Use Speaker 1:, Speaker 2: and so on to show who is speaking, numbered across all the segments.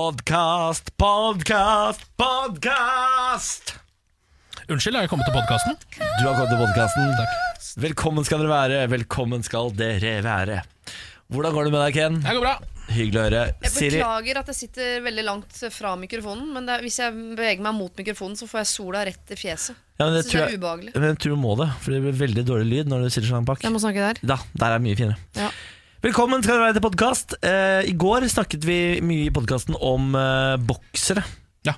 Speaker 1: Podkast, podkast, podkast!
Speaker 2: Unnskyld, har jeg kommet til podkasten?
Speaker 1: Du har kommet til podkasten. Velkommen skal dere være. Velkommen skal dere være. Hvordan går det med deg, Ken?
Speaker 2: Det går bra.
Speaker 1: Hyggelig å høre.
Speaker 3: Jeg
Speaker 1: Siri,
Speaker 3: beklager at jeg sitter veldig langt fra mikrofonen, men det er, hvis jeg beveger meg mot mikrofonen, så får jeg sola rett i fjeset.
Speaker 1: Ja, men det
Speaker 3: jeg synes det
Speaker 1: tror
Speaker 3: er
Speaker 1: jeg-
Speaker 3: ubehagelig.
Speaker 1: men jeg tror du må det, for det blir veldig dårlig lyd når du sitter så langt bak.
Speaker 3: Jeg må snakke der.
Speaker 1: Da, der er mye finere.
Speaker 3: Ja.
Speaker 1: Velkommen skal dere være til podkast. Eh, I går snakket vi mye i podkasten om eh, boksere.
Speaker 2: Ja.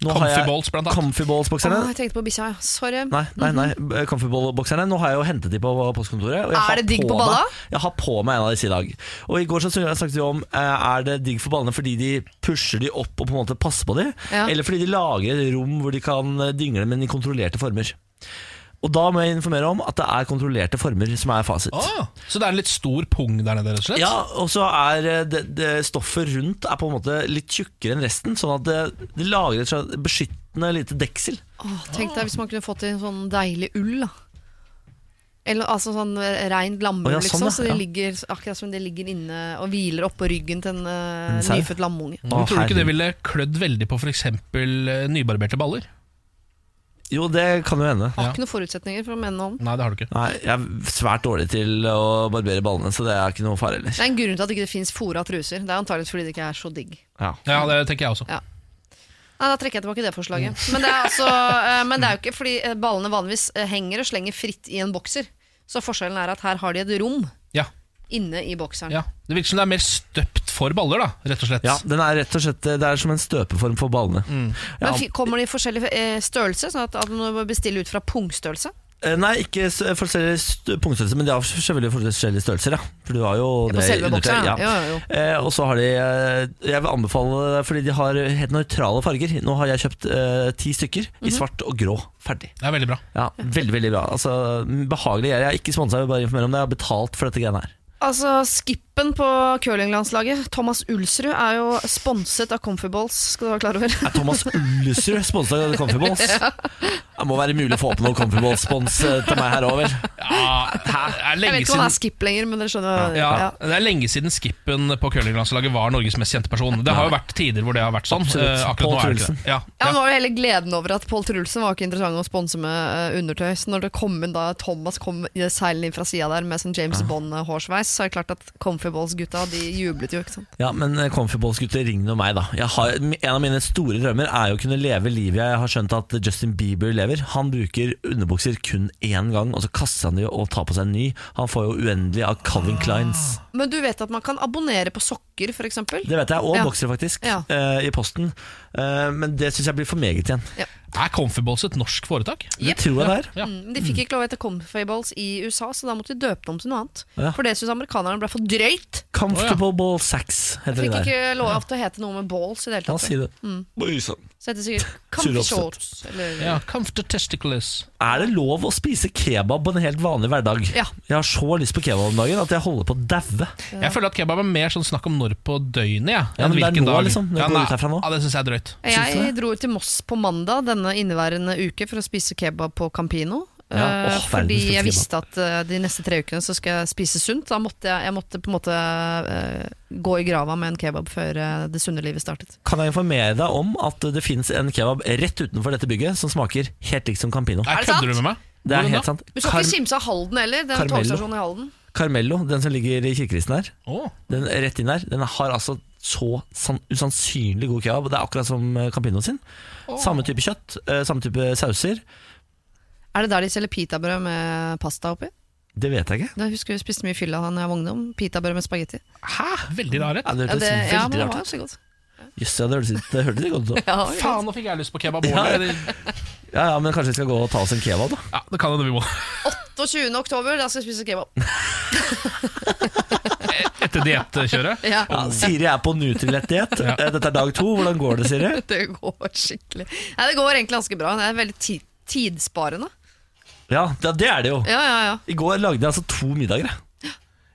Speaker 1: Nå har
Speaker 2: Comfy
Speaker 1: jeg-
Speaker 2: balls, blant annet.
Speaker 1: Comfy balls-bokserne.
Speaker 3: Åh, jeg tenkte på bikkja, ja. Sorry.
Speaker 1: Nei, nei, nei. Comfyball-bokserne. Nå har jeg jo hentet de på postkontoret. og
Speaker 3: Mhm.
Speaker 1: jeg
Speaker 3: Er
Speaker 1: har
Speaker 3: det digg på
Speaker 1: meg-
Speaker 3: balla?
Speaker 1: Jeg har på meg en av disse i dag. Og I går så snakket vi om eh, er det digg for ballene fordi de pusher de opp og på en måte passer på de,
Speaker 3: Ja.
Speaker 1: eller fordi de lager et rom hvor de kan eh, dingle, men i kontrollerte former. Og da må jeg informere om at det er kontrollerte former som er fasit.
Speaker 2: Ah, så det er en litt stor pung der nede, rett og slett?
Speaker 1: Ja, og så er eh, det, det stoffet rundt er på en måte litt tjukkere enn resten, sånn at det, det lager et slags beskyttende lite deksel.
Speaker 3: Åh, tenk deg hvis man kunne fått en sånn deilig ull, da. Eller altså sånn eh, rein lammeull,
Speaker 1: Å, ja, sånn,
Speaker 3: liksom.
Speaker 1: ja.
Speaker 3: Så de
Speaker 1: Ja.
Speaker 3: ligger akkurat som de ligger inne og hviler oppå ryggen til en eh,
Speaker 1: En sau?
Speaker 3: nyfødt lammunge.
Speaker 1: Å,
Speaker 2: Men tror du ikke
Speaker 1: herregud.
Speaker 2: det ville klødd veldig på f.eks. nybarberte baller?
Speaker 1: Jo, det kan jo hende.
Speaker 3: Har
Speaker 2: Ja.
Speaker 3: ikke noen forutsetninger for å mene noe om.
Speaker 2: Nei, det har du ikke.
Speaker 1: Nei, jeg er svært dårlig til å barbere ballene, så det er ikke noe fare heller.
Speaker 3: Det er en grunn til at det ikke fins fora truser. Det er antakeligvis fordi det ikke er så digg.
Speaker 1: Ja.
Speaker 2: Ja, det tenker jeg også.
Speaker 3: Nei, Da trekker jeg tilbake det forslaget.
Speaker 2: Mm.
Speaker 3: Men det er, altså, eh, men det er jo ikke fordi eh, ballene vanligvis eh, henger og slenger fritt i en bokser. Så forskjellen er at her har de et rom
Speaker 2: Ja,
Speaker 3: inne i bokseren.
Speaker 2: ja. Det virker som det er mer støpt for baller, da, rett og slett.
Speaker 1: ja, den er rett og slett eh, Det er som en støpeform for ballene. Ja,
Speaker 3: Men fi- Kommer de i forskjellig eh, størrelse? Sånn at, at man må bestille ut fra pungstørrelse?
Speaker 1: eh, nei, ikke s- forskjellig st- punktstørrelse, men de har selvfølgelig forskjellige størrelser. Ja. For du har jo
Speaker 3: Ja,
Speaker 1: det
Speaker 3: på
Speaker 1: i
Speaker 3: selve
Speaker 1: undertøy,
Speaker 3: bokseren?
Speaker 1: ja.
Speaker 3: Ja. Jo, jo, jo.
Speaker 1: Eh, og så har de eh, Jeg vil anbefale det fordi de har helt nøytrale farger. Nå har jeg kjøpt eh, ti stykker
Speaker 3: Mhm.
Speaker 1: i svart og grå. Ferdig.
Speaker 2: Det er veldig bra.
Speaker 1: Ja, Veldig veldig bra. Altså, Behagelig. Jeg er ikke sponsa, jeg vil bare informere om det. Jeg har betalt for dette greiene her.
Speaker 3: Altså, Skippen på curlinglandslaget, Thomas Ulsrud, er jo sponset av Comfyballs, skal du være klar over.
Speaker 1: Er Thomas Ullesrud sponsa av Comfyballs? Det må være mulig å få opp noe Comfyball-spons eh, til meg her òg, vel?
Speaker 2: Ja, det er
Speaker 3: Jeg
Speaker 2: lenge
Speaker 3: vet ikke om han
Speaker 2: siden
Speaker 3: er Skip lenger, men dere skjønner.
Speaker 2: ja,
Speaker 3: Ja.
Speaker 2: Det er lenge siden skippen på curlinglandslaget var Norges mest kjente person. Det har jo vært tider hvor det har vært sånn.
Speaker 1: Absolutt.
Speaker 2: Eh,
Speaker 1: Paul
Speaker 2: Akkurat nå er det ikke det. Ja,
Speaker 3: Ja, men det var jo hele gleden over at Pål Trulsen var ikke interessant å sponse med eh, undertøy. Så når det kom inn da Thomas kom i seilende inn fra sida der med sånn James Bond-hårsveis, så er det klart at Comfyballs-gutta de jublet jo, ikke sant.
Speaker 1: Ja, men eh, Comfyballs-gutter, ring nå meg, da. Jeg har, en av mine store drømmer er jo å kunne leve livet jeg har skjønt at Justin Bieber lever. Han bruker underbukser kun én gang, og så kaster han de og tar på seg en ny. Han får jo uendelig av Calvin Kleins.
Speaker 3: Men du vet at man kan abonnere på sokker, f.eks.?
Speaker 1: Det vet jeg, og
Speaker 3: Ja.
Speaker 1: boksere, faktisk,
Speaker 3: Ja.
Speaker 1: eh, i posten. Eh, men det syns jeg blir for meget igjen.
Speaker 2: Er Comfyballs et norsk foretak?
Speaker 1: Det tror jeg det er.
Speaker 2: Ja.
Speaker 3: Mm, De fikk ikke lov etter Comfyballs i USA, så da måtte de døpe det om til noe annet.
Speaker 1: Ja.
Speaker 3: For det syntes amerikanerne ble for drøyt.
Speaker 1: Comfortable ball sacks heter
Speaker 3: Fikk
Speaker 1: det der.
Speaker 3: ikke Mm. lov til å hete noe med balls i det hele
Speaker 1: Han
Speaker 3: tatt.
Speaker 1: sier det. Oi, sann.
Speaker 3: Så heter det sikkert Comfy
Speaker 1: Surroppsett.
Speaker 3: Shorts. Eller,
Speaker 2: Ja, Comfort testicles.
Speaker 1: Er det lov å spise kebab på en helt vanlig hverdag?
Speaker 3: Ja.
Speaker 1: Jeg har så lyst på kebab om dagen at jeg holder på å daue.
Speaker 2: Jeg føler at kebab er mer sånn snakk om når på døgnet. Ja,
Speaker 1: Ja,
Speaker 2: enn
Speaker 1: men det er
Speaker 2: hvilken
Speaker 1: nå,
Speaker 2: dag.
Speaker 1: liksom, når
Speaker 2: Ja,
Speaker 1: jeg går
Speaker 2: nei,
Speaker 1: ut herfra nå.
Speaker 2: Ja, det syns jeg er drøyt.
Speaker 1: Syns du
Speaker 3: Jeg dro til Moss på mandag denne inneværende uke for å spise kebab på Campino.
Speaker 1: Ja,
Speaker 3: Eh,
Speaker 1: åh,
Speaker 3: fordi jeg
Speaker 1: verdens beste kebab.
Speaker 3: visste at eh, de neste tre ukene så skal jeg spise sunt. Da måtte jeg, jeg måtte på en måte eh, gå i grava med en kebab før eh, det sunne livet startet.
Speaker 1: Kan jeg informere deg om at det finnes en kebab rett utenfor dette bygget som smaker helt likt som Campino.
Speaker 2: Nei,
Speaker 3: Er det sant?
Speaker 2: Kødder du med meg?
Speaker 1: Det er
Speaker 2: Hvordan
Speaker 1: helt
Speaker 2: da?
Speaker 1: sant.
Speaker 3: Du skal
Speaker 1: Car
Speaker 3: ikke kimse av Halden heller. Den
Speaker 1: Carmelo.
Speaker 3: togstasjonen i Halden.
Speaker 1: Carmello, den som ligger i kirkeristen her,
Speaker 2: Å,
Speaker 1: den rett inn der, den har altså så san usannsynlig god kebab. Det er akkurat som eh, Campino sin. Samme type kjøtt, eh, samme type sauser.
Speaker 3: Er det der de selger pitabrød med pasta oppi?
Speaker 1: Det vet jeg ikke.
Speaker 3: Da husker jeg vi spiste mye fylla da jeg var ungdom. Pitabrød med spagetti.
Speaker 2: Hæ? Veldig rar rett.
Speaker 1: Ja, det
Speaker 3: Ja,
Speaker 1: hørtes
Speaker 3: det, ja, men
Speaker 1: veldig
Speaker 3: det var
Speaker 1: rart ut.
Speaker 3: jo så godt.
Speaker 1: Jøss, ja, det hørtes- det hørtes godt ut. da.
Speaker 3: Ja, det var godt.
Speaker 2: Faen, nå fikk jeg lyst på kebab.
Speaker 1: Ja.
Speaker 2: Ole.
Speaker 1: Ja, ja, men kanskje vi skal gå og ta oss en kebab, da.
Speaker 2: Ja, det kan hende vi må.
Speaker 3: 28. oktober, da skal jeg spise kebab.
Speaker 2: Etter diettkjøret.
Speaker 3: Ja,
Speaker 1: Ja, Siri er på Nutrilett-diett.
Speaker 2: Ja.
Speaker 1: Eh, Dette er dag to. Hvordan går det, Siri?
Speaker 3: Det går skikkelig Nei, det går egentlig ganske bra. Det er veldig ti tidssparende.
Speaker 1: Ja, det det er det jo.
Speaker 3: Ja, ja, ja.
Speaker 1: I går lagde jeg altså to middager. jeg.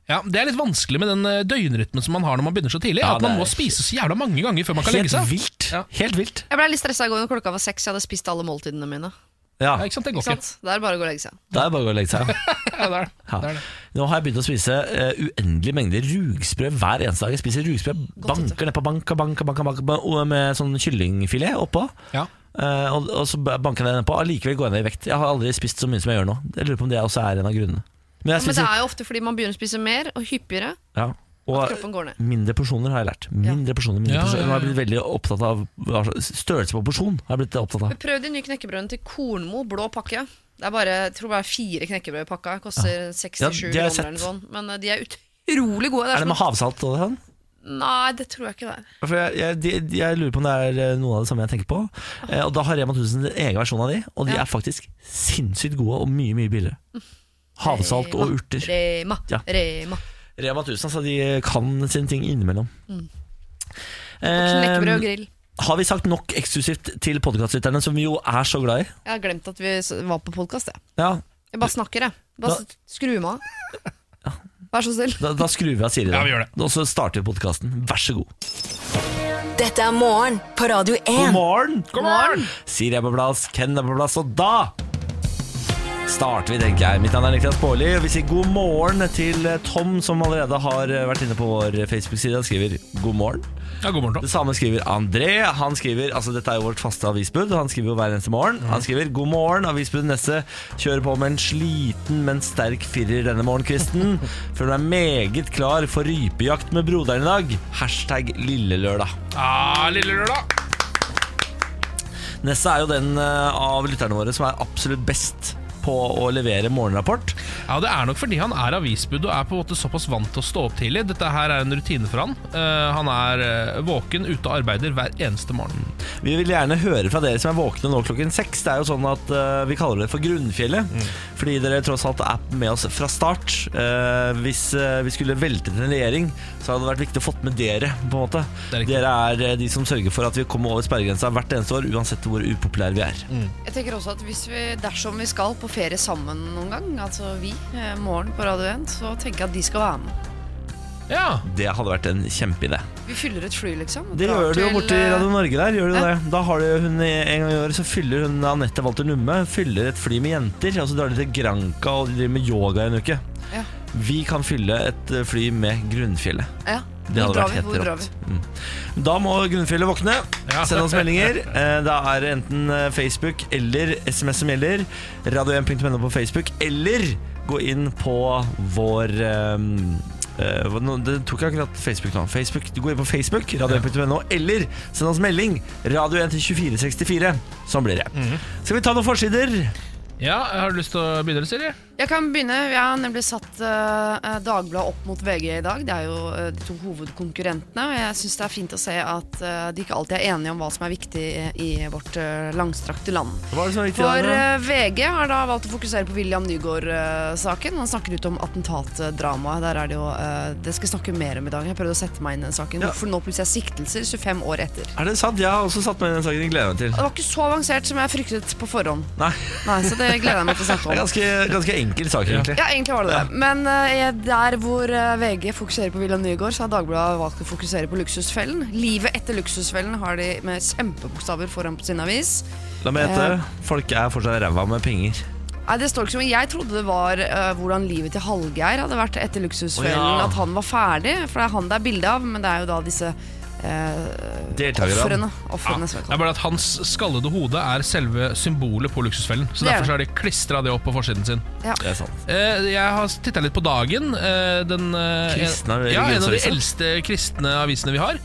Speaker 2: Ja, det er litt vanskelig med den eh, døgnrytmen som man har når man begynner så tidlig.
Speaker 1: Ja,
Speaker 2: at man
Speaker 1: det er-
Speaker 2: må spise så jævla mange ganger før man kan legge
Speaker 1: Helt
Speaker 2: seg.
Speaker 1: vilt.
Speaker 2: Ja.
Speaker 1: Helt vilt.
Speaker 3: Jeg ble litt stressa i går når klokka var seks. Jeg hadde spist alle måltidene mine.
Speaker 1: Ja,
Speaker 2: Ja, ikke sant, den går
Speaker 3: Ikke
Speaker 2: ikke.
Speaker 3: sant? Det er bare å gå og legge seg.
Speaker 1: det er bare å legge seg.
Speaker 2: Ja, det er det.
Speaker 1: Ja.
Speaker 2: det er det.
Speaker 1: Nå har jeg begynt å spise eh, uendelige mengder rugsprø hver eneste dag. Jeg spiser rugsprø,
Speaker 3: vet du.
Speaker 1: banker nedpå, banker, banker, banker, banker, ba- og med sånn kyllingfilet oppå.
Speaker 2: Ja.
Speaker 1: Eh, og, og så ba- banker jeg det nedpå. Allikevel går jeg ned i vekt. Jeg har aldri spist så mye som jeg gjør nå. Jeg lurer på om det også er en av grunnene. Men jeg
Speaker 3: Men det
Speaker 1: spiser
Speaker 3: er jo ofte fordi man begynner å spise mer og hyppigere.
Speaker 1: ja, og
Speaker 3: Kroppen går ned.
Speaker 1: Mindre porsjoner har jeg lært. Mindre porsjoner, mindre
Speaker 2: Ja,
Speaker 1: porsjoner.
Speaker 2: ja,
Speaker 1: Nå har jeg
Speaker 2: ja.
Speaker 1: blitt veldig opptatt av hva slags- størrelse på porsjon. Har jeg blitt opptatt av
Speaker 3: Prøv de nye knekkebrødene til Kornmo, blå pakke. Det er bare, jeg tror bare fire knekkebrød i pakka. Koster 67
Speaker 1: Ja, de har jeg
Speaker 3: kroner
Speaker 1: sett.
Speaker 3: eller noe sånt. Men eh, de er utrolig gode. Det
Speaker 1: Er
Speaker 3: er
Speaker 1: det
Speaker 3: som
Speaker 1: med havsalt og sånn?
Speaker 3: en- Nei, det tror jeg ikke det er.
Speaker 1: For jeg, jeg, de, de- jeg lurer på om det er eh, noe av det samme jeg tenker på. Eh, og Da har Rema 1000 en egen versjon av de, og de
Speaker 3: Ja.
Speaker 1: er faktisk sinnssykt gode og mye mye billigere. Havsalt
Speaker 3: Rema,
Speaker 1: og urter.
Speaker 3: Rema,
Speaker 1: Ja.
Speaker 3: Rema.
Speaker 1: Rema 1000 altså, de kan sine ting innimellom.
Speaker 3: Knekkebrød Mm. og
Speaker 1: Eh,
Speaker 3: grill.
Speaker 1: har vi sagt nok eksklusivt til podkastlytterne, som vi jo er så glad i?
Speaker 3: Jeg har glemt at vi s- var på podkast, jeg.
Speaker 1: Ja,
Speaker 3: Jeg bare snakker, jeg. Bare
Speaker 1: Da-
Speaker 3: s- skru meg av. Vær så snill.
Speaker 1: Da, da skrur vi av Siri, da.
Speaker 2: Ja, vi gjør det.
Speaker 1: og så starter vi podkasten. Vær så god.
Speaker 4: Dette er morgen på Radio 1.
Speaker 1: God morgen!
Speaker 2: God morgen!
Speaker 1: Siri er på plass, Ken er på plass, og da starter vi, tenker jeg. Mitt navn er Niklas Baarli, og vi sier god morgen til eh, Tom, som allerede har eh, vært inne på vår Facebook-side. Han skriver god morgen.
Speaker 2: Ja, god morgen,
Speaker 1: Det
Speaker 2: Tom.
Speaker 1: samme skriver André. Han skriver, altså Dette er jo vårt faste avisbud. Han skriver jo hver eneste morgen. Han skriver 'God morgen, avisbud neste'. Kjører på med en sliten, men sterk firer denne morgenkvisten. Føler meg meget klar for rypejakt med broderen i dag. Hashtag lillelørdag.
Speaker 2: Ah, lille lørdag!
Speaker 1: Neste er jo den eh, av lytterne våre som er absolutt best på å levere morgenrapport.
Speaker 2: Ja, Det er nok fordi han er avisbud og er på en måte såpass vant til å stå opp tidlig. Dette her er en rutine for han. Eh, han er eh, våken, ute og arbeider hver eneste morgen.
Speaker 1: Vi vil gjerne høre fra dere som er våkne nå klokken seks. Det er jo sånn at eh, Vi kaller det for Grunnfjellet,
Speaker 2: Mm.
Speaker 1: fordi dere tross alt er med oss fra start. Eh, hvis eh, vi skulle veltet en regjering, så hadde det vært viktig å fått med dere. på en måte
Speaker 2: Det er riktig.
Speaker 1: Dere er eh, de som sørger for at vi kommer over sperregrensa hvert eneste år, uansett hvor upopulære vi er.
Speaker 3: Jeg tenker også at hvis vi, Dersom vi skal på ferie sammen noen gang, altså vi, eh, morgen på Radio 1, så tenker jeg at de skal være med.
Speaker 2: Ja,
Speaker 1: Det hadde vært en kjempeidé.
Speaker 3: Vi fyller et fly, liksom. og
Speaker 1: Det
Speaker 3: drar
Speaker 1: gjør du jo
Speaker 3: til,
Speaker 1: borti
Speaker 3: eh,
Speaker 1: Radio Norge der. gjør du
Speaker 3: ja.
Speaker 1: det? Da har du hun En gang i året så fyller hun Anette Walter Numme Fyller et fly med jenter. Og så drar de til Granca og de driver med yoga en uke.
Speaker 3: Ja.
Speaker 1: Vi kan fylle et eh, fly med Grunnfjellet.
Speaker 3: eh, Ja.
Speaker 1: Det hadde
Speaker 3: Hvor drar
Speaker 1: vært
Speaker 3: vi?
Speaker 1: helt
Speaker 3: Hvor drar
Speaker 1: rått. Mm. Da må Grunnfjellet våkne.
Speaker 2: Ja.
Speaker 1: Send oss meldinger. Eh, Da er det enten eh, Facebook eller SMS som gjelder. Radio1.no på Facebook. Eller gå inn på vår eh, eh, hva- nå- det tok jeg akkurat Facebook nå. Facebook, du går inn på Facebook, radio1.no, eller send oss melding. Radio1 til 2464. Sånn blir det. Skal vi ta noen forsider?
Speaker 2: ja Har du lyst til å begynne, Siri?
Speaker 3: Jeg kan begynne. Jeg har nemlig satt eh, Dagbladet opp mot VG i dag. Det er jo eh, de to hovedkonkurrentene. Og jeg syns det er fint å se at eh, de ikke alltid er enige om hva som er viktig i vårt eh, langstrakte land.
Speaker 1: Hva er det som er viktig?
Speaker 3: For
Speaker 1: da?
Speaker 3: eh, VG har da valgt å fokusere på William Nygaard-saken. Han snakker ut om attentatdramaet. Der er det jo eh, Det skal jeg snakke mer om i dag. Jeg prøvde å sette meg inn i den saken.
Speaker 1: Ja.
Speaker 3: Hvorfor nå plutselig er siktelser 25 år etter?
Speaker 1: er det sant? Jeg har også satt meg inn i den saken. Jeg gleder meg til.
Speaker 3: Det var ikke så avansert som jeg fryktet på forhånd.
Speaker 1: Nei,
Speaker 3: Nei, Så det gleder jeg meg til å snakke
Speaker 1: det er
Speaker 3: om.
Speaker 1: ganske, ganske enkel sak,
Speaker 2: Ja.
Speaker 1: egentlig.
Speaker 3: Ja, egentlig var det det. Men eh, der hvor eh, VG fokuserer på William Nygaard, så har Dagbladet valgt å fokusere på Luksusfellen. Livet etter Luksusfellen har de med kjempebokstaver foran på sin avis.
Speaker 1: La meg gjette. Folk er fortsatt ræva med penger.
Speaker 3: Nei, det står ikke så mye. Jeg trodde det var eh, hvordan livet til Hallgeir hadde vært etter Luksusfellen.
Speaker 1: Å, ja.
Speaker 3: At han var ferdig, for det er han det er bilde av. Men det er jo da disse uh,
Speaker 1: Deltakerne.
Speaker 3: ofrene.
Speaker 2: Ja.
Speaker 3: ofrene
Speaker 2: Det
Speaker 3: som jeg
Speaker 2: er
Speaker 3: kaller
Speaker 2: bare at Hans skallede hode er selve symbolet på luksusfellen. Så
Speaker 3: Det er
Speaker 2: Derfor så har de klistra det opp på forsiden sin.
Speaker 3: det. ja.
Speaker 1: Det er sant.
Speaker 2: Eh, jeg har titta litt på Dagen. eh, den, eh,
Speaker 1: Kristne
Speaker 2: en, ja, en av de
Speaker 1: religionsavisen.
Speaker 2: eldste kristne avisene vi har.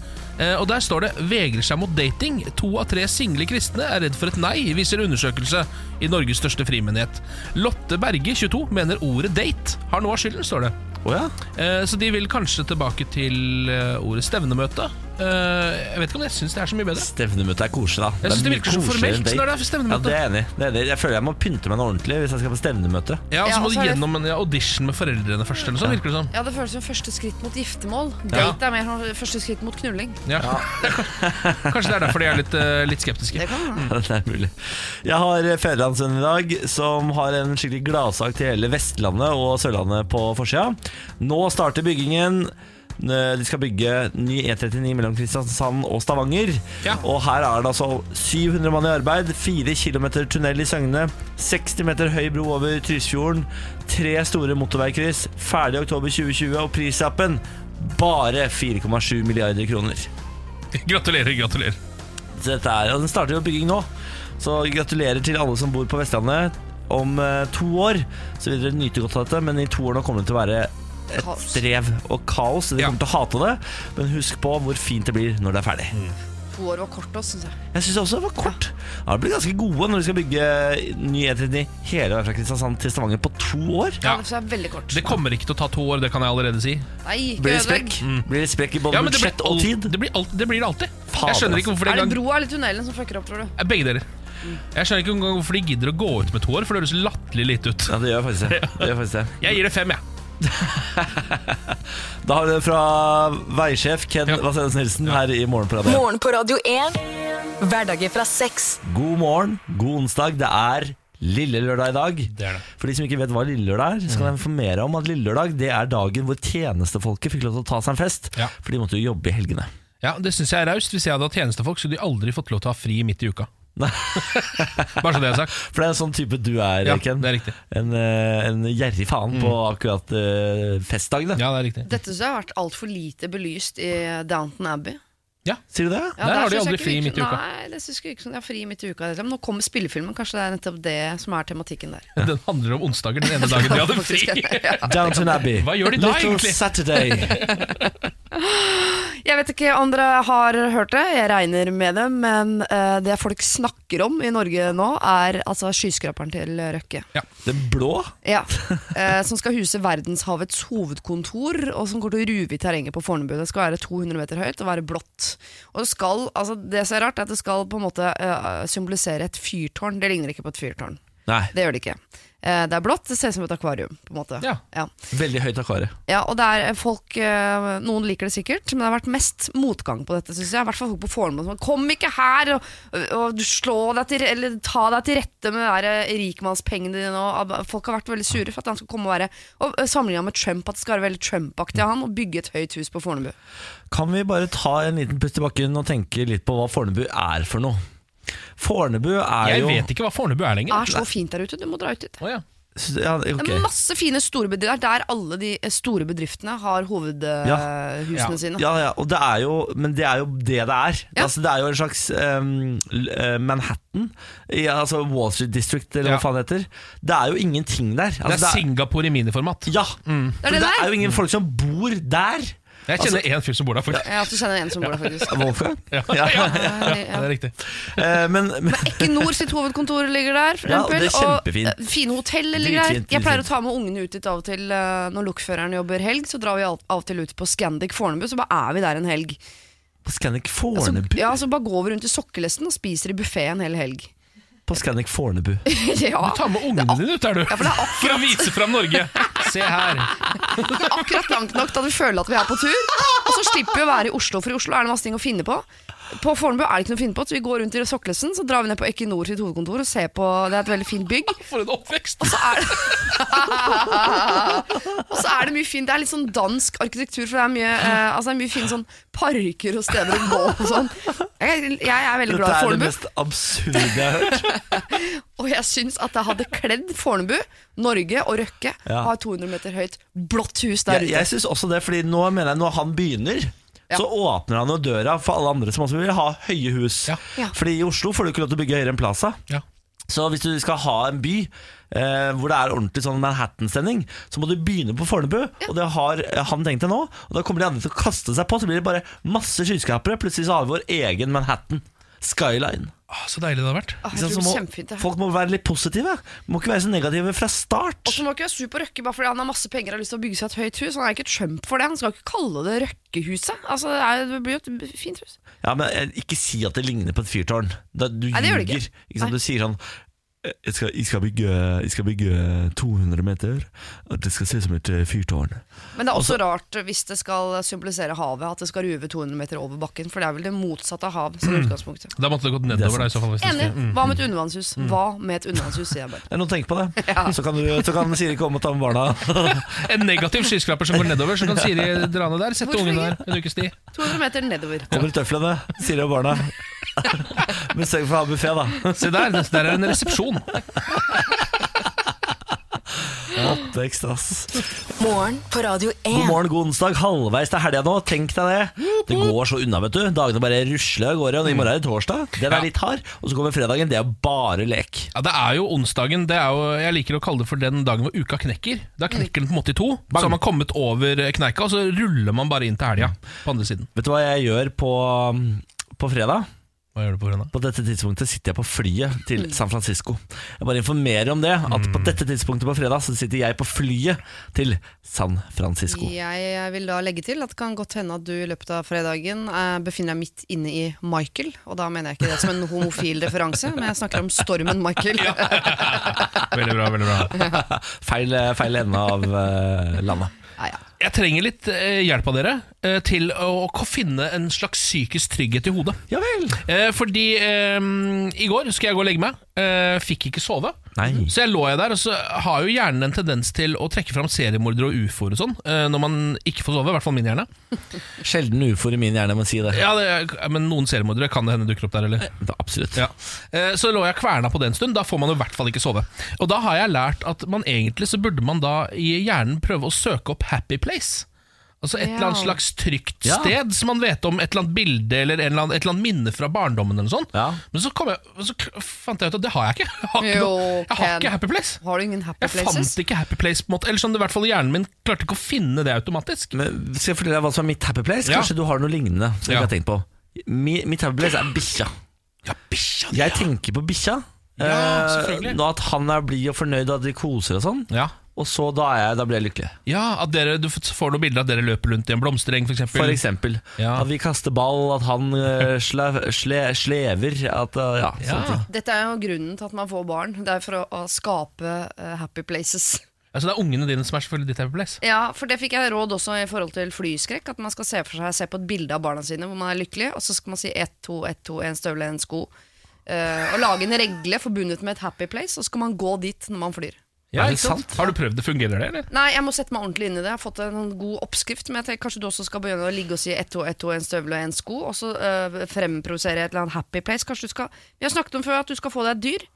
Speaker 2: Eh, og Der står det 'Vegrer seg mot dating'. To av tre single kristne er redd for et nei, viser undersøkelse i Norges største frimenighet. Lotte Berge, 22, mener ordet 'date' har noe av skylden, står det.
Speaker 1: Å ja?
Speaker 2: Eh, så de vil kanskje tilbake til eh, ordet stevnemøte. Eh, jeg vet ikke om jeg syns det er så mye bedre.
Speaker 1: Stevnemøte er koselig, da.
Speaker 2: Jeg synes det
Speaker 1: mye
Speaker 2: virker så
Speaker 1: koseligere
Speaker 2: formelt
Speaker 1: enn date.
Speaker 2: når det er stevnemøte.
Speaker 1: Ja, det er jeg enig. i. Det er enig. i. Jeg føler jeg må pynte meg noe ordentlig hvis jeg skal på stevnemøte.
Speaker 2: Ja, og
Speaker 3: Ja,
Speaker 2: Så må du
Speaker 3: så er det-
Speaker 2: gjennom en ja, audition med foreldrene først, eller noe sånt, virker det som.
Speaker 3: ja, det føles som første skritt mot giftermål.
Speaker 2: Ja.
Speaker 3: Date er mer som første skritt mot knulling.
Speaker 2: Ja. kanskje det er derfor de er litt, eh, litt skeptiske.
Speaker 3: Det kan være.
Speaker 1: Ja, det er mulig. Jeg har Fedrelandsvennen i dag, som har en skikkelig gladsak til hele Vestlandet og Sørlandet på forsida. Nå starter byggingen. Eh, De skal bygge ny E39 mellom Kristiansand og Stavanger.
Speaker 2: Ja.
Speaker 1: Og her er det altså 700 mann i arbeid, 4 km tunnel i Søgne, 60 meter høy bro over Tysfjorden, tre store motorveikryss, ferdig i oktober 2020, og prislappen bare 4,7 milliarder kroner.
Speaker 2: Gratulerer, gratulerer.
Speaker 1: Så dette er, og den starter jo bygging nå. Så gratulerer til alle som bor på Vestlandet. Om eh, to år så vil dere nyte godt av dette, men i to år nå kommer det til å være et
Speaker 3: Kaos.
Speaker 1: strev og kaos. Dere
Speaker 2: Ja.
Speaker 1: kommer til å hate det, men husk på hvor fint det blir når det er ferdig.
Speaker 2: Mm.
Speaker 3: To år var kort også, synes jeg.
Speaker 1: Jeg syns også det var kort. Ja, det blir ganske gode når de skal bygge ny E39 hele veien fra Kristiansand til Stavanger på to år.
Speaker 2: Ja.
Speaker 3: Ja. Det er veldig kort.
Speaker 2: Det kommer ikke til å ta to år, det kan jeg allerede si.
Speaker 3: Nei, ikke
Speaker 1: Blir det
Speaker 3: ødelegg.
Speaker 1: sprekk? Mm. Blir det sprekk i
Speaker 2: Ja,
Speaker 1: både
Speaker 2: men det blir,
Speaker 1: budsjett og
Speaker 2: al-
Speaker 1: tid?
Speaker 2: det, blir alt, det blir det alltid.
Speaker 1: Fader,
Speaker 2: Jeg skjønner ikke hvorfor det
Speaker 3: Er det
Speaker 2: engang
Speaker 3: broa eller tunnelen som fucker opp, tror du?
Speaker 2: Eh, Begge deler. Jeg skjønner ikke engang hvorfor de gidder å gå ut med to år, for det høres latterlig lite ut.
Speaker 1: Ja, det gjør faktisk det. det, gjør faktisk det.
Speaker 2: Jeg gir det fem, jeg.
Speaker 1: Da har vi det fra veisjef Ken
Speaker 2: Ja.
Speaker 1: Vasenus Nilsen her i Morgenparadet.
Speaker 4: Morgen på Radio 1. Hverdager fra seks.
Speaker 1: God morgen, god onsdag. Det er Lille lørdag i dag.
Speaker 2: Det er det. Mm.
Speaker 1: For de som ikke vet hva lille lørdag er, så kan jeg informere om at lille lørdag det er dagen hvor tjenestefolket fikk lov til å ta seg en fest.
Speaker 2: Ja.
Speaker 1: For de måtte jo jobbe i helgene.
Speaker 2: Ja, Det syns jeg er raust. Hvis jeg hadde hatt tjenestefolk, så hadde de aldri fått lov til å ha fri midt i uka.
Speaker 1: Nei.
Speaker 2: Bare så det er sagt.
Speaker 1: For det er en sånn type du er,
Speaker 2: Ja,
Speaker 1: Ken.
Speaker 2: det er riktig.
Speaker 1: En, eh, en gjerrig faen på akkurat eh, festdagene.
Speaker 2: Ja, det er riktig.
Speaker 3: Dette synes jeg har vært altfor lite belyst i Downton Abbey.
Speaker 1: Sier du det?
Speaker 3: Ja,
Speaker 2: Der har
Speaker 3: synes
Speaker 2: de
Speaker 3: jeg
Speaker 2: aldri
Speaker 3: ikke
Speaker 2: fri
Speaker 3: virker-
Speaker 2: midt i uka.
Speaker 3: Nei, det synes jeg ikke som de har fri midt i uka. heller. Men nå kommer spillefilmen, kanskje det er nettopp det som er tematikken der.
Speaker 2: Den handler om onsdager den ene dagen de hadde fri.
Speaker 3: Faktisk, ja.
Speaker 1: Downton Abbey.
Speaker 2: Hva gjør de da,
Speaker 1: Little
Speaker 2: egentlig?
Speaker 1: Saturday.
Speaker 3: Jeg vet ikke om dere har hørt det, jeg regner med det, men eh, det folk snakker om i Norge nå, er altså skyskraperen til Røkke.
Speaker 1: Den blå?
Speaker 3: Ja, eh, Som skal huse verdenshavets hovedkontor, og som går til å ruve i terrenget på Fornebu. Det skal være 200 meter høyt og være blått. Og det, skal, altså, det som er rart, er at det skal på en måte eh, symbolisere et fyrtårn. Det ligner ikke på et fyrtårn.
Speaker 1: Nei,
Speaker 3: Det gjør det ikke. Eh, Det er blått, det ser ut som et akvarium. på en måte
Speaker 2: Ja.
Speaker 3: Ja.
Speaker 1: veldig høyt akvarium.
Speaker 3: Ja, og det er folk eh, Noen liker det sikkert, men det har vært mest motgang på dette, syns jeg. I hvert fall folk på Fornebu. som er, Kom ikke her og, og slå deg til Eller ta deg til rette med de der eh, rikmannspengene dine. Og, ab- folk har vært veldig sure for at han skal komme og være Og eh, sammenlignet med Trump, at det skal være veldig Trump-aktig av han å bygge et høyt hus på Fornebu.
Speaker 1: Kan vi bare ta en liten pust i bakken og tenke litt på hva Fornebu er for noe? Fornebu er
Speaker 2: Jeg
Speaker 1: jo
Speaker 2: vet ikke hva Fornebu er
Speaker 3: Det
Speaker 2: lenger.
Speaker 3: er så fint der ute, du må dra ut dit.
Speaker 2: Å, ja.
Speaker 1: Ja,
Speaker 3: Det
Speaker 1: ok.
Speaker 3: er masse fine store bedrifter der alle de eh, store bedriftene har hovedhusene
Speaker 2: Ja.
Speaker 3: sine.
Speaker 1: Ja, ja, og det er jo, men det er jo det det er.
Speaker 3: Ja.
Speaker 1: Altså, det er jo en slags ehm, l- eh, Manhattan, i, altså Wall Street District, eller
Speaker 2: Ja.
Speaker 1: hva faen det heter. Det er jo ingenting der.
Speaker 2: Det er Mm.
Speaker 1: Altså,
Speaker 2: Singapore i miniformat.
Speaker 1: ja,
Speaker 3: Det er
Speaker 1: For
Speaker 3: det
Speaker 1: det
Speaker 3: der.
Speaker 1: er jo ingen folk som bor der.
Speaker 2: Jeg kjenner én fyr som bor der, faktisk.
Speaker 3: Ja, at du kjenner en som bor der, faktisk.
Speaker 1: Wolfgang?
Speaker 2: Altså- Ja. Ja. Ja.
Speaker 3: Ja, ja.
Speaker 2: det er riktig.
Speaker 1: Eh, men, men
Speaker 3: Equinor sitt hovedkontor ligger der. For
Speaker 1: Ja,
Speaker 3: eksempel,
Speaker 1: det er kjempefint.
Speaker 3: Og eh, fine hotell ligger der.
Speaker 1: Dritfint,
Speaker 3: Jeg pleier
Speaker 1: dritfint.
Speaker 3: å ta med ungene ut dit av og til eh, når lokføreren jobber helg. Så drar vi av av og til ut på Scandic Fornebu, så bare er vi der en helg.
Speaker 1: på Scandic
Speaker 3: Så,
Speaker 1: Fornebu?
Speaker 3: Altså, ja, så bare går vi rundt i sokkelesten og spiser i buffé en hel helg.
Speaker 1: På Scandic Fornebu.
Speaker 3: ja,
Speaker 2: Ta med ungene dine ut der, du.
Speaker 3: for det er
Speaker 2: For å vise fram Norge. Se her.
Speaker 3: akkurat langt nok til at vi føler at vi er på tur. Og så slipper vi å være i Oslo, for i Oslo er det masse ting å finne på. På Fornebu er det ikke noe å finne på, så vi går rundt i sokkelesten, så drar vi ned på Equinor sitt hovedkontor og ser på Det er et veldig fint bygg.
Speaker 2: For en oppvekst.
Speaker 3: så er det Og så er det mye fint Det er litt sånn dansk arkitektur For det er mye, eh, altså det er mye fine sånn parker og steder å gå og sånn jeg, jeg er veldig glad
Speaker 1: Dette
Speaker 3: i
Speaker 1: er det
Speaker 3: Fornebu
Speaker 1: mest absurde jeg har hørt.
Speaker 3: Og jeg synes at det hadde kledd Fornebu Norge og Røkke
Speaker 1: Ja.
Speaker 3: Har 200 meter høyt blått hus der
Speaker 1: Jeg,
Speaker 3: ute
Speaker 1: jeg syns også det, fordi nå mener jeg når han begynner
Speaker 3: Ja.
Speaker 1: Så åpner han jo døra for alle andre som også vil ha høye hus.
Speaker 2: Ja.
Speaker 3: Ja.
Speaker 1: Fordi i Oslo får du ikke lov til å bygge høyere enn Plaza.
Speaker 2: Ja.
Speaker 1: Så hvis du skal ha en by eh, hvor det er ordentlig sånn Manhattan-stemning, så må du begynne på Fornebu, og det har eh, han tenkt det nå. Og da kommer de andre til å kaste seg på, så blir det bare masse skyskrapere. Plutselig så har vi vår egen Manhattan. Skyline.
Speaker 2: Å, Ah, så deilig det hadde vært.
Speaker 3: Åh,
Speaker 1: Ikke
Speaker 3: Ah, jeg
Speaker 1: sant?
Speaker 3: tror det
Speaker 1: liksom, Så
Speaker 3: blir
Speaker 1: må-
Speaker 3: kjempefint det her
Speaker 1: folk må være litt positive. Må ikke være så negative
Speaker 3: og
Speaker 1: fra start.
Speaker 3: så må ikke være sur på Røkke bare fordi han har masse penger og har lyst til å bygge seg et høyt hus. Han er ikke Trump for det. Han skal ikke kalle det Røkkehuset. Altså, det, er, det blir jo et fint hus.
Speaker 1: Ja, men eh, Ikke si at det ligner på et fyrtårn. Da, du
Speaker 3: Nei, det gjør det
Speaker 1: ljuger.
Speaker 3: ikke.
Speaker 1: Ikke sant? Du sier sånn jeg skal, jeg, skal bygge, jeg skal bygge 200 meter, og det skal se ut som et eh, fyrtårn.
Speaker 3: Men det er også rart hvis det skal symbolisere havet, at det skal ruve 200 meter over bakken. For det er vel det motsatte av hav som utgangspunktet.
Speaker 2: Da måtte det gått
Speaker 1: Det er
Speaker 2: nedover, da, i så fall. Hvis det
Speaker 3: Enig.
Speaker 2: skulle-
Speaker 3: Hva med et undervannshus? Hva med et undervannshus, sier jeg bare.
Speaker 1: Det er noe å tenke på det. Så kan, du, så kan Siri komme og ta med barna.
Speaker 2: En negativ skyskraper som går nedover, så kan Siri dra ned der. Sette
Speaker 3: Hvorfor
Speaker 2: ungen der en ukes tid.
Speaker 3: 200 meter nedover.
Speaker 1: Kommer i tøflene, Siri og barna. Men sørg for å ha buffé, da.
Speaker 2: Se der, det- der er en resepsjon.
Speaker 1: Oppvekst, ass.
Speaker 4: Morgen på Radio
Speaker 1: God
Speaker 4: 1.
Speaker 1: morgen, god onsdag. Halvveis til helga nå. Tenk deg det. Det går så unna, vet du. Dagene bare rusler av gårde. Og i morgen er det torsdag. Den
Speaker 2: Ja.
Speaker 1: er litt hard. Og så kommer fredagen. Det er bare lek.
Speaker 2: Ja, Det er jo onsdagen. det er jo, Jeg liker å kalle det for den dagen hvor uka knekker. Da knekker den på en måte i to. Så har man kommet over kneika, og så ruller man bare inn til helga på andre siden.
Speaker 1: Vet du hva jeg gjør på, um, på fredag?
Speaker 2: Hva gjør du på grunn av?
Speaker 1: På dette tidspunktet sitter jeg på flyet til San Francisco. Jeg bare informerer om det, at på dette tidspunktet på fredag så sitter jeg på flyet til San Francisco.
Speaker 3: Jeg vil da legge til at det kan godt hende at du i løpet av fredagen eh, befinner deg midt inne i Michael. Og da mener jeg ikke det som en homofil referanse, men jeg snakker om stormen Michael.
Speaker 2: Veldig bra, veldig bra.
Speaker 1: Feil, feil ende av eh, landet.
Speaker 3: Ja, ja.
Speaker 2: Jeg trenger litt eh, hjelp av dere eh, til å, å finne en slags psykisk trygghet i hodet.
Speaker 1: Ja vel.
Speaker 2: Eh, fordi eh, i går skulle jeg gå og legge meg. Eh, fikk ikke sove.
Speaker 1: Nei.
Speaker 2: Så jeg lå jeg der, og så har jo hjernen en tendens til å trekke fram seriemordere og ufoer og sånn, eh, når man ikke får sove. I hvert fall min hjerne.
Speaker 1: Sjelden ufoer i min hjerne, må jeg si det.
Speaker 2: Ja, det, er- Men noen seriemordere kan det hende dukker opp der, eller?
Speaker 1: Da, absolutt.
Speaker 2: Ja. Eh, Så lå jeg kverna på det en stund. Da får man jo i hvert fall ikke sove. Og da har jeg lært at man egentlig så burde man da i hjernen prøve å søke opp Happy Place. Altså et
Speaker 3: Ja.
Speaker 2: eller annet slags trygt
Speaker 1: Ja.
Speaker 2: sted som man vet om, et eller annet bilde eller, en eller annen, et eller annet minne fra barndommen. eller noe sånt
Speaker 1: Ja.
Speaker 2: Men så, kom jeg, så k- fant jeg ut at det har jeg ikke. Jeg har ikke,
Speaker 3: Jo,
Speaker 2: noe, jeg har
Speaker 3: Ken.
Speaker 2: ikke Happy Place.
Speaker 3: Har du ingen happy
Speaker 2: Jeg
Speaker 3: places?
Speaker 2: fant ikke Happy Place på en måte Eller sånn, i hvert fall Hjernen min klarte ikke å finne det automatisk.
Speaker 1: Men skal jeg fortelle deg hva som er mitt happy place?
Speaker 2: Ja.
Speaker 1: Kanskje du har noe lignende som
Speaker 2: Ja.
Speaker 1: jeg ikke har tenkt på. Mi, mitt happy place er bikkja.
Speaker 2: Ja, bikkja
Speaker 1: Jeg tenker på bikkja.
Speaker 2: Ja,
Speaker 1: Eh,
Speaker 2: selvfølgelig.
Speaker 1: nå at han er blid og fornøyd, og at de koser og sånn.
Speaker 2: ja.
Speaker 1: Og så da, er jeg, da blir jeg lykkelig.
Speaker 2: ja, at dere du får noen bilder av at dere løper rundt i en blomstereng, for eksempel.
Speaker 1: For eksempel.
Speaker 2: Ja.
Speaker 1: At vi kaster ball, at han eh, sle, sle, slever at, eh, ja,
Speaker 2: Ja.
Speaker 1: sånne ting.
Speaker 3: Dette er jo grunnen til at man får barn. Det er for å, å skape eh, happy places.
Speaker 2: Altså, det er ungene dine som er selvfølgelig ditt Happy Place.
Speaker 3: Ja, for det fikk jeg råd også i forhold til flyskrekk. At man skal se for seg se på et bilde av barna sine hvor man er lykkelig, og så skal man si ett, to, ett, to, en støvle, en sko. Eh, og lage en regle forbundet med et happy place, og så skal man gå dit når man flyr.
Speaker 2: Ja,
Speaker 1: Er det
Speaker 2: ikke sant?
Speaker 1: sant?
Speaker 2: Har du prøvd det? Fungerer det, eller?
Speaker 3: Nei, jeg må sette meg ordentlig inn i det. Jeg har fått en sånn god oppskrift, men jeg tenker kanskje du også skal begynne å ligge og si ett, to, ett, to, en støvle og en sko, og så eh, fremprovosere et eller annet happy place. Kanskje du skal Vi har snakket om før at du skal få deg et dyr.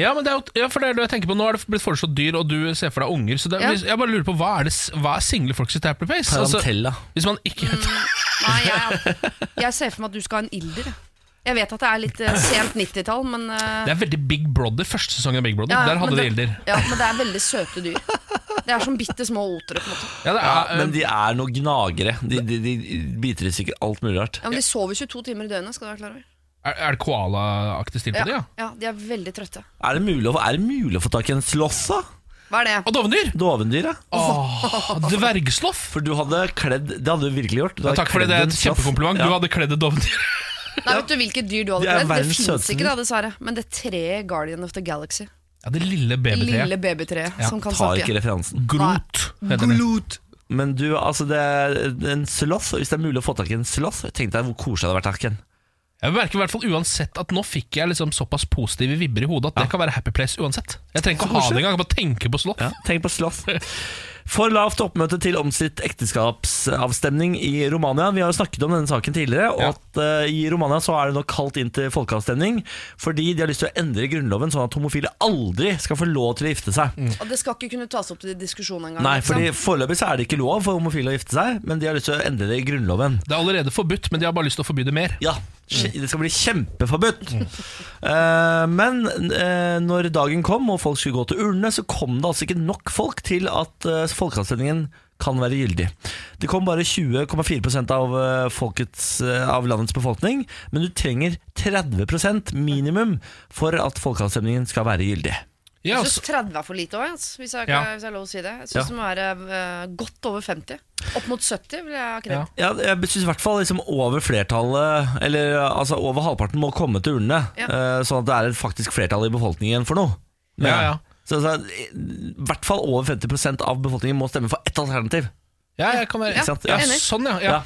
Speaker 2: Ja, men det er jo, ja, for det er det jeg tenker på Nå er det blitt foreslått dyr, og du ser for deg unger. Så det, er-
Speaker 3: Ja.
Speaker 2: hvis- jeg bare lurer på, Hva er, det, s- hva er single folk sitt happy place? Altså,
Speaker 1: Tarantella.
Speaker 2: hvis man ikke
Speaker 3: Mm. Nei, jeg, jeg ser for meg at du skal ha en ilder. jeg. Jeg vet at det er litt eh, sent 90-tall, men eh,
Speaker 2: Det er veldig Big Brother. Første sesong av Big Brother.
Speaker 3: Ja,
Speaker 2: Der hadde
Speaker 3: men
Speaker 2: de
Speaker 3: det-
Speaker 2: ilder.
Speaker 3: Ja, men det er veldig søte dyr. Det er som bitte små otere. på en måte
Speaker 2: Ja, det er,
Speaker 1: Ja,
Speaker 2: eh,
Speaker 1: men de er noe gnagere. De, de, de biter i sikkert alt mulig rart.
Speaker 3: Ja, men De sover 22 timer i døgnet. skal du være klar over
Speaker 2: er, er det koala-aktig stil på det, ja?
Speaker 3: ja, ja, De er veldig trøtte.
Speaker 1: Er det mulig å, er det mulig å få tak i en slåss, da?
Speaker 3: Hva er det?
Speaker 2: Og dovendyr!
Speaker 1: Dovendyr, ja.
Speaker 2: Åh, Dvergsloff!
Speaker 1: For du hadde kledd Det hadde du virkelig gjort. Du
Speaker 2: Ja,
Speaker 1: hadde
Speaker 2: takk for det, det
Speaker 1: kledd
Speaker 2: er et
Speaker 1: en slåss.
Speaker 2: kjempekompliment. Du
Speaker 1: Ja.
Speaker 2: hadde kledd et dovendyr.
Speaker 3: Nei, Vet du hvilket dyr du hadde
Speaker 1: De er
Speaker 3: kledd? Det
Speaker 1: verdens
Speaker 3: fins
Speaker 1: søteste
Speaker 3: ikke, da, dessverre. Men det treet i Guardian of the Galaxy.
Speaker 2: Ja, det lille
Speaker 3: Det
Speaker 2: babytreet.
Speaker 3: Lille babytreet som kan
Speaker 1: Tar
Speaker 3: snakke.
Speaker 1: ikke referansen.
Speaker 2: Grot. heter det.
Speaker 1: Glut. Men du, altså det er en slåss, hvis det er mulig å få tak i en slåss Tenk deg hvor koselig det hadde vært, Akken.
Speaker 2: Jeg merker i hvert fall uansett at nå fikk jeg liksom såpass positive vibber i hodet at det kan være happy place uansett. Jeg trenger ikke å ha det engang, jeg kan bare tenke på slott.
Speaker 1: Ja, tenk på slåss. For lavt oppmøte til omstridt ekteskapsavstemning i Romania. Vi har jo snakket om denne saken tidligere, og
Speaker 2: Ja.
Speaker 1: at eh, i Romania så er det nå kalt inn til folkeavstemning fordi de har lyst til å endre grunnloven sånn at homofile aldri skal få lov til å gifte seg.
Speaker 3: Og det skal ikke kunne tas opp til diskusjon engang.
Speaker 1: Nei,
Speaker 3: liksom.
Speaker 1: fordi foreløpig så er det ikke lov for homofile å gifte seg, men de har lyst til å endre det i grunnloven.
Speaker 2: Det er allerede forbudt, men de har bare lyst til å forby det mer.
Speaker 1: Ja, kje- det skal bli kjempeforbudt. Eh, men eh, når dagen kom og folk skulle gå til urnene, så kom det altså ikke nok folk til at eh, folkeavstemningen kan være gyldig. Det kom bare 20,4 av, eh, folkets, eh, av landets befolkning, men du trenger 30 minimum for at folkeavstemningen skal være gyldig.
Speaker 2: Ja,
Speaker 3: Jeg syns
Speaker 2: altså. så,
Speaker 3: 30 er for lite òg, hvis, jeg-
Speaker 2: Ja.
Speaker 3: hvis jeg har lov å si det. Jeg
Speaker 1: Ja.
Speaker 3: syns det må være eh, godt over 50. Opp mot 70 vil jeg ha kred.
Speaker 2: ja.
Speaker 1: Ja, jeg synes i hvert fall liksom over flertallet, eller altså over halvparten må komme til urnene,
Speaker 3: Ja.
Speaker 1: eh, sånn at det er et faktisk flertall i befolkningen for noe. mener
Speaker 2: Ja,
Speaker 1: jeg.
Speaker 2: ja.
Speaker 1: Så, så, I hvert fall over 50 av befolkningen må stemme for ett alternativ.
Speaker 2: Ja, jeg kan være
Speaker 1: Ikke sant?
Speaker 2: ja,
Speaker 1: Ja.
Speaker 2: Sånn, ja. ja.
Speaker 1: Ja.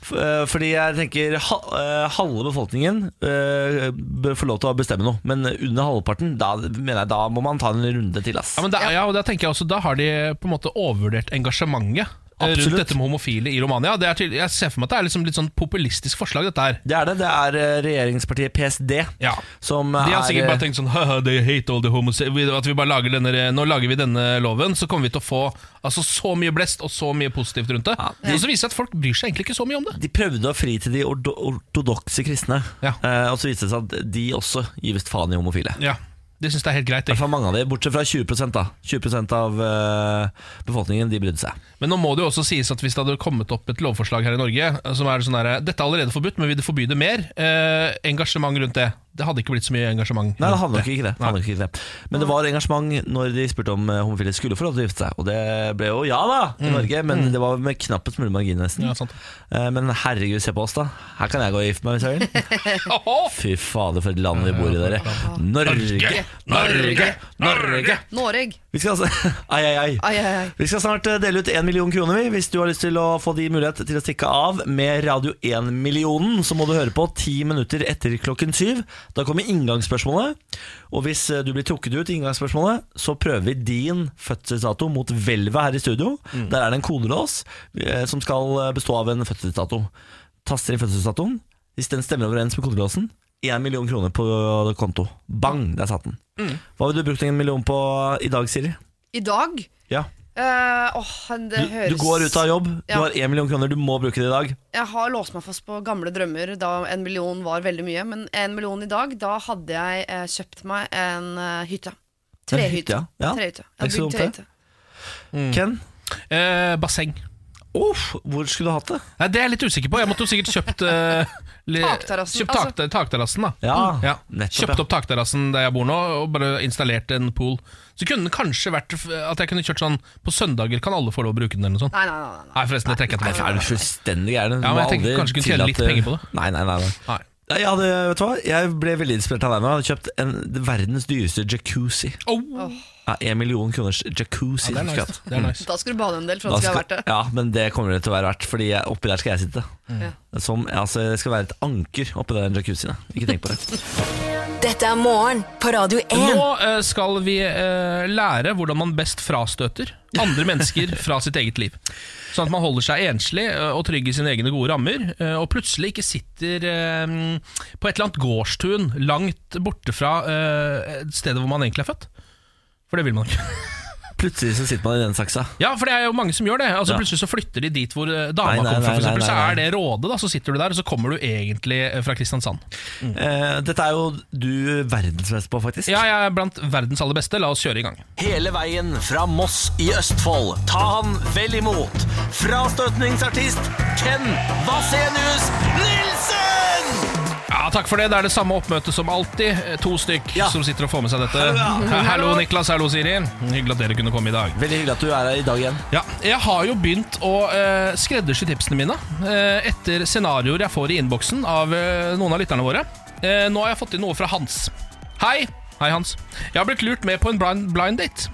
Speaker 1: F- eh, Fordi jeg tenker ha- eh, halve befolkningen eh, bør få lov til å bestemme noe. Men under halvparten, da, mener jeg, da må man ta en runde til. Ass.
Speaker 2: Ja, men da, ja, og da tenker jeg også Da har de på en måte overvurdert engasjementet eh, rundt
Speaker 1: Absolutt.
Speaker 2: dette med homofile i Romania. Det er tydelig, jeg ser for meg at det er liksom litt sånn populistisk forslag, dette her.
Speaker 1: Det er det. Det er eh, regjeringspartiet PSD
Speaker 2: Ja.
Speaker 1: som
Speaker 2: De
Speaker 1: er eh,
Speaker 2: har sikkert bare tenkt sånn Haha, they hate all the homos At vi bare lager denne Nå lager vi denne loven, så kommer vi til å få altså, så mye blest og så mye positivt rundt det.
Speaker 1: Ja.
Speaker 2: Og så viser det at folk bryr seg egentlig ikke så mye om det.
Speaker 1: De prøvde å fri til de ordo- ortodokse kristne,
Speaker 2: Ja.
Speaker 1: eh, og så viste det seg at de også gir visst faen i homofile.
Speaker 2: Ja, De syns det er helt greit.
Speaker 1: I hvert
Speaker 2: Ikke?
Speaker 1: fall mange av de, bortsett fra 20 da 20 av eh, befolkningen de brydde seg.
Speaker 2: Men nå må det jo også sies at hvis det hadde kommet opp et lovforslag her i Norge eh, som er sånn her Dette er allerede forbudt, men vil du forby det mer? Eh, engasjement rundt det. Det hadde ikke blitt så mye engasjement.
Speaker 1: Nei, det
Speaker 2: rundt
Speaker 1: handler nok ikke det. Det handler nok ikke det. Men det var engasjement når de spurte om eh, homofile skulle få lov til å gifte seg, og det ble jo ja da i Norge, men det var med knappest mulig margin, nesten.
Speaker 2: Mm. Ja, sant.
Speaker 1: Eh, Men herregud, se på oss, da. Her kan jeg gå og gifte meg hvis jeg vil.
Speaker 2: Åhå!
Speaker 1: Fy fader, for et land vi bor i, dere. Norge! Norge! Norge!
Speaker 3: Noreg.
Speaker 1: Vi skal altså Ai, ai, ai.
Speaker 3: Ai, ai, ai.
Speaker 1: Vi skal snart eh, dele ut 1 million kroner vi. Hvis du har lyst til å få de mulighet til å stikke av med Radio 1-millionen, så må du høre på 10 minutter etter klokken 7. Da kommer inngangsspørsmålet. Og hvis eh, du blir trukket ut i inngangsspørsmålet, så prøver vi din fødselsdato mot hvelvet her i studio. Der er det en kodelås eh, som skal eh, bestå av en fødselsdato. Taster inn fødselsdatoen. Hvis den stemmer overens med kodelåsen, 1 million kroner på konto. Bang, der satt den. Hva ville du brukt en million på i dag, Siri?
Speaker 3: I dag
Speaker 1: Ja
Speaker 3: eh, åh, det
Speaker 1: du,
Speaker 3: høres
Speaker 1: du går ut av jobb, du
Speaker 3: Ja.
Speaker 1: har én million kroner, du må bruke det i dag.
Speaker 3: Jeg har låst meg fast på gamle drømmer da en million var veldig mye. Men en million i dag, da hadde jeg eh, kjøpt meg en eh, hytte.
Speaker 1: hytte,
Speaker 3: Trehytte.
Speaker 1: ja. Ja,
Speaker 3: Trehytte.
Speaker 1: det er ikke
Speaker 3: Jeg
Speaker 1: så
Speaker 3: har bygd
Speaker 1: dumt,
Speaker 3: trehytte.
Speaker 2: Mm.
Speaker 1: Ken,
Speaker 2: Eh, basseng.
Speaker 1: Uff, hvor skulle du hatt det?
Speaker 2: Nei, det er jeg litt usikker på. Jeg måtte jo sikkert kjøpt eh, li-
Speaker 3: Takterrassen,
Speaker 2: Kjøpt tak, takterrassen, da.
Speaker 1: Mm. Ja,
Speaker 2: Ja.
Speaker 1: nettopp,
Speaker 2: Kjøpt
Speaker 1: ja.
Speaker 2: opp takterrassen der jeg bor nå, og bare installert en pool. Så kunne den kanskje vært f- at jeg kunne kjørt sånn På søndager kan alle få lov å bruke den, eller noe sånt.
Speaker 3: Nei, nei, nei. nei, nei.
Speaker 2: Nei, forresten, det trekker jeg
Speaker 1: Nei,
Speaker 2: tilbake.
Speaker 1: er du fullstendig gæren? Du
Speaker 2: Ja, men
Speaker 1: må
Speaker 2: jeg tenker
Speaker 1: aldri
Speaker 2: kanskje kunne tjene litt
Speaker 1: tillate-
Speaker 2: penger på det.
Speaker 1: Nei, nei, nei, nei.
Speaker 2: Nei.
Speaker 1: Nei, Jeg, hadde, vet du hva? jeg ble veldig inspirert av deg nå. Jeg hadde kjøpt en, verdens dyreste jacuzzi.
Speaker 2: Åh.
Speaker 1: Ja, En million kroners jacuzzi.
Speaker 2: Ja, det er
Speaker 1: skulle jeg
Speaker 2: nice.
Speaker 1: hatt.
Speaker 2: Det er nice.
Speaker 3: Da skal du bade en del for
Speaker 1: Da
Speaker 3: at det Sånn skal være verdt det.
Speaker 1: ja, men det kommer det til å være verdt, Fordi jeg, oppi der skal jeg sitte.
Speaker 2: Mm.
Speaker 3: Ja.
Speaker 1: Som, altså, det skal være et anker oppi den jacuzzien. ja. Ikke tenk på det.
Speaker 4: Dette er morgen på Radio 1.
Speaker 2: Nå eh, skal vi eh, lære hvordan man best frastøter andre mennesker fra sitt eget liv. Sånn at man holder seg enslig eh, og trygg i sine egne gode rammer, eh, og plutselig ikke sitter eh, på et eller annet gårdstun langt borte fra eh, stedet hvor man egentlig er født. For det vil man ikke.
Speaker 1: Plutselig så sitter man i den saksa.
Speaker 2: Ja, for det er jo mange som gjør det. Altså
Speaker 1: Ja.
Speaker 2: Plutselig så flytter de dit hvor eh, dama
Speaker 1: Nei, nei,
Speaker 2: kommer fra,
Speaker 1: nei,
Speaker 2: for eksempel.
Speaker 1: nei,
Speaker 2: Så
Speaker 1: nei,
Speaker 2: er det Råde, da. Så sitter du der, og så kommer du egentlig eh, fra Kristiansand.
Speaker 1: Eh, dette er jo du verdensmester på, faktisk.
Speaker 2: Ja, jeg er blant verdens aller beste. La oss kjøre i gang.
Speaker 1: Hele veien fra Moss i Østfold. Ta han vel imot. Frastøtningsartist Ken Vasenius Nilsen!
Speaker 2: Ja, takk for det. Det er det samme oppmøtet som alltid. Eh, To stykk
Speaker 1: Ja.
Speaker 2: som sitter og får med seg dette.
Speaker 1: Hallo.
Speaker 2: Hallo, Niklas. Hallo, Siri. Hyggelig at dere kunne komme i dag.
Speaker 1: Veldig hyggelig at du er her i dag igjen.
Speaker 2: Ja, jeg har jo begynt å eh, skreddersy tipsene mine eh, etter scenarioer jeg får i innboksen av eh, noen av lytterne våre. Eh, nå har jeg fått inn noe fra Hans. Hei! Hei, Hans. Jeg har blitt lurt med på en blind, blind date.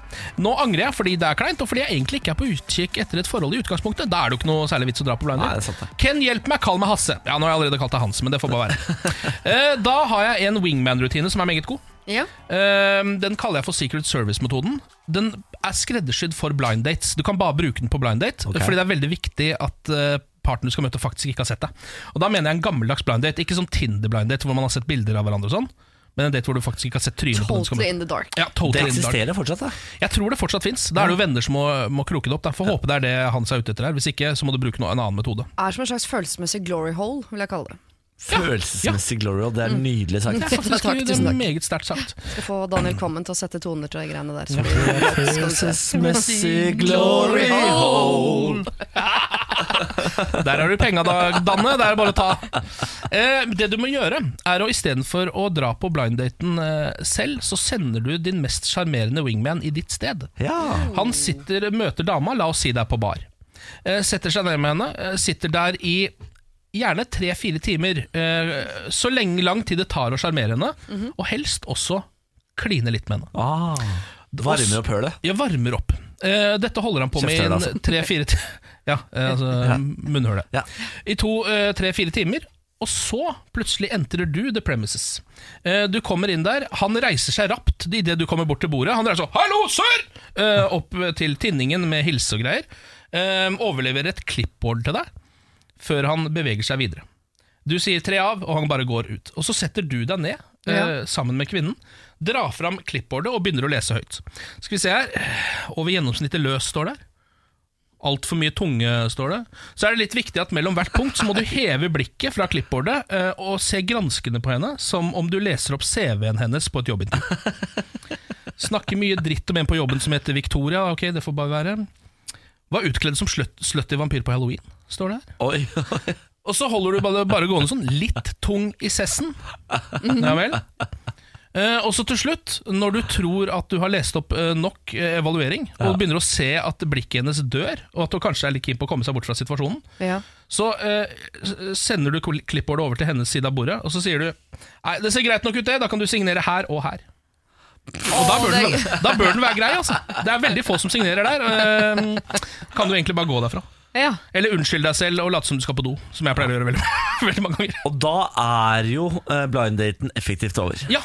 Speaker 2: Nå angrer jeg fordi det er kleint, og fordi jeg egentlig ikke er på utkikk etter et forhold i utgangspunktet. Da er det jo ikke noe særlig vits å dra på blind
Speaker 1: Nei, det er
Speaker 2: date.
Speaker 1: sant det.
Speaker 2: Ken, hjelp meg, kall meg Hasse. Ja, nå har jeg allerede kalt deg Hans, men det får bare være. Eh, da har jeg en wingman-rutine som er meget god.
Speaker 3: Ja.
Speaker 2: Ehm, Den kaller jeg for Secret Service-metoden. Den er skreddersydd for blind dates. Du kan bare bruke den på blind date,
Speaker 1: Ok.
Speaker 2: fordi det er veldig viktig at eh, partneren du skal møte, faktisk ikke har sett deg. Og Da mener jeg en gammeldags blind date, ikke sånn Tinder-blind date hvor man har sett bilder av hverandre og sånn, men en date hvor du faktisk ikke har sett trynet på den du skal
Speaker 3: Totally
Speaker 2: møte.
Speaker 3: in the dark.
Speaker 2: Ja,
Speaker 1: Det
Speaker 2: totally in the dark.
Speaker 1: eksisterer fortsatt, da.
Speaker 2: Jeg tror det fortsatt fins. Da er det jo venner som må, må kroke det opp. Da. Får håpe det er det Hans er ute etter her. Hvis ikke, så må du bruke noe, en annen metode.
Speaker 3: Er som en slags følelsesmessig glory hole, vil jeg kalle det.
Speaker 1: Følelsesmessig glory, og det
Speaker 2: Mm.
Speaker 1: er nydelig
Speaker 2: Det er
Speaker 1: sagt.
Speaker 2: faktisk
Speaker 3: Takk,
Speaker 2: det
Speaker 3: tusen
Speaker 2: er
Speaker 3: takk.
Speaker 2: meget sterkt sagt.
Speaker 3: Skal få Daniel Common til å sette toner til de greiene der. Så blir- skal du se.
Speaker 1: Følelsesmessig glory hole.
Speaker 2: Der har du penga, da, Danne. Det er bare å ta. Eh, det du må gjøre, er å istedenfor å dra på blinddaten eh, selv, så sender du din mest sjarmerende wingman i ditt sted.
Speaker 1: Ja.
Speaker 2: Han sitter, møter dama, la oss si det er på bar. Eh, setter seg ned med henne, eh, sitter der i gjerne tre-fire timer. Eh, så lenge lang tid det tar å sjarmere henne, og helst også kline litt med henne.
Speaker 1: Ah, varmer opp hølet.
Speaker 2: Jeg varmer opp. Eh, dette holder han på med i
Speaker 1: Kjeftehølet,
Speaker 2: en tre-fire ti- Ja, eh, altså munnhølet.
Speaker 1: Ja.
Speaker 2: I to, eh, tre-fire timer. Og så plutselig entrer du the premises. Eh, du kommer inn der, han reiser seg rapt idet du kommer bort til bordet. Han reiser sånn 'hallo, sir!' Eh, opp til tinningen med hilse og greier. Eh, overleverer et clipboard til deg før han beveger seg videre. Du sier tre av, og han bare går ut. Og så setter du deg ned eh,
Speaker 3: Ja.
Speaker 2: sammen med kvinnen, drar fram clipboardet og begynner å lese høyt. Skal vi se her. Over gjennomsnittet løs står det. Altfor mye tunge, står det. Så er det litt viktig at mellom hvert punkt så må du heve blikket fra clipboardet eh, og se granskende på henne, som om du leser opp CV-en hennes på et jobbintervju. Snakker mye dritt om en på jobben som heter Victoria. Ok, det får bare være. Var utkledd som sløtt- slutty vampyr på halloween, står det her.
Speaker 1: Oi.
Speaker 2: Og så holder du bare, bare gående sånn litt tung i sessen. Ja vel. Eh, og så til slutt, når du tror at du har lest opp eh, nok eh, evaluering, og begynner å se at blikket hennes dør, og at hun kanskje er litt keen på å komme seg bort fra situasjonen,
Speaker 3: Ja.
Speaker 2: så eh, s- sender du kl- klippbordet over til hennes side av bordet, og så sier du Nei, det ser greit nok ut, det. Da kan du signere her og her. Og da bør, den, da bør den være grei, altså. Det er veldig få som signerer der. Eh, kan du egentlig bare gå derfra?
Speaker 3: Ja.
Speaker 2: Eller unnskyld deg selv og late som du skal på do, som jeg pleier å gjøre veldig, veldig mange ganger.
Speaker 1: Og da er jo eh, blind-daten effektivt over.
Speaker 2: Ja,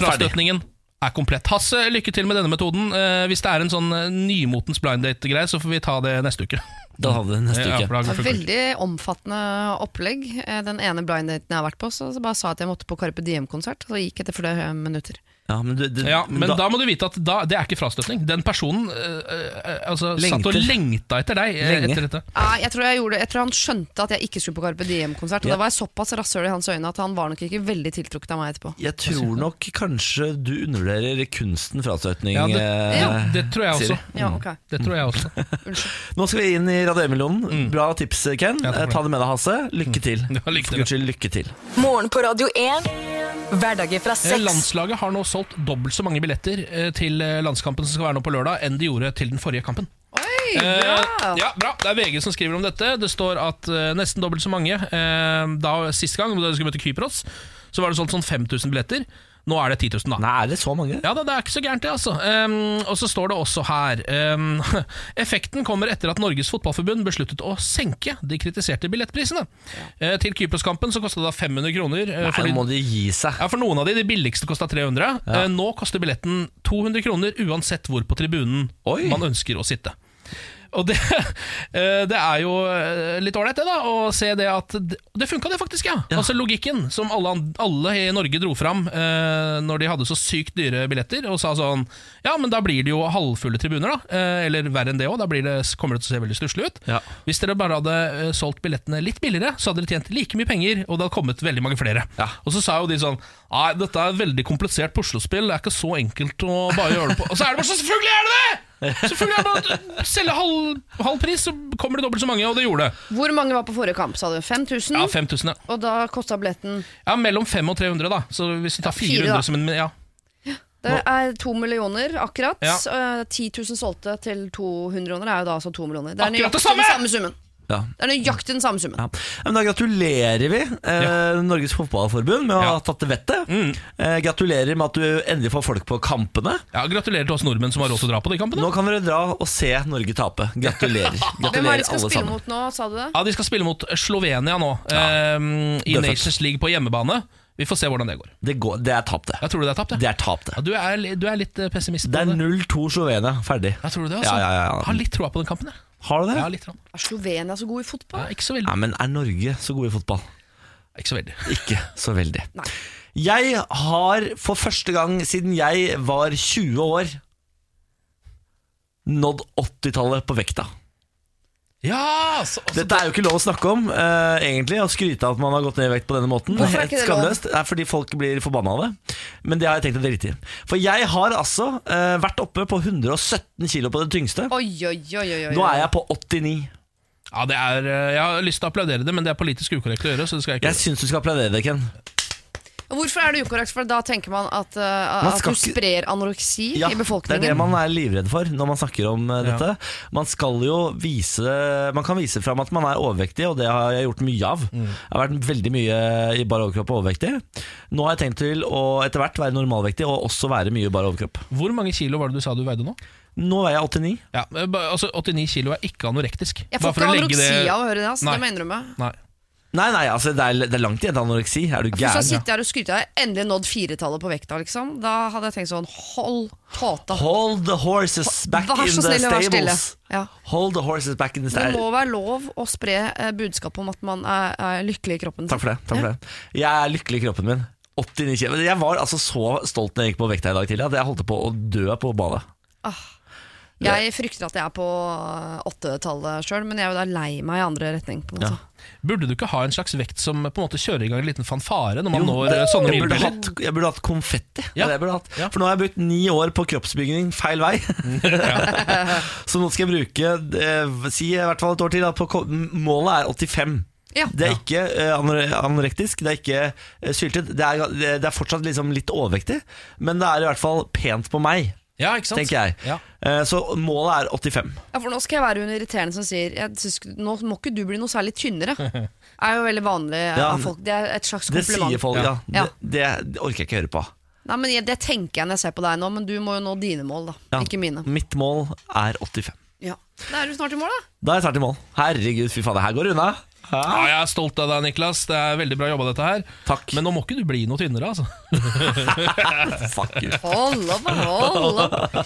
Speaker 2: frastøtningen er komplett. Hasse, lykke til med denne metoden. Eh, hvis det er en sånn eh, nymotens blind date-greie, så får vi ta det neste uke.
Speaker 1: Da hadde vi neste
Speaker 2: Ja,
Speaker 1: uke.
Speaker 2: for da
Speaker 3: Det var
Speaker 2: har vi fullt ut.
Speaker 3: veldig omfattende opplegg. Eh, Den ene blind daten jeg har vært på, så så bare sa at jeg måtte på Carpe Diem-konsert, og så gikk jeg etter flere eh, minutter.
Speaker 1: Ja, men, du, du,
Speaker 2: Ja, men da, må du vite at da, det er ikke frastøtning. Den personen eh, eh, altså, satt og
Speaker 1: Lengter.
Speaker 2: lengta etter deg. eh,
Speaker 1: Lenge.
Speaker 2: Etter dette.
Speaker 3: Nei, jeg tror, jeg, gjorde, det- jeg tror han skjønte at jeg ikke skulle på Carpe Diem-konsert, og
Speaker 1: Ja.
Speaker 3: da var jeg såpass rasshøl i hans øyne at han var nok ikke veldig tiltrukket av meg etterpå.
Speaker 1: Jeg tror nok kanskje du undervurderer kunsten frastøtning.
Speaker 2: Ja, det,
Speaker 1: eh,
Speaker 2: ja, det tror jeg også.
Speaker 1: Siri.
Speaker 3: Ja, ok.
Speaker 2: Det tror jeg også. Eh,
Speaker 1: Nå skal vi inn i Radiomiljøen. Bra tips, Ken.
Speaker 2: Mm. Ja, takk for Mm.
Speaker 1: Eh, Ta det med deg, Hasse. Lykke til.
Speaker 2: Ja, lykke til.
Speaker 1: For Guds skyld, lykke til.
Speaker 4: Morgen på Radio 1. Hverdager fra
Speaker 2: Eh,
Speaker 4: seks.
Speaker 2: Landslaget har nå solgt dobbelt så mange billetter eh, til eh, landskampen som skal være nå på lørdag, enn de gjorde til den forrige kampen.
Speaker 3: Oi,
Speaker 2: Eh, ja, bra. Det er VG som skriver om dette. Det står at eh, nesten dobbelt så mange eh, da sist gang, da de skulle møte Kypros, så var det solgt sånn 5000 billetter. Nå er det 10 000, da.
Speaker 1: Nei, er det så mange?
Speaker 2: Ja da, det er ikke så gærent, det, altså. Ehm, og så står det også her ehm, Effekten kommer etter at Norges Fotballforbund besluttet å senke de kritiserte billettprisene. Eh, til Kypros-kampen så kosta det da 500 kroner. eh,
Speaker 1: Nei,
Speaker 2: fordi-
Speaker 1: nå må de gi seg.
Speaker 2: ja, For noen av de, de billigste kosta 300. Eh, nå koster billetten 200 kroner uansett hvor på tribunen
Speaker 1: Oi.
Speaker 2: man ønsker å sitte. Og det, eh, det er jo eh, litt ålreit, det, da, å se det at d- Det funka, det faktisk, ja. Altså Logikken som alle, an- alle i Norge dro fram eh, når de hadde så sykt dyre billetter, og sa sånn Ja, men da blir det jo halvfulle tribuner, da. Eh, eller verre enn det òg. Da blir det, kommer det til å se veldig stusslig ut.
Speaker 1: Ja.
Speaker 2: Hvis dere bare hadde eh, solgt billettene litt billigere, så hadde dere tjent like mye penger, og det hadde kommet veldig mange flere.
Speaker 1: Ja.
Speaker 2: Og så sa jo de sånn Nei, dette er et veldig komplisert puslespill, det er ikke så enkelt å bare gjøre det på Og så er det bare sånn, selvfølgelig er det det! Selvfølgelig er det bare å selge halv, halv pris, så kommer det dobbelt så mange, og det gjorde det.
Speaker 3: Hvor mange var på forrige kamp, sa du? 5000?
Speaker 2: Ja, 5000, ja.
Speaker 3: og da kosta billetten
Speaker 2: ja. Mellom 500 og 300, da. Så hvis vi tar
Speaker 3: fire,
Speaker 2: 400
Speaker 3: da.
Speaker 2: som en Ja.
Speaker 3: Det er to millioner akkurat.
Speaker 2: Ja.
Speaker 3: Eh, 10 000 solgte til 200 kroner er jo da altså to millioner. Det er
Speaker 2: Akkurat det
Speaker 3: nøyaktig den
Speaker 2: samme!
Speaker 3: samme summen.
Speaker 1: Ja.
Speaker 3: Det er nøyaktig den samme summen.
Speaker 1: Ja. Men da gratulerer vi eh, Norges Fotballforbund med å
Speaker 2: Ja. Mm.
Speaker 1: ha tatt det vettet. Eh, gratulerer med at du endelig får folk på kampene.
Speaker 2: ja gratulerer til oss nordmenn som har råd til å dra på de kampene.
Speaker 1: Nå kan dere dra og se Norge tape. Gratulerer.
Speaker 3: Hvem er
Speaker 1: Gratulerer
Speaker 3: det de skal
Speaker 1: alle
Speaker 3: spille
Speaker 1: sammen.
Speaker 3: mot nå, sa du det?
Speaker 2: Ja, De skal spille mot Slovenia nå, ehm, i
Speaker 1: Dødfødt.
Speaker 2: Nations League på hjemmebane. Vi får se hvordan det går.
Speaker 1: Det, går, det er tapt, det.
Speaker 2: Jeg tror du det er tapt,
Speaker 1: Det er tapt, det.
Speaker 2: Ja, du, er, li- du er litt eh, pessimist. på
Speaker 1: Det er 0-2 Slovenia. Ferdig.
Speaker 2: Ja, tror du det, altså?
Speaker 1: Ja, ja, ja, ja.
Speaker 2: Har litt troa på den kampen, jeg.
Speaker 1: Har du det?
Speaker 2: Ja, litt grann.
Speaker 3: Er Ah, Slovenia så god i fotball?
Speaker 2: ja, ikke så veldig.
Speaker 1: Nei, men er Norge så gode i fotball?
Speaker 2: Ikke så veldig.
Speaker 1: Ikke så veldig.
Speaker 3: Nei.
Speaker 1: Jeg har for første gang siden jeg var 20 år, nådd 80-tallet på vekta.
Speaker 2: Ja, så, så,
Speaker 1: Dette er jo ikke lov å snakke om, eh, egentlig, å skryte av at man har gått ned i vekt på denne måten.
Speaker 3: Hvorfor er ikke
Speaker 1: Helt
Speaker 3: det lov?
Speaker 1: skamløst. Det er fordi folk blir forbanna av det. Men det har jeg tenkt å drite i. For jeg har altså eh, vært oppe på 117 kilo på det tyngste.
Speaker 3: Oi, oi, oi, oi, oi.
Speaker 1: Nå er jeg på 89.
Speaker 2: ja, det er, eh, jeg har lyst til å applaudere det, men det er politisk ukorrekt å gjøre. Så det skal jeg ikke
Speaker 1: Jeg syns du skal applaudere det, Ken.
Speaker 3: Hvorfor er det ukorrekt? For da tenker man at, eh,
Speaker 1: Man
Speaker 3: at
Speaker 1: skal
Speaker 3: du
Speaker 1: ikke-
Speaker 3: sprer anoreksi
Speaker 1: Ja,
Speaker 3: i
Speaker 1: det
Speaker 3: befolkningen.
Speaker 1: er det man er livredd for når man snakker om
Speaker 2: Ja.
Speaker 1: eh, dette. Man skal jo vise Man kan vise fram at man er overvektig, og det har jeg gjort mye av. Jeg har vært veldig mye i bar overkropp og overvektig. Nå har jeg tenkt til å etter hvert være normalvektig og også være mye i bar overkropp.
Speaker 2: Hvor mange kilo var det du sa du veide nå?
Speaker 1: Nå veier jeg 89.
Speaker 2: Ja, eh, ba- altså 89 kilo er ikke anorektisk.
Speaker 3: Jeg
Speaker 2: Bare
Speaker 3: får
Speaker 2: for
Speaker 3: ikke
Speaker 2: å legge
Speaker 3: anoreksi
Speaker 2: det-
Speaker 3: av å høre det, altså,
Speaker 2: Nei.
Speaker 3: det må jeg innrømme.
Speaker 2: Nei.
Speaker 1: Nei, nei, altså det er, det er langt igjen til anoreksi. Er du
Speaker 3: Hvis jeg
Speaker 1: gæren?
Speaker 3: sitter her og skryter jeg har endelig nådd firetallet på vekta, liksom, da hadde jeg tenkt sånn Hold tåta.
Speaker 1: Hold the horses back
Speaker 3: Vær
Speaker 1: in
Speaker 3: så
Speaker 1: the
Speaker 3: snill og vær stille.
Speaker 1: stables.
Speaker 3: Ja.
Speaker 1: Hold the horses back in the
Speaker 3: Det
Speaker 1: stables.
Speaker 3: må være lov å spre eh, budskapet om at man er, er lykkelig i kroppen. sin.
Speaker 1: Takk for det. takk for det Jeg er lykkelig i kroppen min. 89 kilo. Men Jeg var altså så stolt når jeg gikk på vekta i dag tidlig at jeg holdt på å dø på badet.
Speaker 3: Jeg frykter at jeg er på eh, åttetallet sjøl, men jeg er jo da lei meg i andre retning. På en måte.
Speaker 2: Burde du ikke ha en slags vekt som eh, på en måte kjører i gang en liten fanfare når man
Speaker 1: Jo,
Speaker 2: når
Speaker 1: det-
Speaker 2: eh, sånne
Speaker 1: jeg, burde
Speaker 2: milepæler?
Speaker 1: hatt, jeg burde hatt konfetti.
Speaker 2: Ja.
Speaker 1: Det er det Jeg burde hatt.
Speaker 2: Ja.
Speaker 1: For nå har jeg brukt ni år på kroppsbygging feil vei. så nå skal jeg bruke eh, Si i hvert fall et år til. Da, på, ko- målet er 85.
Speaker 3: Ja.
Speaker 1: Det er ikke eh, anore- anorektisk, det er ikke eh, syltet. Det er, det er fortsatt liksom litt overvektig, men det er i hvert fall pent på meg,
Speaker 2: Ja, ikke sant?
Speaker 1: tenker jeg.
Speaker 2: Sånn. Ja.
Speaker 1: Eh, Så målet er 85.
Speaker 3: Ja, for nå skal jeg være hun irriterende som sier jeg synes, ikke- Nå må ikke du bli noe særlig tynnere. er jo veldig vanlig eh,
Speaker 1: Ja,
Speaker 3: av folk. Det er et slags
Speaker 1: Det
Speaker 3: kompliment.
Speaker 1: sier folk, ja.
Speaker 3: Ja.
Speaker 1: Det, det, det orker jeg ikke høre på.
Speaker 3: Nei, men jeg, Det tenker jeg når jeg ser på deg nå, men du må jo nå dine mål, da.
Speaker 1: Ja.
Speaker 3: Ikke mine.
Speaker 1: Mitt mål er 85.
Speaker 3: Ja. Da er du snart i mål, da.
Speaker 1: Da er jeg snart i mål. Herregud, fy faen, det her går unna. Hæ?
Speaker 2: Ja, jeg er stolt av deg, Niklas. Det er veldig bra jobba, dette her.
Speaker 1: Takk.
Speaker 2: Men nå må ikke du bli noe tynnere, altså.
Speaker 1: Fuck you.
Speaker 3: Hold opp, hold opp.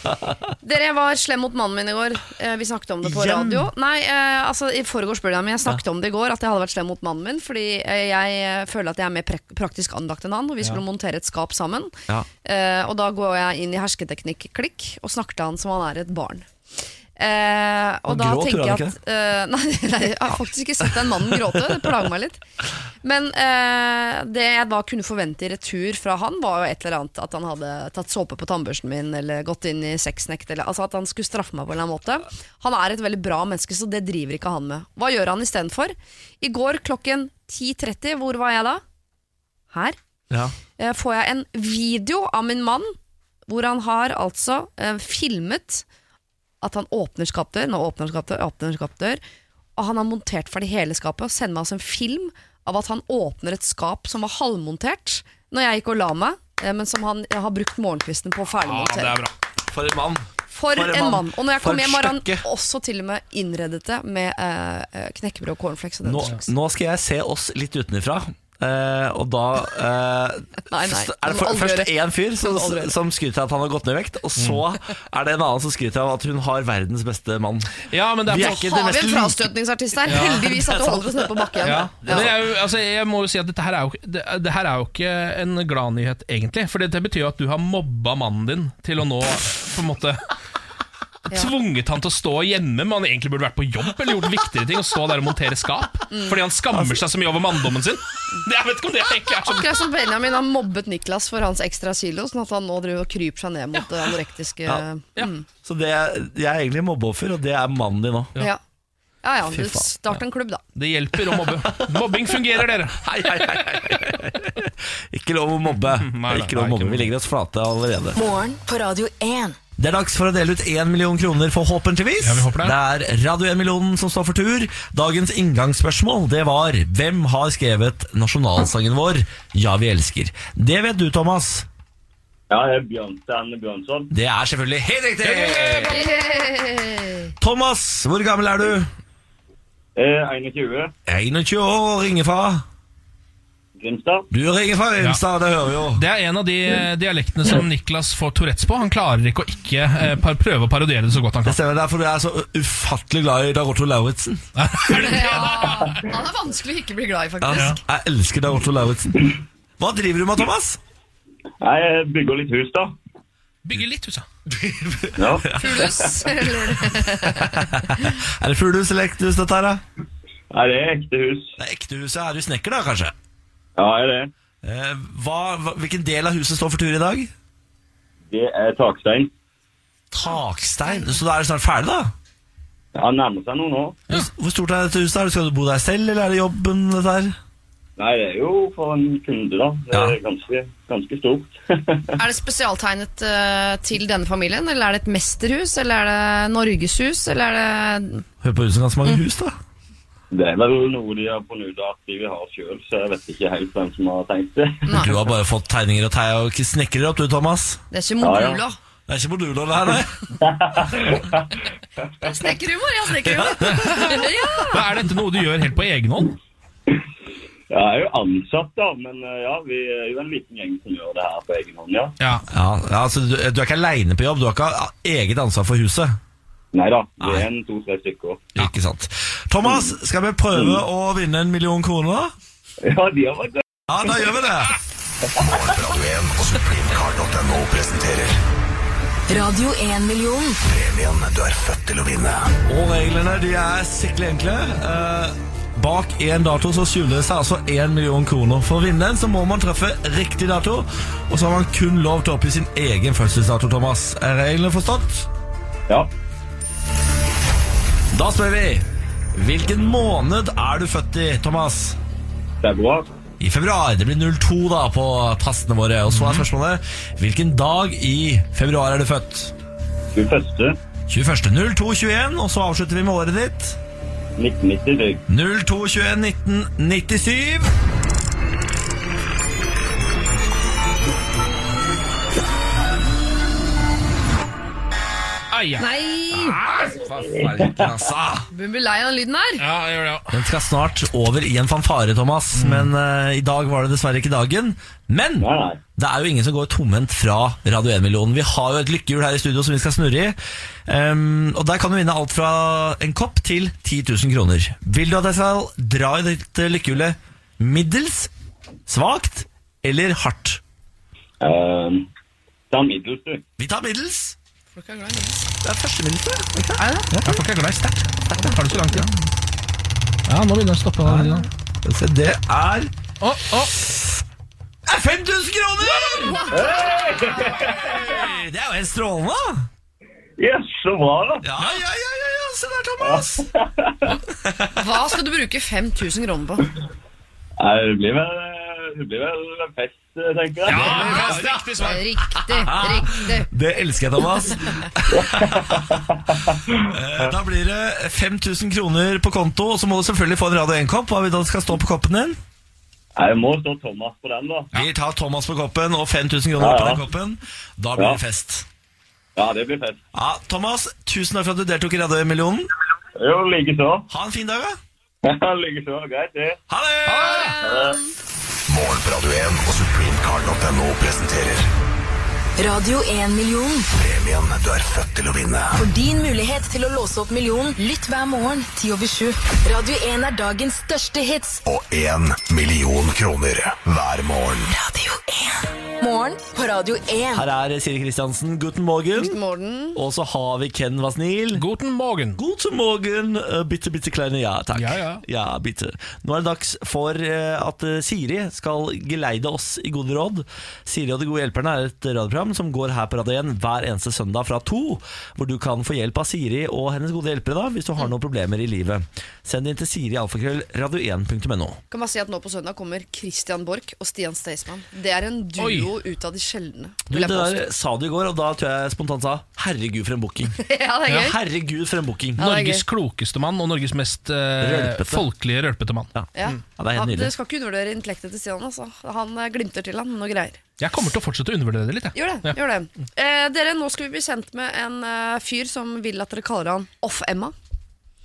Speaker 3: Dere, jeg var slem mot mannen min i går. Eh, Vi snakket om det på
Speaker 1: Igjen?
Speaker 3: radio. Nei, eh, altså i forgårs spør jeg men jeg snakket om det i går, at jeg hadde vært slem mot mannen min. Fordi eh, jeg eh, føler at jeg er mer prek- praktisk anlagt enn han, og vi skulle montere et skap sammen.
Speaker 1: Ja.
Speaker 3: Eh, og da går jeg inn i hersketeknikk-klikk og snakker til han som han er et barn. Eh, og
Speaker 1: Han
Speaker 3: da
Speaker 1: gråt,
Speaker 3: tenker
Speaker 1: gjorde
Speaker 3: jeg
Speaker 1: han
Speaker 3: at eh, nei, nei, jeg har faktisk ikke sett den mannen gråte. Det plager meg litt. Men eh, det jeg da kunne forvente i retur fra han, var jo et eller annet at han hadde tatt såpe på tannbørsten min, eller gått inn i sexnekt, eller altså at han skulle straffe meg på en eller annen måte. Han er et veldig bra menneske, så det driver ikke han med. Hva gjør han istedenfor? I går klokken 10.30, hvor var jeg da? Her
Speaker 1: Ja.
Speaker 3: eh, får jeg en video av min mann, hvor han har altså eh, filmet at han åpner skapdør, nå åpner han skapdør, åpner han skapdør, og han har montert ferdig hele skapet, og sender meg altså en film av at han åpner et skap som var halvmontert, når jeg gikk og la meg, eh, men som han eh, har brukt morgenkvisten på å
Speaker 2: Ja, det
Speaker 3: ferdigmontere.
Speaker 2: er bra.
Speaker 1: For en mann.
Speaker 3: for,
Speaker 1: for en
Speaker 3: en
Speaker 1: mann.
Speaker 3: mann. Og når jeg
Speaker 1: For
Speaker 3: kom hjem, har han
Speaker 1: støkke.
Speaker 3: også til og med innredet det med eh, eh, knekkebrød og cornflakes og den
Speaker 1: Nå,
Speaker 3: slags.
Speaker 1: nå skal jeg se oss litt utenfra. Eh, og da eh,
Speaker 3: Nei, nei,
Speaker 1: Er
Speaker 3: det
Speaker 1: det
Speaker 3: må
Speaker 1: for,
Speaker 3: aldri
Speaker 1: først
Speaker 3: gjøre.
Speaker 1: én fyr som,
Speaker 3: Det må aldri gjøre.
Speaker 1: som skryter av at han har gått ned i vekt, og så er det en annen som skryter av at hun har verdens beste mann.
Speaker 2: Ja, men det er
Speaker 1: Vi
Speaker 2: på-
Speaker 1: er ikke det
Speaker 3: Har vi
Speaker 1: mest
Speaker 3: en
Speaker 1: like-
Speaker 3: frastøtningsartist her? Heldigvis at du holder oss nede på bakken.
Speaker 2: Ja. Men jeg, er jo- altså, jeg må jo si at dette her er jo, ikke- det, det her er jo ikke en gladnyhet, egentlig. For dette betyr jo at du har mobba mannen din til å nå på en måte Tvunget han til å stå hjemme, men han egentlig burde vært på jobb eller gjort viktigere ting. Og stå der og montere skap fordi han skammer seg så mye over manndommen sin. Det, jeg vet ikke om det egentlig er sånn
Speaker 3: Akkurat som Benjamin har mobbet Niklas for hans ekstra kilo, sånn at han nå driver og kryper seg ned mot det anorektiske ja.
Speaker 2: ja.
Speaker 1: Så det, jeg er egentlig mobbeoffer, og det er mannen din òg.
Speaker 3: Ja. ja,
Speaker 1: Fy
Speaker 3: du
Speaker 1: faen.
Speaker 3: start en klubb, da.
Speaker 2: Det hjelper å mobbe. Mobbing fungerer, dere.
Speaker 1: Hei, hei, hei, hei. Ikke lov å mobbe.
Speaker 2: nei,
Speaker 1: ikke lov å
Speaker 2: nei,
Speaker 1: mobbe.
Speaker 2: ikke
Speaker 1: Vi legger oss flate allerede.
Speaker 4: Morgen på Radio 1.
Speaker 1: Det er dags for å dele ut én million kroner, forhåpentligvis.
Speaker 2: Ja, vi håper det.
Speaker 1: det er Radio 1-millionen som står for tur. Dagens inngangsspørsmål det var hvem har skrevet nasjonalsangen vår 'Ja, vi elsker'? Det vet du, Thomas.
Speaker 5: Ja, jeg er Bjørnstjerne Bjørnson.
Speaker 1: Det er selvfølgelig helt riktig! Thomas, hvor gammel er du?
Speaker 5: Eh, 21.
Speaker 1: 21 år, ringer fra.
Speaker 5: Grimstad.
Speaker 1: Du ringer fra Grimstad, det hører vi jo.
Speaker 2: Det er en av de eh, dialektene som Niklas får Tourettes på. Han klarer ikke å ikke eh, par prøve å parodiere det så godt han
Speaker 1: Det
Speaker 2: kan.
Speaker 1: stemmer, derfor du er så ufattelig glad i Darotto Lauritzen.
Speaker 3: Han er vanskelig å ikke bli glad i,
Speaker 1: Ja.
Speaker 3: faktisk.
Speaker 1: Jeg elsker Darotto Lauritzen. Hva driver du med, Thomas?
Speaker 5: Nei, jeg bygger litt hus, da.
Speaker 2: Bygge litt, husa.
Speaker 5: Ja.
Speaker 3: Fuglehus, eller-
Speaker 1: Er det fuglehus eller ektehus, dette her? da?
Speaker 5: Nei, det er ekte hus.
Speaker 1: Det er ektehuset. Er du snekker, da, kanskje?
Speaker 5: Ja, jeg er det.
Speaker 1: Eh, hva, hva, hvilken del av huset står for tur i dag?
Speaker 5: Det er takstein.
Speaker 1: Takstein. Så da er det snart ferdig, da?
Speaker 5: Ja, nærmer seg noe nå.
Speaker 1: Hvor stort er dette huset? Er det- Skal du bo der selv, eller er det jobben? dette her?
Speaker 5: Nei, det er jo for en kunde, da. Det er
Speaker 1: Ja.
Speaker 5: ganske, ganske stort.
Speaker 3: Er det spesialtegnet eh, til denne familien, eller er det et mesterhus, eller er det norgeshus, eller er det
Speaker 1: Hør på huset ganske mange hus, da.
Speaker 5: det er vel noe de har funnet ut at de vil ha sjøl, så jeg vet ikke helt hvem som har tenkt det.
Speaker 3: Nei.
Speaker 1: Du har bare fått tegninger og tei og snekrer opp, du, Thomas.
Speaker 3: Det er ikke moduler.
Speaker 5: Ja,
Speaker 1: Det er ikke moduler, det her, nei.
Speaker 3: Snekkerhumor, ja, snekkerhumor. ja.
Speaker 2: Men Er dette noe du gjør helt på egen hånd?
Speaker 5: Jeg er jo ansatt, da, men eh, ja, vi er jo en liten gjeng som gjør det her på egen hånd, ja.
Speaker 2: Ja.
Speaker 1: Ja, ja, altså, du, du er ikke aleine på jobb, du har ikke eget ansvar for huset.
Speaker 5: Nei da, vi
Speaker 1: Nei.
Speaker 5: er en to-tre stykker.
Speaker 1: Ikke sant. Thomas, skal vi prøve å vinne en million kroner, da?
Speaker 5: Ja, de har vært
Speaker 1: Ja, da gjør vi det.
Speaker 6: Radio 1 og supremecard.no presenterer
Speaker 4: Radio 1-million.
Speaker 6: premien du er født til å vinne.
Speaker 1: Og reglene de er sikkert enkle. Eh, bak én dato så skjuler det seg altså én million kroner. For å vinne den så må man treffe riktig dato, og så har man kun lov til å oppgi sin egen fødselsdato, Thomas. Er reglene forstått?
Speaker 5: Ja.
Speaker 1: Da spør vi Hvilken måned er du født i, Thomas?
Speaker 5: Februar.
Speaker 1: I februar. Det blir 02 da på tastene våre. Og så er spørsmålet Hvilken dag i februar er du født?
Speaker 5: Du første.
Speaker 1: 21.02.21, og så avslutter vi med året ditt.
Speaker 5: 1990 deg.
Speaker 1: 02.21.1997.
Speaker 2: Ai, ja.
Speaker 3: Nei,
Speaker 1: Den
Speaker 3: du blir lei av den lyden her.
Speaker 2: ja, jeg gjør det, ja.
Speaker 1: skal snart over i en fanfare, Thomas. Men eh, i dag var det dessverre ikke dagen. Men
Speaker 5: Nei, nei.
Speaker 1: det er jo ingen som går tomhendt fra Radio 1-millionen. Vi har jo et lykkehjul her i studio som vi skal snurre i. Ehm, og der kan du vinne alt fra en kopp til 10 000 kroner. Vil du at jeg skal dra i dette lykkehjulet middels, svakt eller hardt?
Speaker 5: Eh, det er middels, du.
Speaker 1: Vi tar middels.
Speaker 3: Folk er glad i lyden.
Speaker 1: Det er første minuttet.
Speaker 2: Ja, folk er glad i sterkt. Tar det så lang tid? Ja, nå begynner det å stoppe. Ja.
Speaker 1: Se, det er
Speaker 2: Å, å,
Speaker 1: 5000 kroner! Hey, Det er jo helt strålende. da.
Speaker 5: Yes, så bra, da.
Speaker 1: Ja, ja, ja, ja, ja. se der, Thomas.
Speaker 3: Hva skal du bruke 5000 kroner på?
Speaker 5: Nei, det blir vel, eh, det blir vel en fest, eh, tenker jeg.
Speaker 2: ja, riktig svar.
Speaker 3: Riktig, riktig.
Speaker 1: Det elsker jeg, Thomas. Eh, da blir det 5000 kroner på konto, og så må du selvfølgelig få en Radio 1-kopp. Hva vi da skal stå på koppen din?
Speaker 5: Nei, det må stå Thomas på den, da.
Speaker 1: Vi tar Thomas på koppen og 5000 kroner
Speaker 5: Ja, ja.
Speaker 1: på den koppen. Da blir
Speaker 5: Ja.
Speaker 1: det fest.
Speaker 5: Ja, det blir fest.
Speaker 1: Ja, Thomas, tusen takk for at du deltok i Radio 1-millionen.
Speaker 5: Jo, likeså.
Speaker 1: Ha en fin dag, da.
Speaker 5: likeså. Greit, det.
Speaker 1: Ha det!
Speaker 6: Morgen på Radio 1 og supremecard.no presenterer
Speaker 4: Radio 1-million.
Speaker 6: premien du er født til å vinne.
Speaker 4: For din mulighet til å låse opp millionen, lytt hver morgen 10 over 7. Radio 1 er dagens største hits.
Speaker 6: Og 1 million kroner hver morgen.
Speaker 4: Radio 1. Morgen på Radio 1.
Speaker 1: Her er Siri Kristiansen, guten morgen.
Speaker 3: Morten.
Speaker 1: Og så har vi Ken Vasnil.
Speaker 2: Guten morgen.
Speaker 1: God morgen, eh, bitte, bitte kleine. Ja, takk.
Speaker 2: Ja, ja.
Speaker 1: bitte. Nå er det dags for eh, at eh, Siri skal geleide oss i gode råd. Siri og de gode hjelperne er et radioprogram som går her på Radio 1 hver eneste søndag fra to, hvor du kan få hjelp av Siri og hennes gode hjelpere da, hvis du
Speaker 3: Mm.
Speaker 1: har noen problemer i livet. Send inn til siri alfakrøll radio1.no.
Speaker 3: Kan bare si at nå på søndag kommer Christian Borch og Stian Staysman. Det er en duo ut av de sjeldne.
Speaker 1: Du,
Speaker 3: vil
Speaker 1: det
Speaker 3: jeg påstå.
Speaker 1: der sa du i går, og da tror jeg spontant sa 'herregud, for en booking'.
Speaker 3: Ja, det er gøy.
Speaker 1: Herregud, for en booking.
Speaker 3: Ja, det er
Speaker 2: Norges
Speaker 3: gøy.
Speaker 2: klokeste mann og Norges mest eh,
Speaker 1: Rølpete.
Speaker 2: folkelige rølpete mann.
Speaker 1: Mm.
Speaker 3: Ja.
Speaker 1: Ja. det er helt
Speaker 3: Han-
Speaker 1: nydelig.
Speaker 3: Du skal ikke undervurdere intellektet til Stian. Altså. Han eh, glimter til han, noe greier.
Speaker 2: Jeg kommer til å fortsette å undervurdere det litt. Jeg.
Speaker 3: Gjør det.
Speaker 2: Ja.
Speaker 3: gjør det eh, Dere, Nå skal vi bli kjent med en eh, fyr som vil at dere kaller han Off-Emma.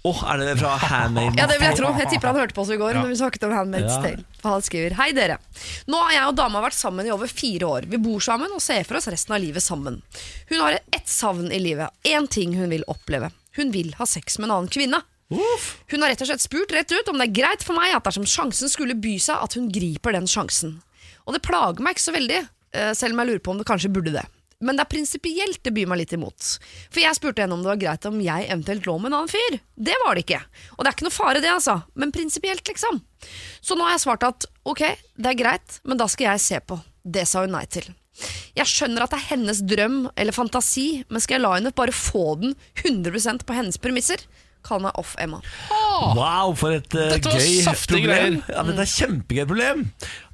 Speaker 1: Åh, er det fra Handmade?
Speaker 3: Ja, det vil jeg tro. Jeg tipper han hørte på oss i går. Når vi snakket om Handmaid's
Speaker 1: Ja.
Speaker 3: Tale Og Han skriver Hei dere. Nå har jeg og dama vært sammen i over fire år. Vi bor sammen og ser for oss resten av livet sammen. Hun har ett savn i livet. Én ting hun vil oppleve. Hun vil ha sex med en annen kvinne. Hun har rett og slett spurt rett ut om det er greit for meg at dersom sjansen skulle by seg, at hun griper den sjansen. Og det plager meg ikke så veldig, eh, selv om jeg lurer på om det kanskje burde det. Men det er prinsipielt det byr meg litt imot. For jeg spurte henne om det var greit om jeg eventuelt lå med en annen fyr. Det var det ikke. Og det er ikke noe fare det, altså. Men prinsipielt, liksom. Så nå har jeg svart at ok, det er greit, men da skal jeg se på. Det sa hun nei til. Jeg skjønner at det er hennes drøm eller fantasi, men skal jeg la henne bare få den 100 på hennes premisser? Kall meg Off-Emma.
Speaker 1: Wow, for et eh,
Speaker 2: Dette var
Speaker 1: gøy
Speaker 2: saftige
Speaker 1: problem.
Speaker 2: greier.
Speaker 1: Ja, dette er kjempegøy problem.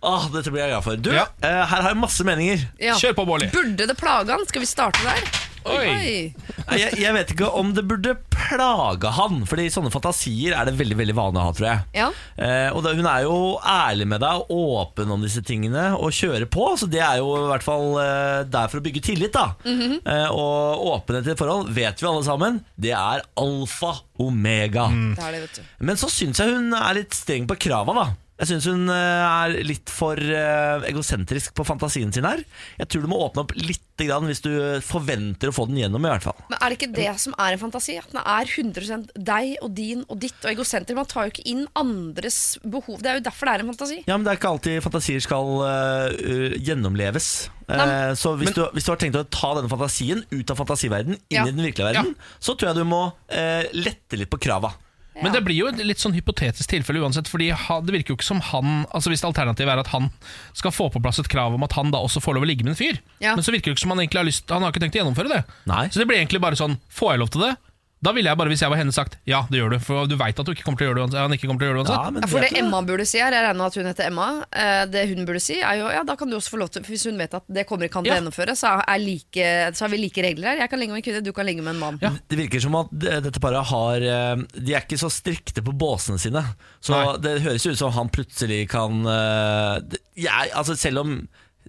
Speaker 1: Åh, dette blir jeg glad for. Du,
Speaker 2: Ja.
Speaker 1: eh, her har jeg masse meninger.
Speaker 3: Ja.
Speaker 2: Kjør på, Bårli.
Speaker 3: Burde det plage han? Skal vi starte der?
Speaker 2: Oi.
Speaker 1: Nei, Jeg, jeg vet ikke om det burde plage han, Fordi sånne fantasier er det veldig veldig vanlig å ha, tror jeg.
Speaker 3: Ja.
Speaker 1: Eh, og da, Hun er jo ærlig med deg og åpen om disse tingene og kjører på, så det er jo i hvert fall eh, der for å bygge tillit. da
Speaker 2: Mhm.
Speaker 1: eh, Og åpenhet i et forhold vet vi alle sammen, det er alfa omega.
Speaker 3: Det er det, vet du.
Speaker 1: Men så syns jeg hun er litt streng på krava, da. Jeg syns hun eh, er litt for eh, egosentrisk på fantasien sin her. Jeg tror du må åpne opp litt grann hvis du forventer å få den gjennom, i hvert fall.
Speaker 3: Men er det ikke det som er en fantasi? At den er 100 deg og din og ditt og egosenter. Man tar jo ikke inn andres behov. Det er jo derfor det er en fantasi.
Speaker 1: Ja, men Det er ikke alltid fantasier skal øh, øh, gjennomleves.
Speaker 3: Nei, men-
Speaker 1: Eh, så hvis, du, hvis du har tenkt å ta denne fantasien ut av fantasiverdenen inn
Speaker 3: Ja.
Speaker 1: i den virkelige verden, så tror jeg du må eh, lette litt på krava.
Speaker 2: Men det blir jo et litt sånn hypotetisk tilfelle uansett, Fordi ha- det virker jo ikke som han Altså Hvis alternativet er at han skal få på plass et krav om at han da også får lov å ligge med en fyr,
Speaker 3: Ja.
Speaker 2: men så virker det ikke som han egentlig har lyst Han har ikke tenkt å gjennomføre det.
Speaker 1: Nei.
Speaker 2: Så det blir egentlig bare sånn Får jeg lov til det? Da ville jeg bare, hvis jeg var henne, sagt ja, det gjør du. For du veit at du ikke kommer til å gjøre det uansett. Han ikke kommer til å gjøre det uansett.
Speaker 1: men
Speaker 3: Ja, for
Speaker 1: vet
Speaker 3: det
Speaker 1: du
Speaker 3: Emma burde si her, jeg regner med at hun heter Emma eh, Det hun burde si er jo, ja da kan du også få lov til for Hvis hun vet at det kommer ikke han til å
Speaker 2: Ja.
Speaker 3: gjennomføre så, er like, så har vi like regler her Jeg kan ligge med en kvinne, du kan ligge med en mann
Speaker 2: Ja.
Speaker 1: Det virker som at eh, dette paret har eh, De er ikke så strikte på båsene sine. Så
Speaker 2: Nei.
Speaker 1: det høres jo ut som han plutselig kan eh, det- jeg, altså selv, om,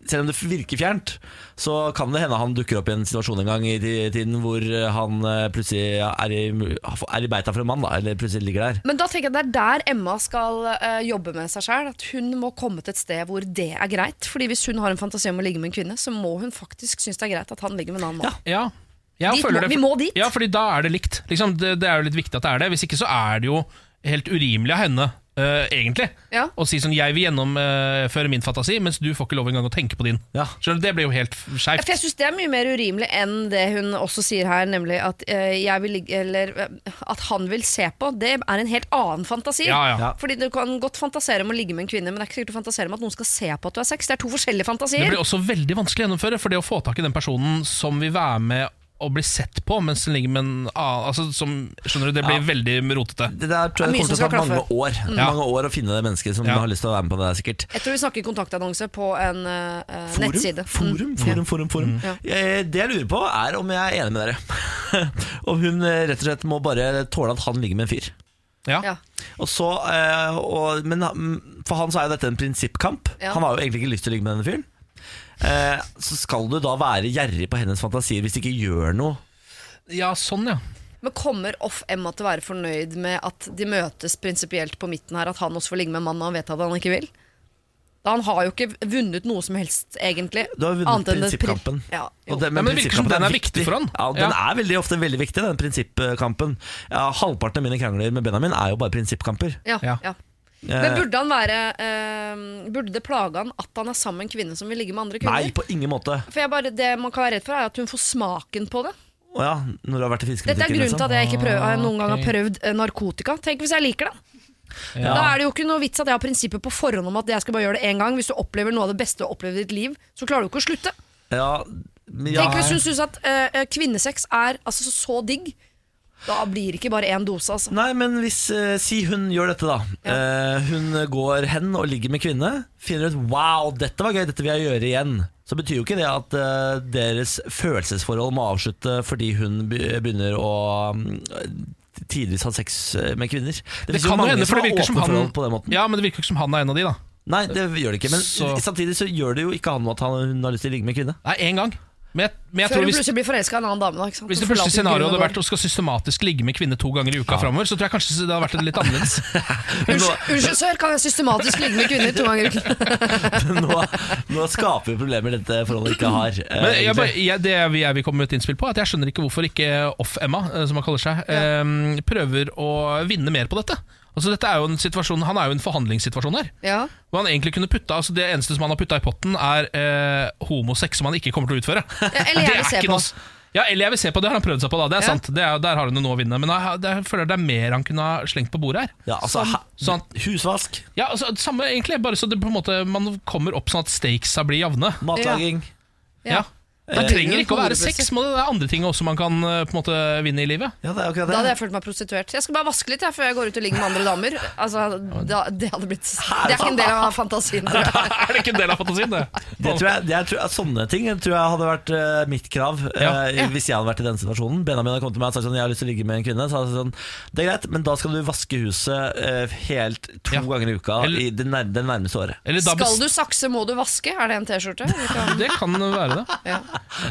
Speaker 1: selv om det virker fjernt, så kan det hende han dukker opp i en situasjon en gang i ti- tiden hvor eh, han eh, plutselig er i, er i beita for en mann, da, eller plutselig ligger der.
Speaker 3: Men da tenker jeg det er der Emma skal eh, jobbe med seg selv At hun må komme til et sted hvor det er greit Fordi hvis hun har en fantasi om å ligge med en kvinne Så må hun faktisk synes det er greit at han ligger med en annen mann
Speaker 2: Ja. Jeg
Speaker 3: Dit
Speaker 2: føler
Speaker 3: må-
Speaker 2: det,
Speaker 3: vi må dit.
Speaker 2: Ja, fordi da er det likt. Liksom, det, det er jo litt viktig at det er det. Hvis ikke så er det jo helt urimelig av henne, eh, egentlig,
Speaker 3: Ja.
Speaker 2: å si sånn 'jeg vil gjennomføre min fantasi', mens du får ikke lov engang å tenke på din.
Speaker 1: Ja.
Speaker 2: Skjønner du, Det blir jo helt
Speaker 3: Ja,
Speaker 2: skeivt.
Speaker 3: For jeg synes det er mye mer urimelig enn det hun også sier her, nemlig at, eh, jeg vil, ligge- eller, eh, at han vil se på. Det er en helt annen fantasi.
Speaker 2: Ja, ja.
Speaker 1: Ja.
Speaker 3: Fordi Du kan godt fantasere om å ligge med en kvinne, men det er ikke sikkert du fantaserer om at noen skal se på at du har sex. Det er to forskjellige fantasier.
Speaker 2: Det blir også veldig vanskelig å gjennomføre, for det å få tak i den personen som vil være med og bli sett på mens den ligger med en annen altså, som, Skjønner du, det blir veldig rotete.
Speaker 1: Det der
Speaker 3: Det er
Speaker 1: tror jeg
Speaker 3: mye
Speaker 1: kommer til å
Speaker 3: som
Speaker 1: ta
Speaker 3: skal
Speaker 1: mange
Speaker 3: klaffe. Mm.
Speaker 1: år, mange år å finne det mennesket som
Speaker 2: Ja.
Speaker 1: har lyst til å være med på det der, sikkert.
Speaker 3: Jeg tror vi snakker kontaktannonse på en eh, eh,
Speaker 1: Forum,
Speaker 3: nettside. Mm.
Speaker 1: forum,
Speaker 3: Ja. Mm.
Speaker 1: forum, forum, forum.
Speaker 3: Ja.
Speaker 1: Eh, Det jeg lurer på, er om jeg er enig med dere. om hun eh, rett og slett må bare tåle at han ligger med en fyr.
Speaker 2: Ja.
Speaker 3: Ja.
Speaker 1: Og så, eh, og, men han- For han så er jo dette en prinsippkamp.
Speaker 3: Ja.
Speaker 1: Han har jo egentlig ikke lyst til å ligge med denne fyren. Eh, så skal du da være gjerrig på hennes fantasier hvis du ikke gjør noe.
Speaker 2: ja, sånn, ja.
Speaker 3: Men kommer Off-Emma til å være fornøyd med at de møtes prinsipielt på midten her, at han også får ligge med en mann og han vet at han ikke vil? Da han har jo ikke vunnet noe som helst, egentlig.
Speaker 1: Du har jo vunnet
Speaker 3: annet enn det pri-
Speaker 1: prinsippkampen.
Speaker 3: Ja,
Speaker 1: Og
Speaker 3: jo.
Speaker 1: den-
Speaker 2: Ja, men det virker som
Speaker 1: prinsippkampen
Speaker 2: den er viktig for han.
Speaker 1: Ja, den
Speaker 2: Ja.
Speaker 1: er veldig ofte veldig viktig, den prinsippkampen. Ja, halvparten av mine krangler med Benjamin er jo bare prinsippkamper.
Speaker 3: Ja,
Speaker 2: Ja.
Speaker 3: ja. Men burde han være eh, Burde det plage han at han er sammen med en kvinne som vil ligge med andre kvinner?
Speaker 1: Eh, Nei, på ingen måte.
Speaker 3: For jeg bare, Det man kan være redd for, er at hun får smaken på det.
Speaker 1: Å ja, når du har vært i fiskebutikken.
Speaker 3: Dette er grunnen til at jeg ikke prøver, jeg noen gang har
Speaker 2: Ah, ok.
Speaker 3: prøvd eh, narkotika. Tenk hvis jeg liker det.
Speaker 2: Ja.
Speaker 3: Da er det jo ikke noe vits at jeg har prinsippet på forhånd om at jeg skal bare gjøre det én gang. Hvis du opplever noe av det beste du har opplevd i ditt liv, så klarer du ikke å slutte.
Speaker 1: liksom. Ja, men ja,
Speaker 3: Tenk hvis hun syns at eh, kvinnesex er altså, så digg. Da blir det ikke bare én dose, altså.
Speaker 1: Nei, men hvis eh, Si hun gjør dette, da. Eh, hun går hen og ligger med kvinne. Finner ut 'wow, dette var gøy, dette vil jeg gjøre igjen'. Så betyr jo ikke det at eh, deres følelsesforhold må avslutte fordi hun be- begynner å mm, tidvis ha sex eh, med kvinner. Det,
Speaker 2: Det
Speaker 1: finnes
Speaker 2: kan jo hende, for det
Speaker 1: har
Speaker 2: virker som
Speaker 1: åpne
Speaker 2: han
Speaker 1: forhold på den måten.
Speaker 2: Ja, men det virker jo ikke som han er en av de, da.
Speaker 1: Nei, det gjør det ikke. Men
Speaker 2: Så-
Speaker 1: samtidig så gjør det jo ikke han noe at han, hun har lyst til å ligge med kvinne.
Speaker 2: Nei, én gang. Men jeg, men jeg
Speaker 3: Før
Speaker 2: tror
Speaker 3: hun
Speaker 2: hvis,
Speaker 3: plutselig blir forelska i en annen dame. Da, ikke sant?
Speaker 2: hvis
Speaker 3: Så
Speaker 2: det første
Speaker 3: forlater hun
Speaker 2: scenarioet hadde
Speaker 3: grunnen
Speaker 2: vært å skal systematisk ligge med kvinne to ganger i uka framover, så tror jeg kanskje det hadde vært litt annerledes.
Speaker 3: Unnskyld, unnskyld, sør, kan jeg systematisk ligge med kvinner to ganger i uken?
Speaker 1: nå, nå skaper vi problemer dette forholdet ikke har. eh,
Speaker 2: Men jeg,
Speaker 1: egentlig.
Speaker 2: bare, jeg, det jeg, jeg vil komme med et innspill på, er at jeg skjønner ikke hvorfor ikke Off-Emma, eh, som han kaller seg, eh, prøver å vinne mer på dette. Altså, dette er jo en situasjon, han er jo i en forhandlingssituasjon her.
Speaker 3: Ja.
Speaker 2: Hvor han egentlig kunne putta, altså Det eneste som han har putta i potten, er eh, homosex som han ikke kommer til å utføre.
Speaker 3: eller jeg
Speaker 2: Det er
Speaker 3: vil se
Speaker 2: ikke
Speaker 3: på.
Speaker 2: noe- ja, eller jeg vil se på, det har han prøvd seg på, da. Det er
Speaker 3: Ja.
Speaker 2: sant. Det er, der har han jo noe å vinne. Men jeg, jeg føler det er mer han kunne ha slengt på bordet her.
Speaker 1: Ja, altså, ha-
Speaker 2: Sånn at-
Speaker 1: Husvask,
Speaker 2: Ja, altså, Samme, egentlig. Bare så det på en måte man kommer opp sånn at stakesa blir jevne.
Speaker 1: matlaging.
Speaker 2: Ja. Det trenger ikke å være
Speaker 3: Horebusser.
Speaker 2: sex, men det er andre ting også man kan eh, på en måte vinne i livet.
Speaker 1: Ja, det er akkurat
Speaker 3: Da hadde
Speaker 1: det.
Speaker 3: jeg følt meg prostituert. Jeg skal bare vaske litt jeg, før jeg går ut og ligger med andre damer. Altså, da, det hadde blitt Det er ikke en del av fantasien. tror jeg.
Speaker 2: er det ikke en del av fantasien, det?
Speaker 1: Det tror jeg, det er- tror jeg, sånne ting tror jeg hadde vært eh, mitt krav eh,
Speaker 2: Ja.
Speaker 1: i- hvis jeg hadde vært i denne situasjonen. Benjamin hadde kommet til meg og sagt sånn, jeg har lyst til å ligge med en kvinne. Så hadde jeg sagt sånn, det er greit, men da skal du vaske huset eh, helt to
Speaker 2: Ja.
Speaker 1: ganger i uka
Speaker 2: Eller-
Speaker 1: i det, nær, det nærmeste året.
Speaker 2: Eller da
Speaker 3: Skal du sakse, må du vaske. Er det en T-skjorte? Vi kan-
Speaker 2: bes- Det kan være det.
Speaker 3: Ja.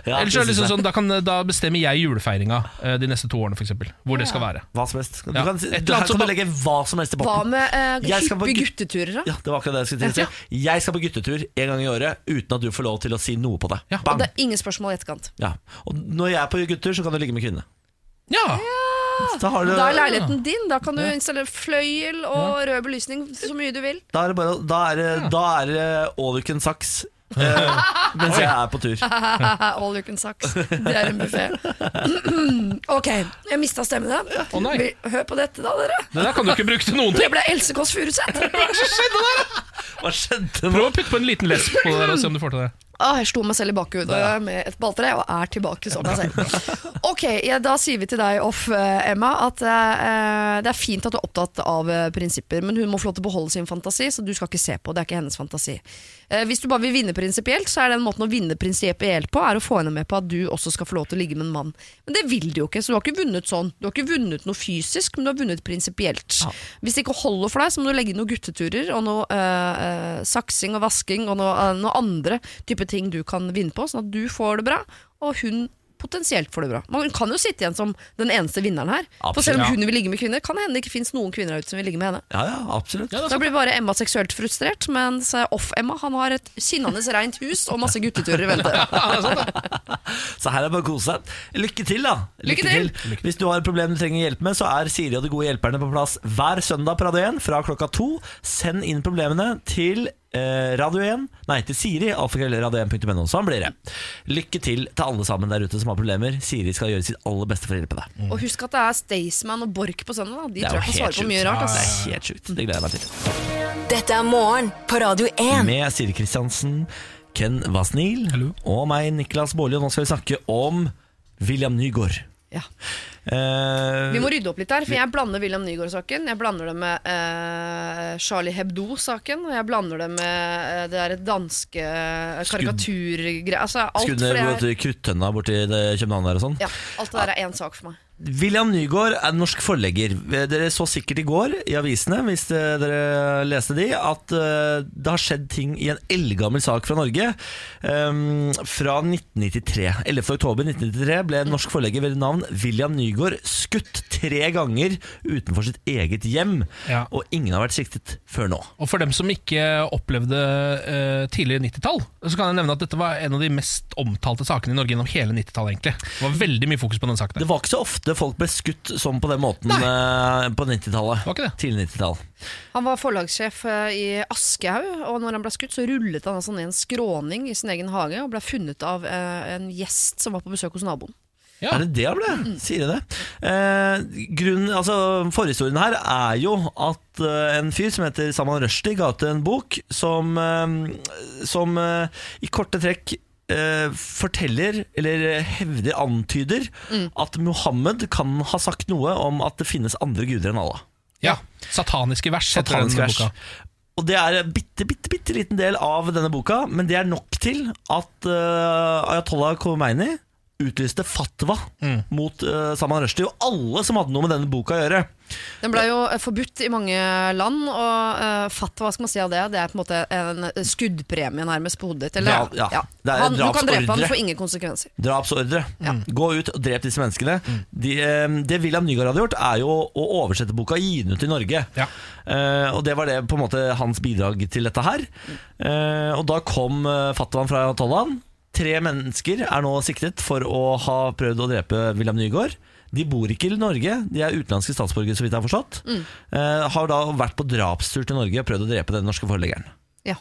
Speaker 1: Ja,
Speaker 2: Ellers er det
Speaker 1: synes
Speaker 2: liksom
Speaker 1: jeg.
Speaker 2: sånn, da, kan, da bestemmer jeg julefeiringa eh, de neste to årene, for eksempel Hvor det skal være.
Speaker 1: Hva som helst. Du
Speaker 2: Ja.
Speaker 1: kan, si-
Speaker 2: Et eller
Speaker 1: du, her
Speaker 2: annet som
Speaker 1: kan du
Speaker 2: bare-
Speaker 1: legge hva som helst i
Speaker 3: Hva
Speaker 1: potten.
Speaker 3: med eh,
Speaker 1: Jeg skal på
Speaker 3: hyppige
Speaker 1: gu-
Speaker 3: gutteturer, da?
Speaker 1: Ja, det var akkurat det jeg skulle til å si. Jeg skal på guttetur en gang i året uten at du får lov til å si noe på det.
Speaker 2: Ja.
Speaker 1: Bang!
Speaker 3: Og det er ingen spørsmål i etterkant.
Speaker 1: Ja. Og når jeg er på guttetur, så kan du ligge med kvinne.
Speaker 2: Ja!
Speaker 1: Da, har du,
Speaker 3: Ah, Da er leiligheten din. Da kan du installere fløyel og rød belysning så mye du vil.
Speaker 1: da er det bare Da er det, da er det all you can saks eh, mens jeg er på tur.
Speaker 3: All you can sucks. Det er en buffé. ok, jeg mista stemmene.
Speaker 2: Å, nei.
Speaker 3: Vi- Hør på dette, da, dere.
Speaker 2: Det der kan du ikke bruke til noen ting!
Speaker 3: Det ble Else Kåss Furuseth.
Speaker 1: Hva skjedde nå?
Speaker 2: Prøv å putte på en liten lesb på det der og se om du får til det.
Speaker 3: Ah, jeg slo meg selv i bakhodet med et balltre og er tilbake som meg selv. Ok, ja, Da sier vi til deg off, eh, Emma, at eh, det er fint at du er opptatt av eh, prinsipper, men hun må få lov til å beholde sin fantasi, så du skal ikke se på. Det er ikke hennes fantasi. Eh, hvis du bare vil vinne prinsipielt, så er den måten å vinne prinsipielt på, er å få henne med på at du også skal få lov til å ligge med en mann. Men det vil du jo ikke, så du har ikke vunnet sånn. Du har ikke vunnet noe fysisk, men du har vunnet prinsipielt. Hvis det ikke holder for deg, så må du legge inn noen gutteturer og noe eh, eh, saksing og vasking og noe, eh, noe andre type ting du kan vinne på, sånn at du får det bra, og hun potensielt får det bra. Man kan jo sitte igjen som den eneste vinneren her. For selv om
Speaker 2: Absolutt.
Speaker 3: hun vil ligge med kvinner, kan det hende det ikke finnes noen kvinner der ute som vil ligge med henne.
Speaker 1: Ja, ja, absolutt.
Speaker 2: Ja, det
Speaker 3: Da
Speaker 2: er sant.
Speaker 3: blir bare Emma seksuelt frustrert, mens Off-Emma han har et skinnende rent hus og masse gutteturer i vente.
Speaker 2: Ja, det er sant, det.
Speaker 1: Så her er det bare å kose seg. Lykke til, da.
Speaker 3: Lykke til.
Speaker 1: Hvis du har et problem du trenger hjelp med, så er Siri og de gode hjelperne på plass hver søndag på Radio 1 fra klokka to. Send inn problemene til eh, Radio 1 Nei, til Siri, alfakrøllradio1.no. Sånn blir det. Lykke til til alle sammen der ute som har problemer. Siri skal gjøre sitt aller beste for å hjelpe deg.
Speaker 3: Og husk at det er Staysman og Borch på søndag. da. De
Speaker 1: Det er
Speaker 3: tror
Speaker 1: jo
Speaker 3: jeg kan svare
Speaker 1: helt
Speaker 3: på
Speaker 1: sjukt.
Speaker 3: mye rart.
Speaker 1: Det
Speaker 3: Altså.
Speaker 1: er helt sjukt. Det gleder jeg meg til.
Speaker 4: Dette er morgen på Radio 1.
Speaker 1: Med Siri Kristiansen, Ken Vasnil
Speaker 2: Hallo.
Speaker 1: og meg, Niklas Baarli. Og nå skal vi snakke om William Nygaard.
Speaker 3: Ja.
Speaker 1: Eh,
Speaker 3: Vi må rydde opp litt der, for jeg blander William Nygaard-saken. Jeg blander det med eh, Charlie Hebdo-saken, og jeg blander det med eh, det der danske karikaturgreier. Altså, alt
Speaker 1: Skuddene
Speaker 3: for det er,
Speaker 1: borti kruttønna borti det København der og sånn.
Speaker 3: ja, alt det der er én sak for meg.
Speaker 1: William Nygaard er norsk forlegger. Dere så sikkert i går i avisene, hvis eh, dere leste de, at eh, det har skjedd ting i en eldgammel sak fra Norge. Ehm, fra 1993. 11. oktober 1993 ble en norsk forlegger ved navn William Nygaard skutt tre ganger utenfor sitt eget hjem,
Speaker 2: Ja.
Speaker 1: og ingen har vært siktet før nå.
Speaker 2: Og for dem som ikke opplevde eh, tidlig 90-tall, så kan jeg nevne at dette var en av de mest omtalte sakene i Norge gjennom hele 90-tallet, egentlig. Det var veldig mye fokus på den saken.
Speaker 1: Det
Speaker 2: der.
Speaker 1: var ikke så ofte folk ble skutt sånn på den måten eh, på 90-tallet.
Speaker 2: Var ikke det?
Speaker 1: Tidlig 90-tall.
Speaker 3: Han var forlagssjef eh, i Aschehoug, og når han ble skutt, så rullet han altså ned en skråning i sin egen hage og ble funnet av eh, en gjest som var på besøk hos naboen.
Speaker 2: Ja.
Speaker 1: Er det det han ble? Sier de det? Eh, grunnen, altså, forhistorien her er jo at eh, en fyr som heter Salman Rushdie ga ut en bok som, eh, som eh, i korte trekk eh, forteller, eller eh, hevder, antyder, at Mohammed kan ha sagt noe om at det finnes andre guder enn Allah.
Speaker 2: Ja, Sataniske vers heter den
Speaker 1: Satanisk vers.
Speaker 2: boka.
Speaker 1: Og det er en bitte, bitte, bitte liten del av denne boka, men det er nok til at eh, Ayatollah Khomeini utlyste fatwa
Speaker 2: Mm.
Speaker 1: mot uh, Salman Rushdie og alle som hadde noe med denne boka å gjøre.
Speaker 3: Den ble jo eh, forbudt i mange land, og eh, fatwa, hva skal man si av det? Det er på en måte en skuddpremie nærmest på hodet ditt. Eller,
Speaker 1: Ja, ja. Det er en
Speaker 3: Han, du kan
Speaker 1: drapsordre.
Speaker 3: drepe han, det får ingen konsekvenser.
Speaker 1: Drapsordre. Gå ut og drep disse menneskene.
Speaker 2: Mm.
Speaker 1: De, eh, det William Nygaard hadde gjort, er jo å oversette boka og gi den ut i Norge.
Speaker 2: Ja.
Speaker 1: Eh, og det var det på en måte hans bidrag til dette her. Eh, og da kom eh, fatwaen fra Ayatollah. Tre mennesker er nå siktet for å ha prøvd å drepe William Nygaard. De bor ikke i Norge, de er utenlandske statsborgere, så vidt jeg har forstått. Eh, har da vært på drapstur til Norge og prøvd å drepe den norske foreleggeren.
Speaker 3: Ja.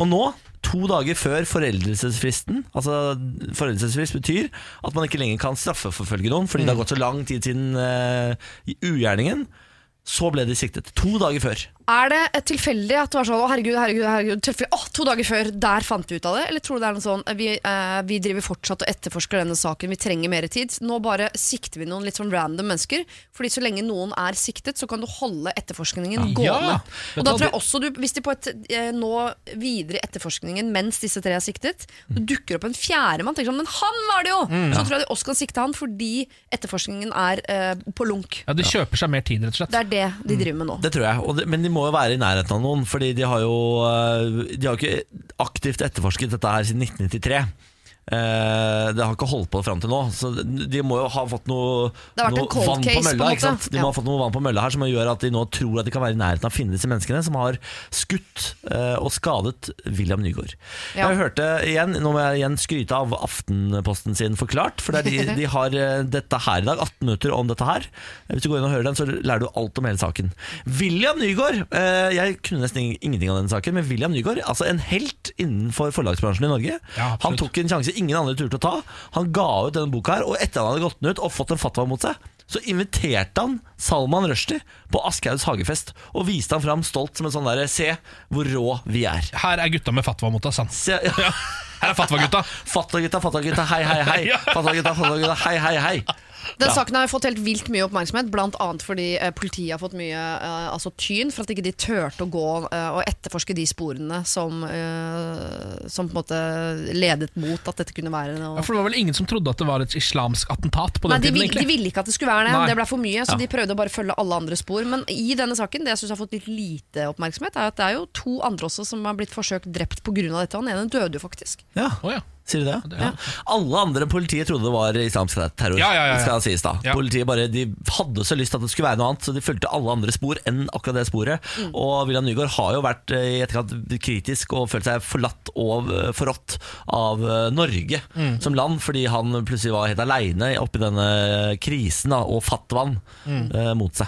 Speaker 1: Og nå, to dager før foreldelsesfristen Altså foreldelsesfrist betyr at man ikke lenger kan straffeforfølge noen fordi det har gått så lang tid siden eh, i ugjerningen. Så ble de siktet. To dager før.
Speaker 3: Er det et tilfeldig at det var sånn Å, herregud, herregud, herregud tilfeldig. Å, to dager før, der fant vi ut av det? Eller tror du det er noe sånn vi, eh, vi driver fortsatt og etterforsker denne saken, vi trenger mer tid. Nå bare sikter vi noen litt sånn random mennesker. Fordi så lenge noen er siktet, så kan du holde etterforskningen
Speaker 2: Ja.
Speaker 3: gående.
Speaker 1: Vet
Speaker 3: Og
Speaker 1: du
Speaker 3: da
Speaker 1: hva,
Speaker 3: tror jeg også du, hvis de på et eh, nå videre i etterforskningen mens disse tre er siktet, det dukker opp en fjerdemann, tenker sånn Men han var det jo!
Speaker 2: Mm,
Speaker 3: Så tror jeg de også kan sikte han fordi etterforskningen er eh, på lunk.
Speaker 2: Ja, De kjøper seg mer tid, rett og slett.
Speaker 3: Det er det de driver med nå.
Speaker 1: Det tror jeg, og det, men de må jo være i nærheten av noen, fordi de har jo eh, De har jo ikke aktivt etterforsket dette her siden 1993. Eh, det har ikke holdt på fram til nå, så de må jo ha fått noe,
Speaker 3: Det har vært
Speaker 1: noe
Speaker 3: en cold
Speaker 1: vann
Speaker 3: case,
Speaker 1: på
Speaker 3: på en
Speaker 1: mølla.
Speaker 3: måte.
Speaker 1: ikke sant? De må
Speaker 3: Ja.
Speaker 1: ha fått noe vann på mølla her som gjør at de nå tror at de kan være i nærheten av å finne disse menneskene som har skutt eh, og skadet William Nygaard.
Speaker 3: Ja.
Speaker 1: Jeg hørte igjen, nå må jeg igjen skryte av Aftenposten sin Forklart, for det er de, de har eh, dette her i dag, 18 minutter om dette her. Hvis du går inn og hører den, så lærer du alt om hele saken. William Nygaard, eh, jeg kunne nesten ing- ingenting av denne saken, men William Nygaard, altså en helt innenfor forlagsbransjen i Norge.
Speaker 2: Ja, absolutt.
Speaker 1: han tok en sjanse ingen andre turte å ta. Han ga ut denne boka her, og etter han hadde gått den ut og fått en fatwa mot seg, så inviterte han Salman Rushdie på Aschehougs hagefest, og viste han fram stolt som en sånn derre se hvor rå vi er.
Speaker 2: Her er gutta med fatwa mot oss, sant?
Speaker 1: Se,
Speaker 2: Ja. Her er fatwa-gutta.
Speaker 1: Fattagutta, fattagutta, hei, hei, hei.
Speaker 2: Ja.
Speaker 1: Fattagutta, fattagutta, hei, hei, hei.
Speaker 3: Den saken har fått helt vilt mye oppmerksomhet, bl.a. fordi eh, politiet har fått mye eh, altså tyn for at ikke de turte å gå eh, og etterforske de sporene som, eh, som på en måte ledet mot at dette kunne være
Speaker 2: Ja,
Speaker 3: noe.
Speaker 2: for det var vel ingen som trodde at det var et islamsk attentat på
Speaker 3: Nei,
Speaker 2: den
Speaker 3: de,
Speaker 2: tiden,
Speaker 3: vil, de
Speaker 2: egentlig?
Speaker 3: ville ikke at det skulle være det.
Speaker 2: Nei.
Speaker 3: Det ble for mye, så
Speaker 2: Ja.
Speaker 3: de prøvde å bare følge alle andre spor. Men i denne saken, det jeg syns har fått litt lite oppmerksomhet, er at det er jo to andre også som har blitt forsøkt drept pga. dette. og Den ene døde jo faktisk.
Speaker 1: Ja,
Speaker 2: Å, ja.
Speaker 1: sier du det?
Speaker 2: det-
Speaker 1: Ja. Alle andre enn politiet trodde det var islamsk terror.
Speaker 2: Ja, ja, ja, ja.
Speaker 1: Skal sies da
Speaker 2: Ja.
Speaker 1: Politiet bare, de hadde så lyst til at det skulle være noe annet, så de fulgte alle andre spor enn akkurat det sporet. Og William Nygaard har jo vært eh, i etterkant kritisk og følt seg forlatt og eh, forrådt av eh, Norge
Speaker 2: Mm.
Speaker 1: som land, fordi han plutselig var helt aleine oppi denne krisen da, og fatwaen
Speaker 2: Mm.
Speaker 1: eh, mot seg.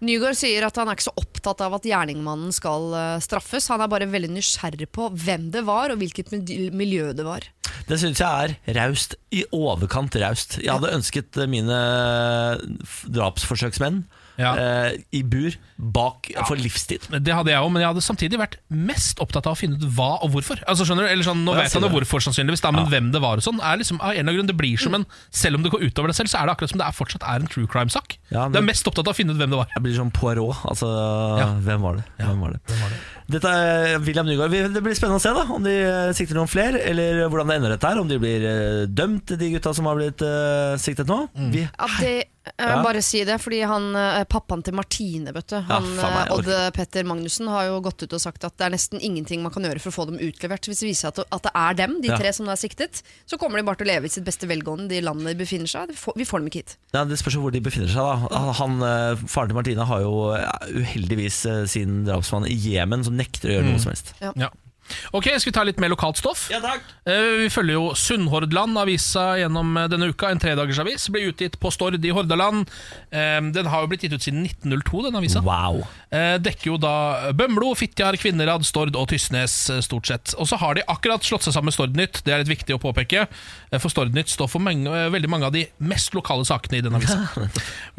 Speaker 3: Nygaard sier at han er ikke så opptatt av at gjerningsmannen skal eh, straffes. Han er bare veldig nysgjerrig på hvem det var, og hvilket mil- miljø det var.
Speaker 1: Det syns jeg er raust. I overkant raust. Jeg hadde ønsket eh, mine f- drapsforsøksmenn
Speaker 2: Ja.
Speaker 1: eh, i bur bak for livstid.
Speaker 2: Det hadde jeg òg, men jeg hadde samtidig vært mest opptatt av å finne ut hva og hvorfor. Altså skjønner du, eller sånn, Nå
Speaker 1: Ja,
Speaker 2: vet
Speaker 1: sier
Speaker 2: han jo
Speaker 1: det.
Speaker 2: hvorfor, sannsynligvis, da, men hvem det var og sånn. er liksom, av en eller annen grunn, Det blir som
Speaker 1: Mm.
Speaker 2: en, Selv om det går utover deg selv, så er det akkurat som det er fortsatt er en true crime-sak.
Speaker 1: Ja, men-
Speaker 2: Du er mest opptatt av å finne ut hvem det var.
Speaker 1: Jeg blir som Poirot. Altså,
Speaker 2: Ja.
Speaker 1: hvem, var det? hvem var det? Dette er William Nygaard. Vi- Det blir spennende å se da om de eh, sikter noen flere, eller hvordan det ender dette her. Om de blir eh, dømt, de gutta som har blitt eh, siktet nå. Vi,
Speaker 3: At de, jeg
Speaker 1: Ja.
Speaker 3: vil bare si det, fordi han, eh, Pappaen til Martine, vet du, han,
Speaker 1: faen meg,
Speaker 3: eh, Odd Petter Magnussen, har jo gått ut og sagt at det er nesten ingenting man kan gjøre for å få dem utlevert. Hvis det viser seg at, at det er dem, de
Speaker 1: Ja.
Speaker 3: tre som nå er siktet, så kommer de bare til å leve i sitt beste velgående i landet de befinner seg. Vi får, vi får dem ikke hit.
Speaker 1: Ja, det spørs jo hvor de befinner seg. da Han, eh, Faren til Martine har jo eh, uheldigvis eh, sin drapsmann i Jemen, som nekter å gjøre noe som helst.
Speaker 2: Ja. Ok, Skal vi ta litt mer lokalt stoff?
Speaker 1: Ja takk
Speaker 2: Eh, Vi følger jo Sunnhordland avisa gjennom eh, denne uka. En tredagersavis. Ble utgitt på Stord i Hordaland. Eh, Den har jo blitt gitt ut siden 1902, den avisa.
Speaker 1: Wow.
Speaker 2: Eh, Dekker jo da Bømlo, Fitjar, Kvinnherad, Stord og Tysnes, eh, stort sett. Og så har de akkurat slått seg sammen med Stord Nytt, det er litt viktig å påpeke. eh, For Stord Nytt står for mange, eh, veldig mange av de mest lokale sakene i den avisa.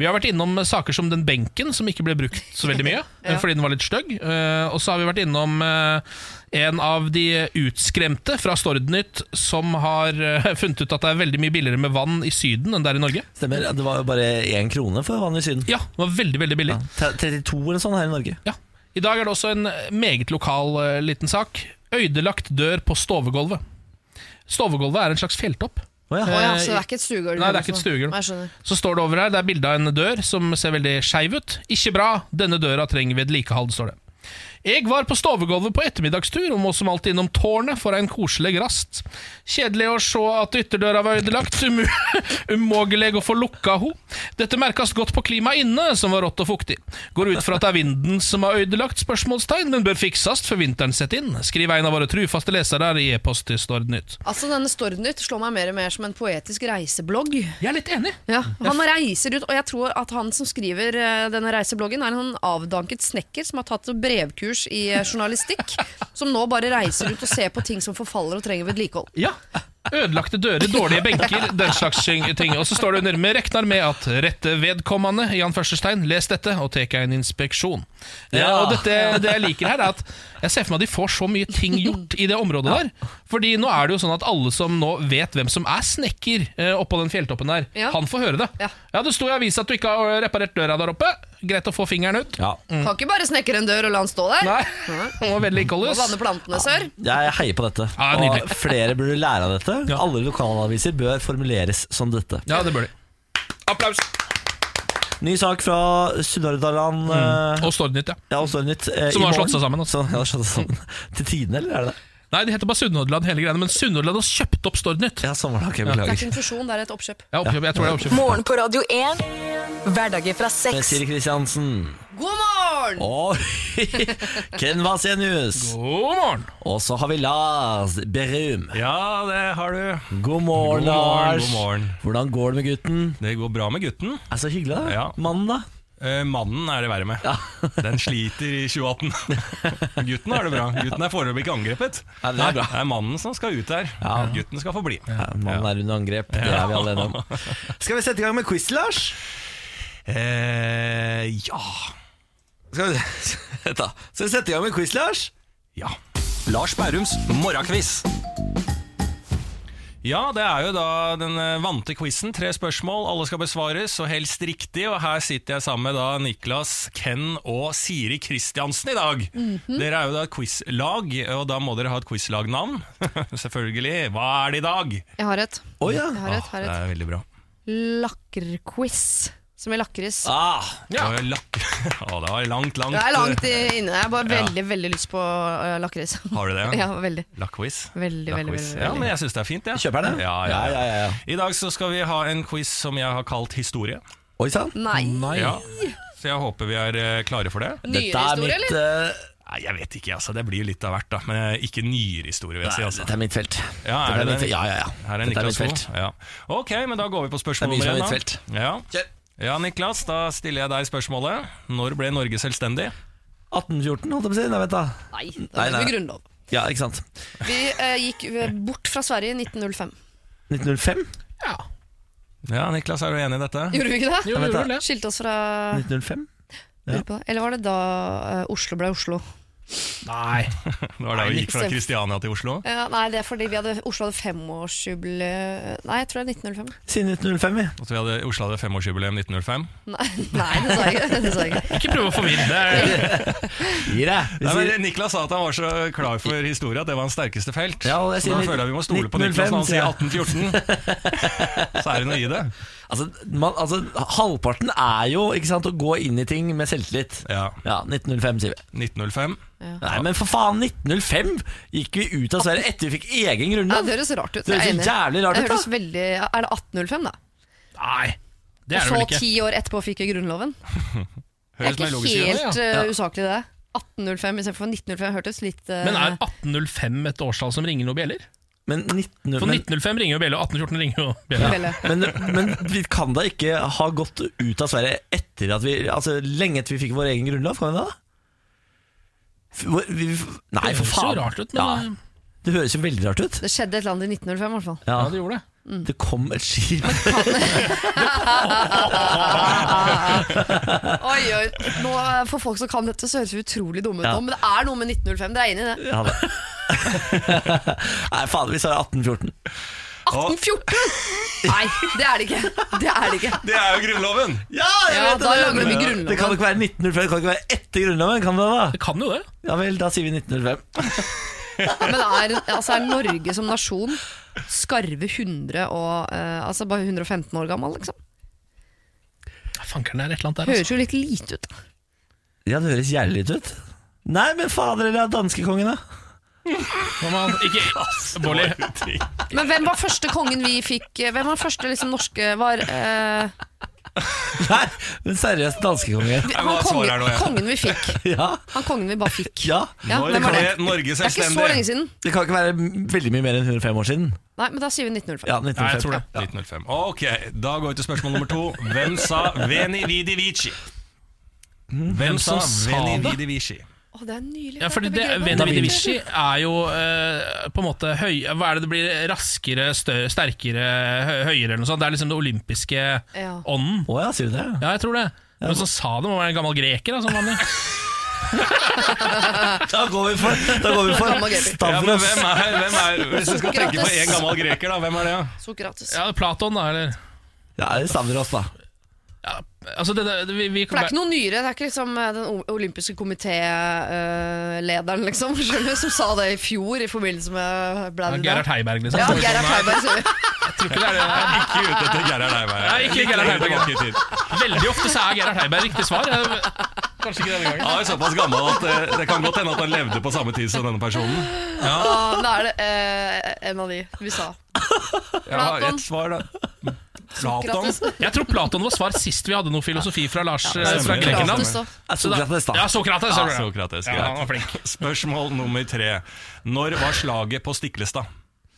Speaker 2: Vi har vært innom eh, saker som den benken, som ikke ble brukt så veldig mye, eh, fordi den var litt stygg. Eh, Og så har vi vært innom eh, en av de utskremte fra Stord Nytt, som har eh, funnet ut at det er veldig mye billigere med vann i Syden enn det er i Norge.
Speaker 1: Stemmer. Det var jo bare én krone for vann i Syden.
Speaker 2: Ja, det var veldig, veldig billig.
Speaker 1: Ja, 32 eller sånn her i Norge.
Speaker 2: Ja. I dag er det også en meget lokal eh, liten sak. Øydelagt dør på stovegolvet. Stovegolvet er en slags fjelltopp.
Speaker 1: Å ja.
Speaker 3: Å ja,
Speaker 2: Eh,
Speaker 3: så det er ikke et stuegulv? liksom.
Speaker 2: Nei, det er ikke et stuegulv.
Speaker 3: Jeg skjønner.
Speaker 2: Så står det over her, det er bilde av en dør som ser veldig skeiv ut. Ikke bra, denne døra trenger vedlikehold, står det. Jeg var på stovegolvet på ettermiddagstur og må som alltid innom tårnet for en koselig rast. Kjedelig å se at ytterdøra var ødelagt, umulig å få lukka ho. Dette merkast godt på klimaet inne, som var rått og fuktig. Går ut fra at det er vinden som har ødelagt, spørsmålstegn, men bør fiksast før vinteren setter inn. Skriver en av våre trufaste lesere i e-post til Stord Nytt.
Speaker 3: Altså, denne Stordnytt slår meg mer og mer som en poetisk reiseblogg.
Speaker 2: Jeg er litt enig.
Speaker 3: Ja, han reiser ut, og jeg tror at han som skriver eh, denne reisebloggen, er en sånn avdanket snekker som har tatt brevkurs i eh, journalistikk, som nå bare reiser ut og ser på ting som forfaller og trenger vedlikehold.
Speaker 2: Ja, Ødelagte dører, dårlige benker, den slags ting. ting. Og så står det under Vi regner med at rette vedkommende i anførselstegn, les dette og tar en inspeksjon. Eh,
Speaker 1: Ja.
Speaker 2: og dette, Det jeg liker her, er at jeg ser for meg at de får så mye ting gjort i det området der. Fordi nå er det jo sånn at alle som nå vet hvem som er snekker eh, oppå den fjelltoppen der,
Speaker 3: Ja.
Speaker 2: han får høre det.
Speaker 3: Ja.
Speaker 2: det sto i avisa at du ikke har reparert døra der oppe. Greit å få fingeren ut.
Speaker 1: Ja.
Speaker 3: Kan ikke bare snekre en dør og la den stå der.
Speaker 2: Nei, han var veldig
Speaker 3: Og
Speaker 2: ikkollus.
Speaker 3: vanne plantene, sør.
Speaker 1: Jeg heier på dette.
Speaker 2: Ja, nydelig.
Speaker 1: og flere burde lære av dette.
Speaker 2: Ja.
Speaker 1: Alle lokalaviser bør formuleres som dette.
Speaker 2: Ja, det bør de. Applaus.
Speaker 1: Ny sak fra Sunnhordland.
Speaker 2: Mm.
Speaker 1: eh,
Speaker 2: Og Stordnytt, ja.
Speaker 1: Ja, og Stornytt. eh,
Speaker 2: Som
Speaker 1: i
Speaker 2: har slått
Speaker 1: morgen.
Speaker 2: seg sammen, altså.
Speaker 1: Så, ja, det har slått seg sammen. Til tiden, eller er det det?
Speaker 2: Nei, det heter bare Sunnhordland hele greiene, men Sunnhordland har kjøpt opp Stordnytt.
Speaker 1: Ja, sånn var det. Ok,
Speaker 3: Det er
Speaker 1: beklager.
Speaker 3: ikke en fusjon, det er et oppkjøp.
Speaker 2: Jeg, oppkjøp, jeg tror det er oppkjøp.
Speaker 4: Morgen på Radio 1. Hverdager fra
Speaker 1: Med
Speaker 4: seks.
Speaker 1: Eh, Siri Kristiansen
Speaker 3: God morgen!
Speaker 1: og Ken Vasenius.
Speaker 2: God morgen!
Speaker 1: Og så har vi Lars Berum.
Speaker 7: Ja, det har du.
Speaker 1: God morgen,
Speaker 7: God morgen,
Speaker 1: Lars.
Speaker 7: god morgen.
Speaker 1: Hvordan går det med gutten?
Speaker 7: Det går bra med gutten.
Speaker 1: Er så hyggelig, da.
Speaker 7: Ja.
Speaker 1: Mannen, da?
Speaker 7: Eh, mannen er det verre med. Den sliter i 2018. gutten har det bra. Gutten er foreløpig ikke angrepet.
Speaker 1: Ja, det er bra.
Speaker 7: Det er mannen som skal ut her. Gutten skal få bli.
Speaker 1: Ja, mannen er under angrep. Det er vi alle enige om. Skal vi sette i gang med quiz, Lars?
Speaker 7: Eh, ja.
Speaker 1: Skal vi, Vent da. Skal vi sette i gang med quiz, Lars?
Speaker 7: ja.
Speaker 8: Lars Bærums morgenkviss.
Speaker 7: Ja, det er jo da den eh, vante quizen. Tre spørsmål, alle skal besvares, og helst riktig. Og her sitter jeg sammen med da Niklas, Ken og Siri Kristiansen i dag.
Speaker 3: Mhm.
Speaker 7: Dere er jo da et quizlag, og da må dere ha et quizlagnavn. Selvfølgelig. Hva er det i dag?
Speaker 3: Jeg har et.
Speaker 1: Å ja.
Speaker 3: Jeg har et,
Speaker 7: det
Speaker 3: har et.
Speaker 7: er veldig bra.
Speaker 3: Lakkerquiz. Som i lakris.
Speaker 1: Ah,
Speaker 7: Ja. det var langt, langt.
Speaker 3: Jeg er langt i- inne. Jeg har bare veldig, veldig lyst på uh, lakris.
Speaker 7: Har du det?
Speaker 3: Ja, veldig.
Speaker 7: Lakquiz.
Speaker 3: Veldig, veldig,
Speaker 7: Lakquiz.
Speaker 3: veldig,
Speaker 7: Ja,
Speaker 3: veldig.
Speaker 7: men jeg syns det er fint, jeg.
Speaker 1: Kjøper den, jeg.
Speaker 7: Ja, ja, ja.
Speaker 1: Ja, ja, ja, ja.
Speaker 7: I dag så skal vi ha en quiz som jeg har kalt historie.
Speaker 1: Oi sann.
Speaker 3: Nei.
Speaker 7: Ja. Så jeg håper vi er eh, klare for det.
Speaker 1: Dette
Speaker 3: Nyere
Speaker 1: er
Speaker 3: historie,
Speaker 1: mitt
Speaker 3: eller?
Speaker 1: eh,
Speaker 7: Nei, jeg vet ikke, altså. Det blir jo litt av hvert, da. Men eh, ikke nyere historie, vil jeg si.
Speaker 1: Nei,
Speaker 7: Altså.
Speaker 1: Dette er mitt felt.
Speaker 7: Ja,
Speaker 1: Dette
Speaker 7: er det
Speaker 1: mitt
Speaker 7: det?
Speaker 1: fe- Ja, ja, ja.
Speaker 7: Her er
Speaker 1: Dette er
Speaker 7: Niklas
Speaker 1: mitt
Speaker 7: Moe.
Speaker 1: felt.
Speaker 7: Ja. Ok, men da går vi på spørsmål
Speaker 1: Det er mye
Speaker 7: nummer
Speaker 1: som er
Speaker 7: én, da. Ja. ja, Niklas, da stiller jeg deg spørsmålet. Når ble Norge selvstendig?
Speaker 1: 1814, holdt jeg på å si. Nei, vent da.
Speaker 3: Nei, da
Speaker 1: Nei,
Speaker 3: er det
Speaker 1: nei.
Speaker 3: grunnlov.
Speaker 1: Ja, ikke sant.
Speaker 3: Vi eh, gikk eh, bort fra Sverige i 1905.
Speaker 1: 1905?
Speaker 2: Ja,
Speaker 7: Ja, Niklas, er du enig i dette?
Speaker 3: Gjorde vi ikke det?
Speaker 2: jo,
Speaker 1: vent da.
Speaker 2: gjorde det.
Speaker 3: Skilte oss fra
Speaker 1: 1905?
Speaker 3: lurer på det. Eller var det da eh, Oslo ble Oslo?
Speaker 2: Nei.
Speaker 7: Det var da vi gikk fra
Speaker 3: Niklas.
Speaker 7: Kristiania til Oslo.
Speaker 3: Ja, nei, det er fordi vi hadde, Oslo hadde femårsjubileum Nei, jeg tror det er 1905.
Speaker 1: Siden 1905, ja.
Speaker 7: Og så vi hadde, Oslo hadde femårsjubileum 1905.
Speaker 3: Nei, nei det sa jeg ikke. Det sa jeg ikke.
Speaker 2: Ikke prøv å forvirre. Det er-
Speaker 1: Gi deg. Vi
Speaker 7: Nei,
Speaker 1: sier-
Speaker 7: men Niklas sa at han var så klar for historie at det var hans sterkeste felt.
Speaker 1: Ja, og jeg
Speaker 7: så
Speaker 1: sier
Speaker 7: da
Speaker 1: litt-
Speaker 7: føler jeg vi må stole på
Speaker 1: 1905,
Speaker 7: Niklas når han sier
Speaker 1: sier
Speaker 7: 1814. så er det noe i det.
Speaker 1: Altså, man, altså, halvparten er jo ikke sant, å gå inn i ting med selvtillit.
Speaker 7: Ja,
Speaker 1: Ja, 1905, sier vi.
Speaker 7: 1905.
Speaker 1: Nei, men for faen, 1905 gikk vi ut av Sverige etter vi fikk egen
Speaker 3: Ja,
Speaker 1: grunnlov.
Speaker 3: det høres rart ut.
Speaker 1: Det høres
Speaker 3: Jeg er enig.
Speaker 1: jævlig rart
Speaker 3: Det
Speaker 1: ut,
Speaker 3: høres
Speaker 1: da.
Speaker 3: veldig, er det 1805, da?
Speaker 2: Nei, det er det vel
Speaker 3: Og så
Speaker 2: ikke.
Speaker 3: ti år etterpå fikk vi Grunnloven. Det er
Speaker 7: Høres mer
Speaker 3: ikke
Speaker 7: logisk ut.
Speaker 3: helt
Speaker 2: ja.
Speaker 3: eh, usaklig, det. 1805 istedenfor 1905 hørtes litt eh,
Speaker 2: Men er 1805 et årstall som ringer noen bjeller?
Speaker 1: Men, 19,
Speaker 2: For
Speaker 1: men,
Speaker 2: 1905 ringer jo bjeller, og 1814 ringer jo bjeller.
Speaker 3: vel, eh,
Speaker 1: men, men vi kan da ikke ha gått ut av Sverige etter at vi Altså, lenge etter vi fikk vår egen grunnlov, kan vi da? F- hvor- vi- Nei,
Speaker 2: Det
Speaker 1: for
Speaker 2: høres jo
Speaker 1: faen.
Speaker 2: rart ut, men
Speaker 1: Ja, det høres jo veldig rart ut.
Speaker 3: Det skjedde et eller annet i 1905, i hvert fall.
Speaker 2: ja,
Speaker 1: Ja,
Speaker 2: det gjorde det.
Speaker 1: det kom et skip.
Speaker 3: Oi, oi. Nå, eh, for folk som kan dette, så høres vi utrolig dumme ut
Speaker 1: Ja.
Speaker 3: nå, men det er noe med 1905. Dere er enig i det?
Speaker 1: Ja, det. Nei, faen, vi sa 1814.
Speaker 3: 1814! Nei, det er det ikke. Det er det ikke.
Speaker 7: Det er jo Grunnloven!
Speaker 1: Ja,
Speaker 3: Ja, da lager vi Grunnloven.
Speaker 1: Det kan jo ikke være 1905, det kan ikke være etter Grunnloven, kan det da?
Speaker 2: Det kan jo det.
Speaker 1: Ja vel, da sier vi 1905.
Speaker 3: Ja, men er, altså, er Norge som nasjon skarve 100 og eh, Altså bare 115 år gammel, liksom?
Speaker 2: Fankeren er et eller annet der, altså.
Speaker 3: Høres jo litt lite ut.
Speaker 1: Ja, det høres jævlig litt ut. Nei, men fader, det er danskekongen, da.
Speaker 2: Hva man- Ikke Bolly.
Speaker 3: Men hvem var første kongen vi fikk Hvem var første liksom, norske var, eh,
Speaker 1: Nei, men seriøst, danskekongen.
Speaker 7: må
Speaker 3: han
Speaker 7: ha svar her
Speaker 3: kongen,
Speaker 7: nå, jeg.
Speaker 3: kongen vi fikk.
Speaker 1: Ja,
Speaker 3: Han kongen vi bare fikk.
Speaker 1: ja.
Speaker 3: Ja,
Speaker 7: Når
Speaker 3: hvem var
Speaker 7: ble
Speaker 3: det?
Speaker 7: Norge
Speaker 3: Det er ikke så lenge
Speaker 7: selvstendig?
Speaker 3: siden.
Speaker 1: Det kan ikke være veldig mye mer enn 105 år siden.
Speaker 3: Nei, men da sier vi 1905.
Speaker 1: Ja,
Speaker 2: Nei, jeg
Speaker 1: 1905.
Speaker 2: tror det.
Speaker 7: 1905. Ok, da går vi til spørsmål nummer to. Hvem sa Veni Vidi Vici? Hvem
Speaker 2: som
Speaker 7: sa
Speaker 2: sa
Speaker 7: Veni
Speaker 2: det?
Speaker 7: Vidi Vici?
Speaker 3: Å, det er nylig.
Speaker 2: Ja, fordi
Speaker 3: det
Speaker 2: det,
Speaker 3: er
Speaker 2: Venn
Speaker 1: Da
Speaker 2: Da
Speaker 1: Vinci.
Speaker 2: Vinci er jo eh, på en måte høy, Hva er det det blir? Raskere, større, sterkere, hø høyere eller noe sånt. Det er liksom det olympiske
Speaker 3: Ja.
Speaker 2: ånden.
Speaker 1: Å ja, sier du det?
Speaker 2: Ja, jeg tror det. Men som sa det, må være en gammel greker. Da, som vanlig.
Speaker 1: Da går vi for, da går vi
Speaker 3: Gammel
Speaker 1: for
Speaker 3: Gabriel.
Speaker 7: Ja, men
Speaker 1: Stavros.
Speaker 7: hvem er, hvem er Hvis du skal tenke på en gammel greker, da, hvem er det?
Speaker 3: Sokrates.
Speaker 2: Ja, Platon, da, eller?
Speaker 1: Ja, det er Stavros, da.
Speaker 2: Ja, altså, det, det, vi, vi
Speaker 3: For det er ikke noe nyere. Det er ikke liksom eh, den o- olympiske komitélederen liksom, skjønner du, som sa det i fjor i forbindelse med bla, bla,
Speaker 2: Gerhard
Speaker 3: bla.
Speaker 2: Heiberg, liksom.
Speaker 3: Ja,
Speaker 2: Sånn,
Speaker 3: Gerhard
Speaker 2: nei,
Speaker 3: Heiberg. sier vi.
Speaker 2: Jeg tror ikke det er det.
Speaker 7: Jeg
Speaker 2: Nei.
Speaker 7: er Ikke ute etter Gerhard Heiberg.
Speaker 2: Nei, ikke Gerhard Heiberg.
Speaker 7: Tilbake i tid.
Speaker 2: Veldig ofte så er Gerhard Heiberg riktig svar. Jeg- Kanskje ikke denne gangen.
Speaker 7: Han er såpass gammel at eh, det kan godt hende at han levde på samme tid som denne personen. Ja,
Speaker 3: Og Da er det eh, en av de vi sa.
Speaker 7: jeg har rett svar, da. Platon.
Speaker 3: Sokrates.
Speaker 2: Jeg tror Platon var svar sist vi hadde noe filosofi fra Lars eh,
Speaker 7: det
Speaker 2: fra
Speaker 7: stemmer.
Speaker 2: Grekenland.
Speaker 3: Sokrates, da.
Speaker 1: Er Sokrates, da.
Speaker 2: Ja, Sokrates.
Speaker 7: Ja,
Speaker 2: er det.
Speaker 7: Sokrates,
Speaker 2: ja, han var
Speaker 7: greit.
Speaker 2: flink.
Speaker 7: Spørsmål nummer tre. Når var slaget på Stiklestad?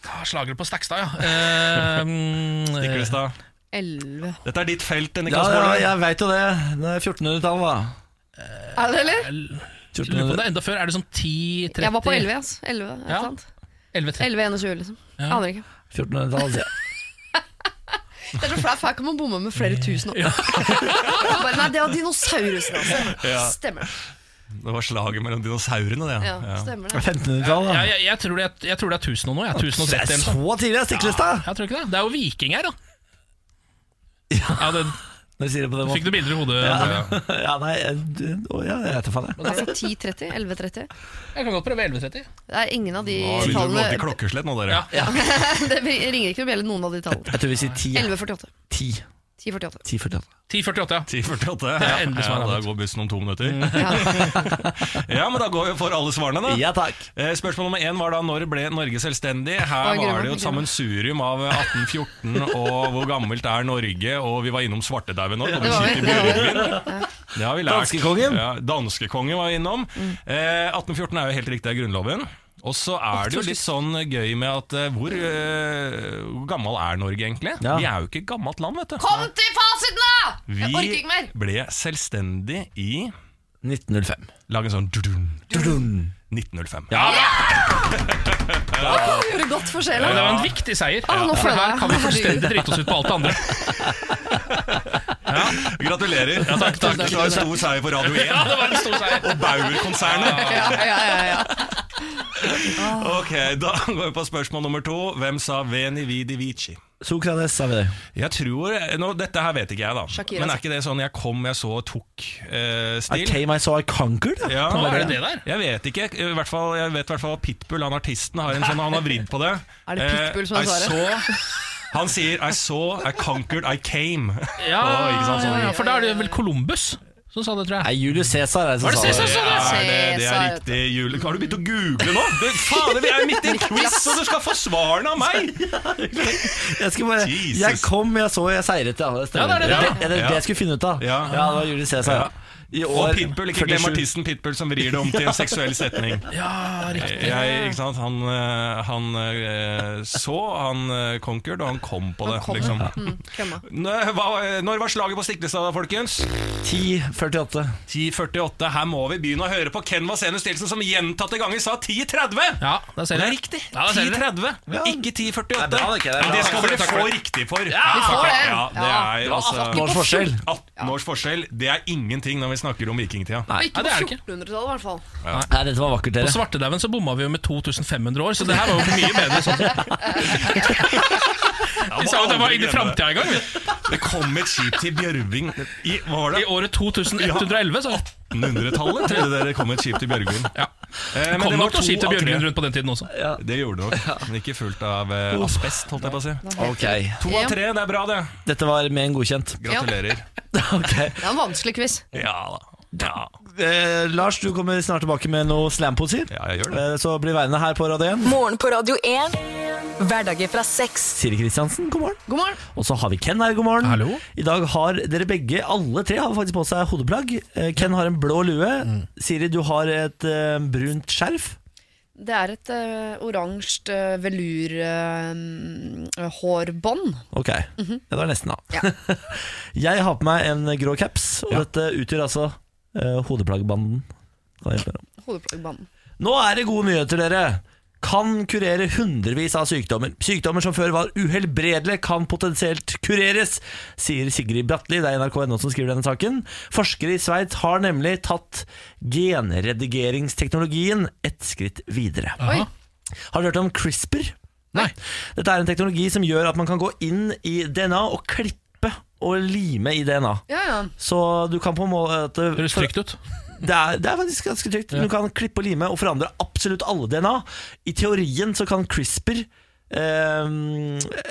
Speaker 2: Ah, Slager på Stakstad, ja. Eh, mm,
Speaker 7: Stiklestad.
Speaker 3: 11.
Speaker 7: Dette er ditt felt,
Speaker 1: Ja,
Speaker 7: Niklas
Speaker 1: ja,
Speaker 7: Baarli.
Speaker 1: jeg veit jo det. Det er 1400-tallet, da.
Speaker 3: Er det det, eller?
Speaker 2: jeg lurer på om det
Speaker 1: 1400.
Speaker 2: er enda før. Er det sånn 10-30?
Speaker 3: Jeg var på 11, altså. 11, et
Speaker 2: Ja.
Speaker 3: eller annet.
Speaker 2: 11-30.
Speaker 3: 11-21, liksom. Aner ikke.
Speaker 1: 1400-tallet, sier jeg.
Speaker 3: Det er så flaut, for her kan man bomme med flere tusen år. Bare, nei, det var dinosaurusen, altså.
Speaker 7: Ja.
Speaker 3: Stemmer det.
Speaker 7: Det var slaget mellom dinosaurene, det.
Speaker 3: Ja,
Speaker 7: Ja.
Speaker 3: stemmer det.
Speaker 1: 1500-tallet,
Speaker 2: Ja,
Speaker 1: da.
Speaker 2: jeg, jeg, tror det, jeg tror det er 1000 og noe. Jeg, 1030
Speaker 1: Det er
Speaker 2: eller noe.
Speaker 1: så tidlig, det er Stiklestad!
Speaker 2: jeg tror ikke det. Det er jo viking her, da. Ja, det,
Speaker 1: Når du sier det på den
Speaker 2: Fikk
Speaker 1: måten.
Speaker 2: du bilder i hodet? Andrea?
Speaker 1: Ja, nei, jeg, å, ja, jeg vet da faen, jeg.
Speaker 3: Altså 10.30? 11.30?
Speaker 2: Jeg kan godt prøve 11.30.
Speaker 3: Det er ingen av de
Speaker 7: Nå begynner vi å gå til
Speaker 3: tallene
Speaker 7: klokkeslett nå,
Speaker 2: Ja.
Speaker 7: dere.
Speaker 3: Det ringer ikke noe bjelle, noen av de tallene.
Speaker 1: Jeg tror vi sier 10.
Speaker 3: 11.48.
Speaker 1: 10.
Speaker 3: 10.48.
Speaker 1: 10
Speaker 2: 10.48, ja.
Speaker 7: 10.48.
Speaker 2: er
Speaker 7: Ja,
Speaker 2: endelig Mm.
Speaker 7: ja,
Speaker 2: svaret
Speaker 7: da
Speaker 2: annet.
Speaker 7: går bussen om to minutter. ja, men da går vi for alle svarene, da.
Speaker 1: Ja takk.
Speaker 7: Eh, Spørsmål nummer én var da når ble Norge selvstendig? Her
Speaker 3: Oi, gruer meg,
Speaker 7: var det jo et
Speaker 3: gruer meg.
Speaker 7: sammensurium av 1814 og hvor gammelt er Norge, og vi var innom svartedauden òg.
Speaker 3: Det var vi.
Speaker 7: Det har vi lært.
Speaker 1: Danskekongen.
Speaker 7: Ja, Danskekongen var innom.
Speaker 3: Mm.
Speaker 7: Eh, 1814 er jo helt riktig av Grunnloven. Og så er det jo litt sånn gøy med at eh, hvor, eh, hvor gammel er Norge egentlig?
Speaker 1: Ja.
Speaker 7: Vi er jo ikke et gammelt land, vet du.
Speaker 3: Kom til fasiten, da! Jeg orker ikke mer!
Speaker 7: Vi ble selvstendig i
Speaker 1: 1905.
Speaker 7: Lag en sånn dudun,
Speaker 1: Dudum.
Speaker 7: 1905.
Speaker 3: Gjorde godt for
Speaker 2: Det
Speaker 3: sjela.
Speaker 2: var en viktig seier.
Speaker 3: Å, nå
Speaker 2: For
Speaker 3: føler
Speaker 2: her
Speaker 3: jeg-
Speaker 2: kan vi
Speaker 3: Herregud.
Speaker 2: fullstendig drite oss ut på alt det andre.
Speaker 7: Gratulerer. Ja, takk, takk. Det var en stor seier for Radio 1.
Speaker 2: Ja, det var en stor seier.
Speaker 7: og Bauer-konsernet.
Speaker 3: Ja, ja, ja, ja.
Speaker 7: Ok, Da går vi på spørsmål nummer to. Hvem sa Veni vidi vici?
Speaker 1: Sokrates, sa vi det.
Speaker 7: Jeg tror, nå, Dette her vet ikke jeg, da.
Speaker 3: Shakira
Speaker 7: Men
Speaker 3: sa-
Speaker 7: er ikke det sånn 'jeg kom, jeg så,
Speaker 1: I
Speaker 7: tok'-stil?
Speaker 1: came, I saw, I conquered. ja.
Speaker 7: ja,
Speaker 2: Hva er det det der?
Speaker 7: Jeg vet ikke. I hvert fall, jeg vet i hvert fall at Pitbull, han artisten, har en sånn Han har vridd på det.
Speaker 3: Er det Pitbull som er
Speaker 7: Eh, I
Speaker 3: svaret?
Speaker 7: saw- han sier 'I saw, I conquered, I came'.
Speaker 2: Ja,
Speaker 7: Å, ikke sant, sånn.
Speaker 2: ja, for da er det vel Columbus som sa det, tror jeg.
Speaker 1: Nei, Julius Cæsar er det som
Speaker 2: Var det
Speaker 1: sa det.
Speaker 2: Cæsar som sa det?
Speaker 7: Ja, det, det er
Speaker 3: Cæsar.
Speaker 7: riktig jule... Har du begynt å google nå? Det, faen, vi er midt i en quiz, og du skal få svarene av meg!
Speaker 1: Jeg, skulle bare,
Speaker 7: Jesus.
Speaker 1: jeg kom, jeg så, jeg seiret. Ja, det stemmer.
Speaker 2: Ja, det er det, det er
Speaker 1: det, det jeg skulle finne ut av.
Speaker 7: Ja.
Speaker 1: det var Julius Cæsar. I
Speaker 7: Og
Speaker 1: år
Speaker 7: Pitbull, ikke glem
Speaker 1: 47.
Speaker 7: artisten Pitbull som vrir det om til en seksuell setning.
Speaker 2: Ja, riktig.
Speaker 7: Jeg, ikke sant? Han, eh, han eh, så, han eh, conquered, og han kom på det.
Speaker 3: kom.
Speaker 7: Liksom.
Speaker 3: Mm, kømma.
Speaker 7: Nå- hva- eh, Når var slaget på Stiklestad, da, folkens?
Speaker 1: 10.48.
Speaker 7: 10.48. Her må vi begynne å høre på Ken Vasenus Nilsen, som gjentatte ganger sa 10.30!
Speaker 2: Ja, der ser
Speaker 7: Det er
Speaker 2: dere.
Speaker 7: riktig!
Speaker 2: Ja, da ser dere.
Speaker 7: 10.30,
Speaker 1: Ja.
Speaker 7: ikke 10.48.
Speaker 1: Det er bra, det, Ken. Det er bra.
Speaker 7: Men det skal dere
Speaker 2: Takk for
Speaker 7: få
Speaker 2: det.
Speaker 7: riktig for.
Speaker 2: vi
Speaker 3: får det.
Speaker 7: Ja, det
Speaker 3: Ja.
Speaker 7: er altså
Speaker 1: Års forskjell.
Speaker 7: 18 års forskjell. Det er ingenting når vi snakker om vikingtida.
Speaker 2: Nei,
Speaker 3: Ikke
Speaker 2: det
Speaker 3: på
Speaker 2: er det ikke.
Speaker 3: 1400-tallet, i hvert fall.
Speaker 1: Nei, dette var vakkert,
Speaker 2: På
Speaker 1: dere.
Speaker 2: svartedauden så bomma vi jo med 2500 år, så det her var jo mye bedre. Sånn. Vi sa jo at det var inn i framtida en gang. vi.
Speaker 7: Det kom et skip til Bjørving i, hva var
Speaker 2: I
Speaker 7: det
Speaker 2: året 2111, så
Speaker 7: 1800-tallet, trodde dere kom et skip til Bjørving.
Speaker 2: ja.
Speaker 7: Eh, men
Speaker 2: kom
Speaker 7: det var
Speaker 2: nok noen skip til
Speaker 7: to av tre.
Speaker 2: Bjørnlund rundt på den tiden også.
Speaker 7: Det gjorde det nok, men ikke fullt av eh, asbest, holdt jeg på å si.
Speaker 1: Ok,
Speaker 7: To av tre, det er bra, det.
Speaker 1: Dette var mer enn godkjent.
Speaker 7: Gratulerer.
Speaker 1: Ok
Speaker 3: Det er en vanskelig quiz.
Speaker 7: Ja da. Ja.
Speaker 1: eh, Lars, du kommer snart tilbake med noe slampoesi.
Speaker 7: Ja, jeg gjør det.
Speaker 1: eh, så bli værende her på Radio 1.
Speaker 4: Morgen på Radio 1. Hverdager fra seks.
Speaker 1: Siri Kristiansen, god morgen.
Speaker 3: God morgen.
Speaker 1: Og så har vi Ken her, god morgen.
Speaker 2: Hallo.
Speaker 1: I dag har dere begge, alle tre, har faktisk på seg hodeplagg. Eh, Ken har en blå lue. Siri, du har et eh, brunt skjerf.
Speaker 3: Det er et uh, oransje eh, uh, mm, velurhårbånd.
Speaker 1: Ok, ja, det var nesten da.
Speaker 3: Ja.
Speaker 1: jeg har på meg en grå caps, og dette utgjør altså eh, hodeplaggbanden. Kan jeg hjelpe dere om?
Speaker 3: Hodeplaggbanen.
Speaker 1: Nå er det gode nyheter, dere! Kan kurere hundrevis av sykdommer. Sykdommer som før var uhelbredelige, kan potensielt kureres, sier Sigrid Bratli. Det er nrk.no som skriver denne saken. Forskere i Sveits har nemlig tatt genredigeringsteknologien et skritt videre.
Speaker 3: Oi,
Speaker 1: Har dere hørt om CRISPR?
Speaker 2: Nei.
Speaker 1: Dette er en teknologi som gjør at man kan gå inn i DNA og klippe og lime i DNA.
Speaker 3: ja, ja.
Speaker 1: Så du kan på en måte
Speaker 2: Høres trygt ut.
Speaker 1: det er, det er faktisk ganske trygt. Du kan klippe og lime og forandre absolutt alle DNA. I teorien så kan CRISPR eh,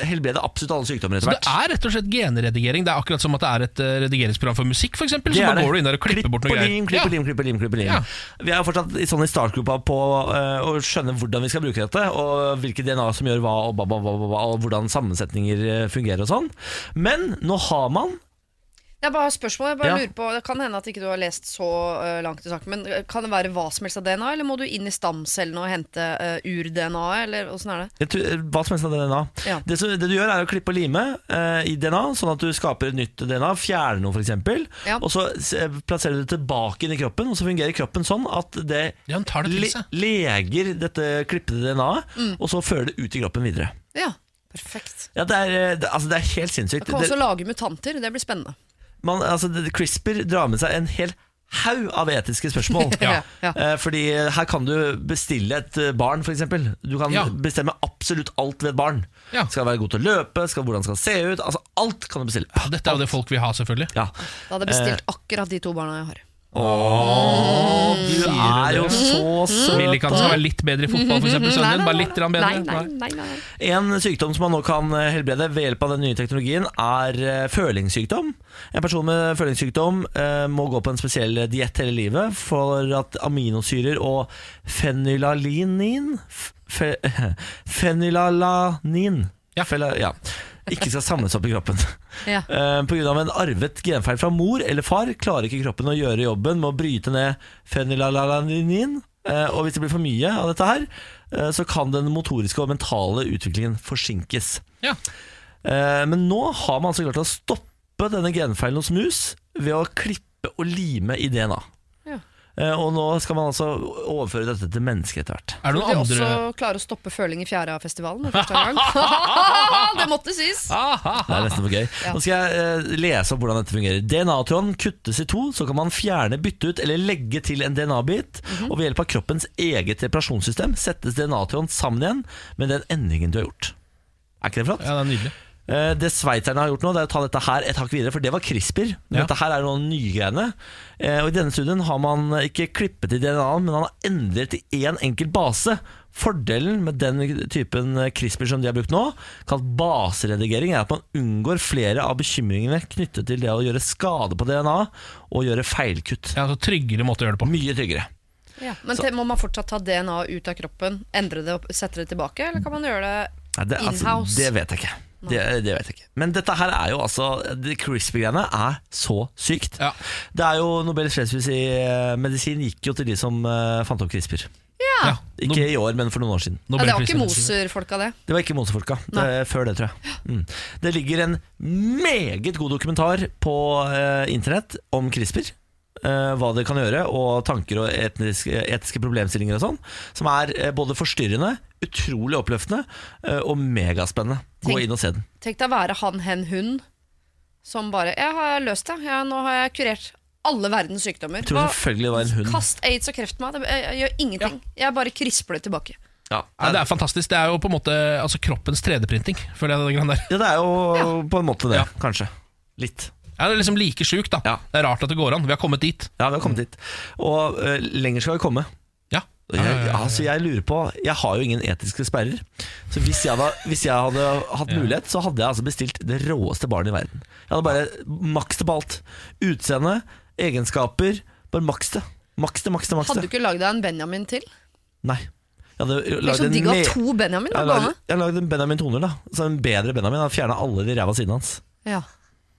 Speaker 1: helbrede absolutt alle sykdommer etter
Speaker 2: Det
Speaker 1: hvert.
Speaker 2: er rett og slett genredigering. Det er akkurat som at det er et eh, redigeringsprogram for musikk, f.eks. Så
Speaker 1: Det er
Speaker 2: bare
Speaker 1: det.
Speaker 2: går du inn der og klipper bort noe
Speaker 1: Klipp og lim, klipp og
Speaker 2: greier.
Speaker 1: lim, klipp og lim. Klipp og lim.
Speaker 2: Ja.
Speaker 1: Vi er jo fortsatt i sånn i startgruppa på eh, å skjønne hvordan vi skal bruke dette, og hvilke DNA som gjør hva, og, ba, ba, ba, ba, ba, og hvordan sammensetninger eh, fungerer og sånn. Men nå har man
Speaker 3: Jeg bare har spørsmål. Jeg bare
Speaker 1: Ja.
Speaker 3: lurer på, det kan hende at ikke du har lest så eh, langt i saken, men eh, kan det være hva som helst av DNA, eller må du inn i stamcellene og hente eh, ur-DNA-et, eller åssen er det?
Speaker 1: jeg tror, eh, Hva som helst av DNA.
Speaker 3: Ja.
Speaker 1: Det, som, det du gjør, er å klippe og lime eh, i DNA, sånn at du skaper et nytt DNA, fjerner noe f.eks.,
Speaker 3: Ja.
Speaker 1: og så s- eh, plasserer du det tilbake inn i kroppen, og så fungerer kroppen sånn at det
Speaker 2: Ja, han tar det til
Speaker 1: le-
Speaker 2: seg.
Speaker 1: leger dette klippede DNA-et,
Speaker 3: Mm.
Speaker 1: og så fører det ut i kroppen videre.
Speaker 3: Ja, perfekt.
Speaker 1: Ja, det er, eh, det, altså, det er helt sinnssykt.
Speaker 3: Jeg kan
Speaker 1: Det-
Speaker 3: også lage mutanter, det blir spennende.
Speaker 1: man, altså, det- CRISPR drar med seg en hel haug av etiske spørsmål.
Speaker 3: Ja, ja.
Speaker 1: Eh, Fordi her kan du bestille et eh, barn, f.eks. Du kan
Speaker 2: Ja.
Speaker 1: bestemme absolutt alt ved et barn.
Speaker 2: Ja.
Speaker 1: Skal være god til å løpe, skal, hvordan skal se ut. Altså, alt kan du bestille.
Speaker 2: Ja, Dette er jo det folk vil ha, selvfølgelig.
Speaker 1: Ja.
Speaker 3: Da hadde jeg bestilt
Speaker 1: Eh.
Speaker 3: akkurat de to barna jeg har.
Speaker 1: Du er jo så søt.
Speaker 2: Millikan skal være litt bedre i fotball, f.eks. Sønnen din.
Speaker 3: nei,
Speaker 2: Bare litt grann bedre.
Speaker 3: Nei, nei, nei, nei.
Speaker 1: En sykdom som man nå kan eh, helbrede ved hjelp av den nye teknologien, er eh, følingssykdom. En person med følingssykdom eh, må gå på en spesiell diett hele livet for at aminosyrer og fenylalanin f- fe, Fenylalanin
Speaker 2: Ja.
Speaker 1: Fela- ja, ikke skal samles opp i kroppen.
Speaker 3: Ja.
Speaker 1: Eh, På grunn av en arvet genfeil fra mor eller far klarer ikke kroppen å gjøre jobben med å bryte ned fenylalanin. eh, Og hvis det blir for mye av dette her, eh, så kan den motoriske og mentale utviklingen forsinkes.
Speaker 2: Ja.
Speaker 1: Eh, Men nå har man altså klart å stoppe denne genfeilen hos mus ved å klippe og lime i DNA.
Speaker 3: Ja.
Speaker 1: Eh, Og nå skal man altså overføre dette til mennesker etter hvert.
Speaker 3: Tror
Speaker 2: Er det
Speaker 3: de
Speaker 2: noen
Speaker 3: også
Speaker 2: andre
Speaker 3: klarer å stoppe føling i Fjæra-festivalen for første gang. det måtte sies!
Speaker 1: Det er nesten for gøy. Nå skal jeg eh, lese opp hvordan dette fungerer. DNA-tråden kuttes i to, så kan man fjerne, bytte ut eller legge til en DNA-bit. Og ved hjelp av kroppens eget reparasjonssystem settes DNA-tråden sammen igjen med den endringen du har gjort. Er ikke det flott?
Speaker 2: Ja, det er nydelig.
Speaker 1: Eh, Det sveitserne har gjort nå, det er å ta dette her et hakk videre, for det var CRISPR. Men
Speaker 2: Ja.
Speaker 1: Dette her er noen nye greiene. Eh, Og I denne studien har man ikke klippet i DNA-en, men han har endret i én en enkelt base. Fordelen med den typen CRISPR som de har brukt nå, kalt baseredigering, er at man unngår flere av bekymringene knyttet til det å gjøre skade på DNA og gjøre feilkutt.
Speaker 2: Ja, altså Tryggere måte å gjøre det på.
Speaker 1: Mye tryggere.
Speaker 3: Ja. Men te- må man fortsatt ta DNA ut av kroppen, endre det og sette det tilbake, eller kan man gjøre
Speaker 1: Nei,
Speaker 3: det
Speaker 1: det, altså,
Speaker 3: in-house?
Speaker 1: det vet jeg ikke. Det, det vet jeg ikke. Men dette her er jo altså det CRISPR-greiene er så sykt.
Speaker 2: Ja.
Speaker 1: Det er jo Nobels fredspris i eh, medisin gikk jo til de som eh, fant opp CRISPR.
Speaker 2: Ja.
Speaker 1: Ikke i år, men for noen år siden.
Speaker 3: ja, det var ikke
Speaker 2: Nobelprisen.
Speaker 3: Moser-folka, det.
Speaker 1: Det var ikke Mosefolka. Det,
Speaker 3: Nei.
Speaker 1: før det, tror jeg. Mm. Det ligger en meget god dokumentar på eh, internett om CRISPR. eh, hva det kan gjøre, og tanker og etniske, etiske problemstillinger og sånn. Som er eh, både forstyrrende, utrolig oppløftende eh, og megaspennende. Gå
Speaker 3: Tenk-
Speaker 1: inn og se den.
Speaker 3: Tenk deg å være han, hen, hun som bare Jeg har løst det. Jeg, nå har jeg kurert alle verdens sykdommer.
Speaker 1: Jeg tror selvfølgelig det var en hund.
Speaker 3: Kast aids og kreft meg. Det- Jeg, jeg gjør ingenting. Jeg bare krisper det tilbake.
Speaker 1: Ja,
Speaker 2: Ja, det er fantastisk. Det er jo på en måte altså, kroppens 3D-printing. Føler jeg det grann der.
Speaker 1: ja, det er jo på en måte det, kanskje. Litt.
Speaker 2: Ja, det er liksom like sjukt, da.
Speaker 1: Ja.
Speaker 2: Det er rart at det går an. Vi har kommet dit.
Speaker 1: Ja, vi har kommet dit. Og eh, lenger skal vi komme.
Speaker 2: Mm. Ja.
Speaker 1: Og Jeg, altså jeg lurer på Jeg har jo ingen etiske sperrer. Så hvis jeg, da, hvis jeg hadde hatt mulighet, så hadde jeg altså bestilt det råeste barnet i verden. Jeg hadde bare maks det på alt. Utseende, egenskaper. Bare maks det. Maks det, maks det, maks
Speaker 3: Hadde du
Speaker 1: det.
Speaker 3: ikke lagd deg en Benjamin til?
Speaker 1: Nei. Jeg hadde
Speaker 3: Det er sånn
Speaker 1: lagd
Speaker 3: så
Speaker 1: en
Speaker 3: digg å ha
Speaker 1: me-
Speaker 3: to Benjamin.
Speaker 1: jeg
Speaker 3: da,
Speaker 1: hadde
Speaker 3: gående.
Speaker 1: lagd- jeg hadde lagd en Benjamin Toner, da. Så en bedre Benjamin. Han fjerna alle de ræva sidene hans.
Speaker 3: Ja,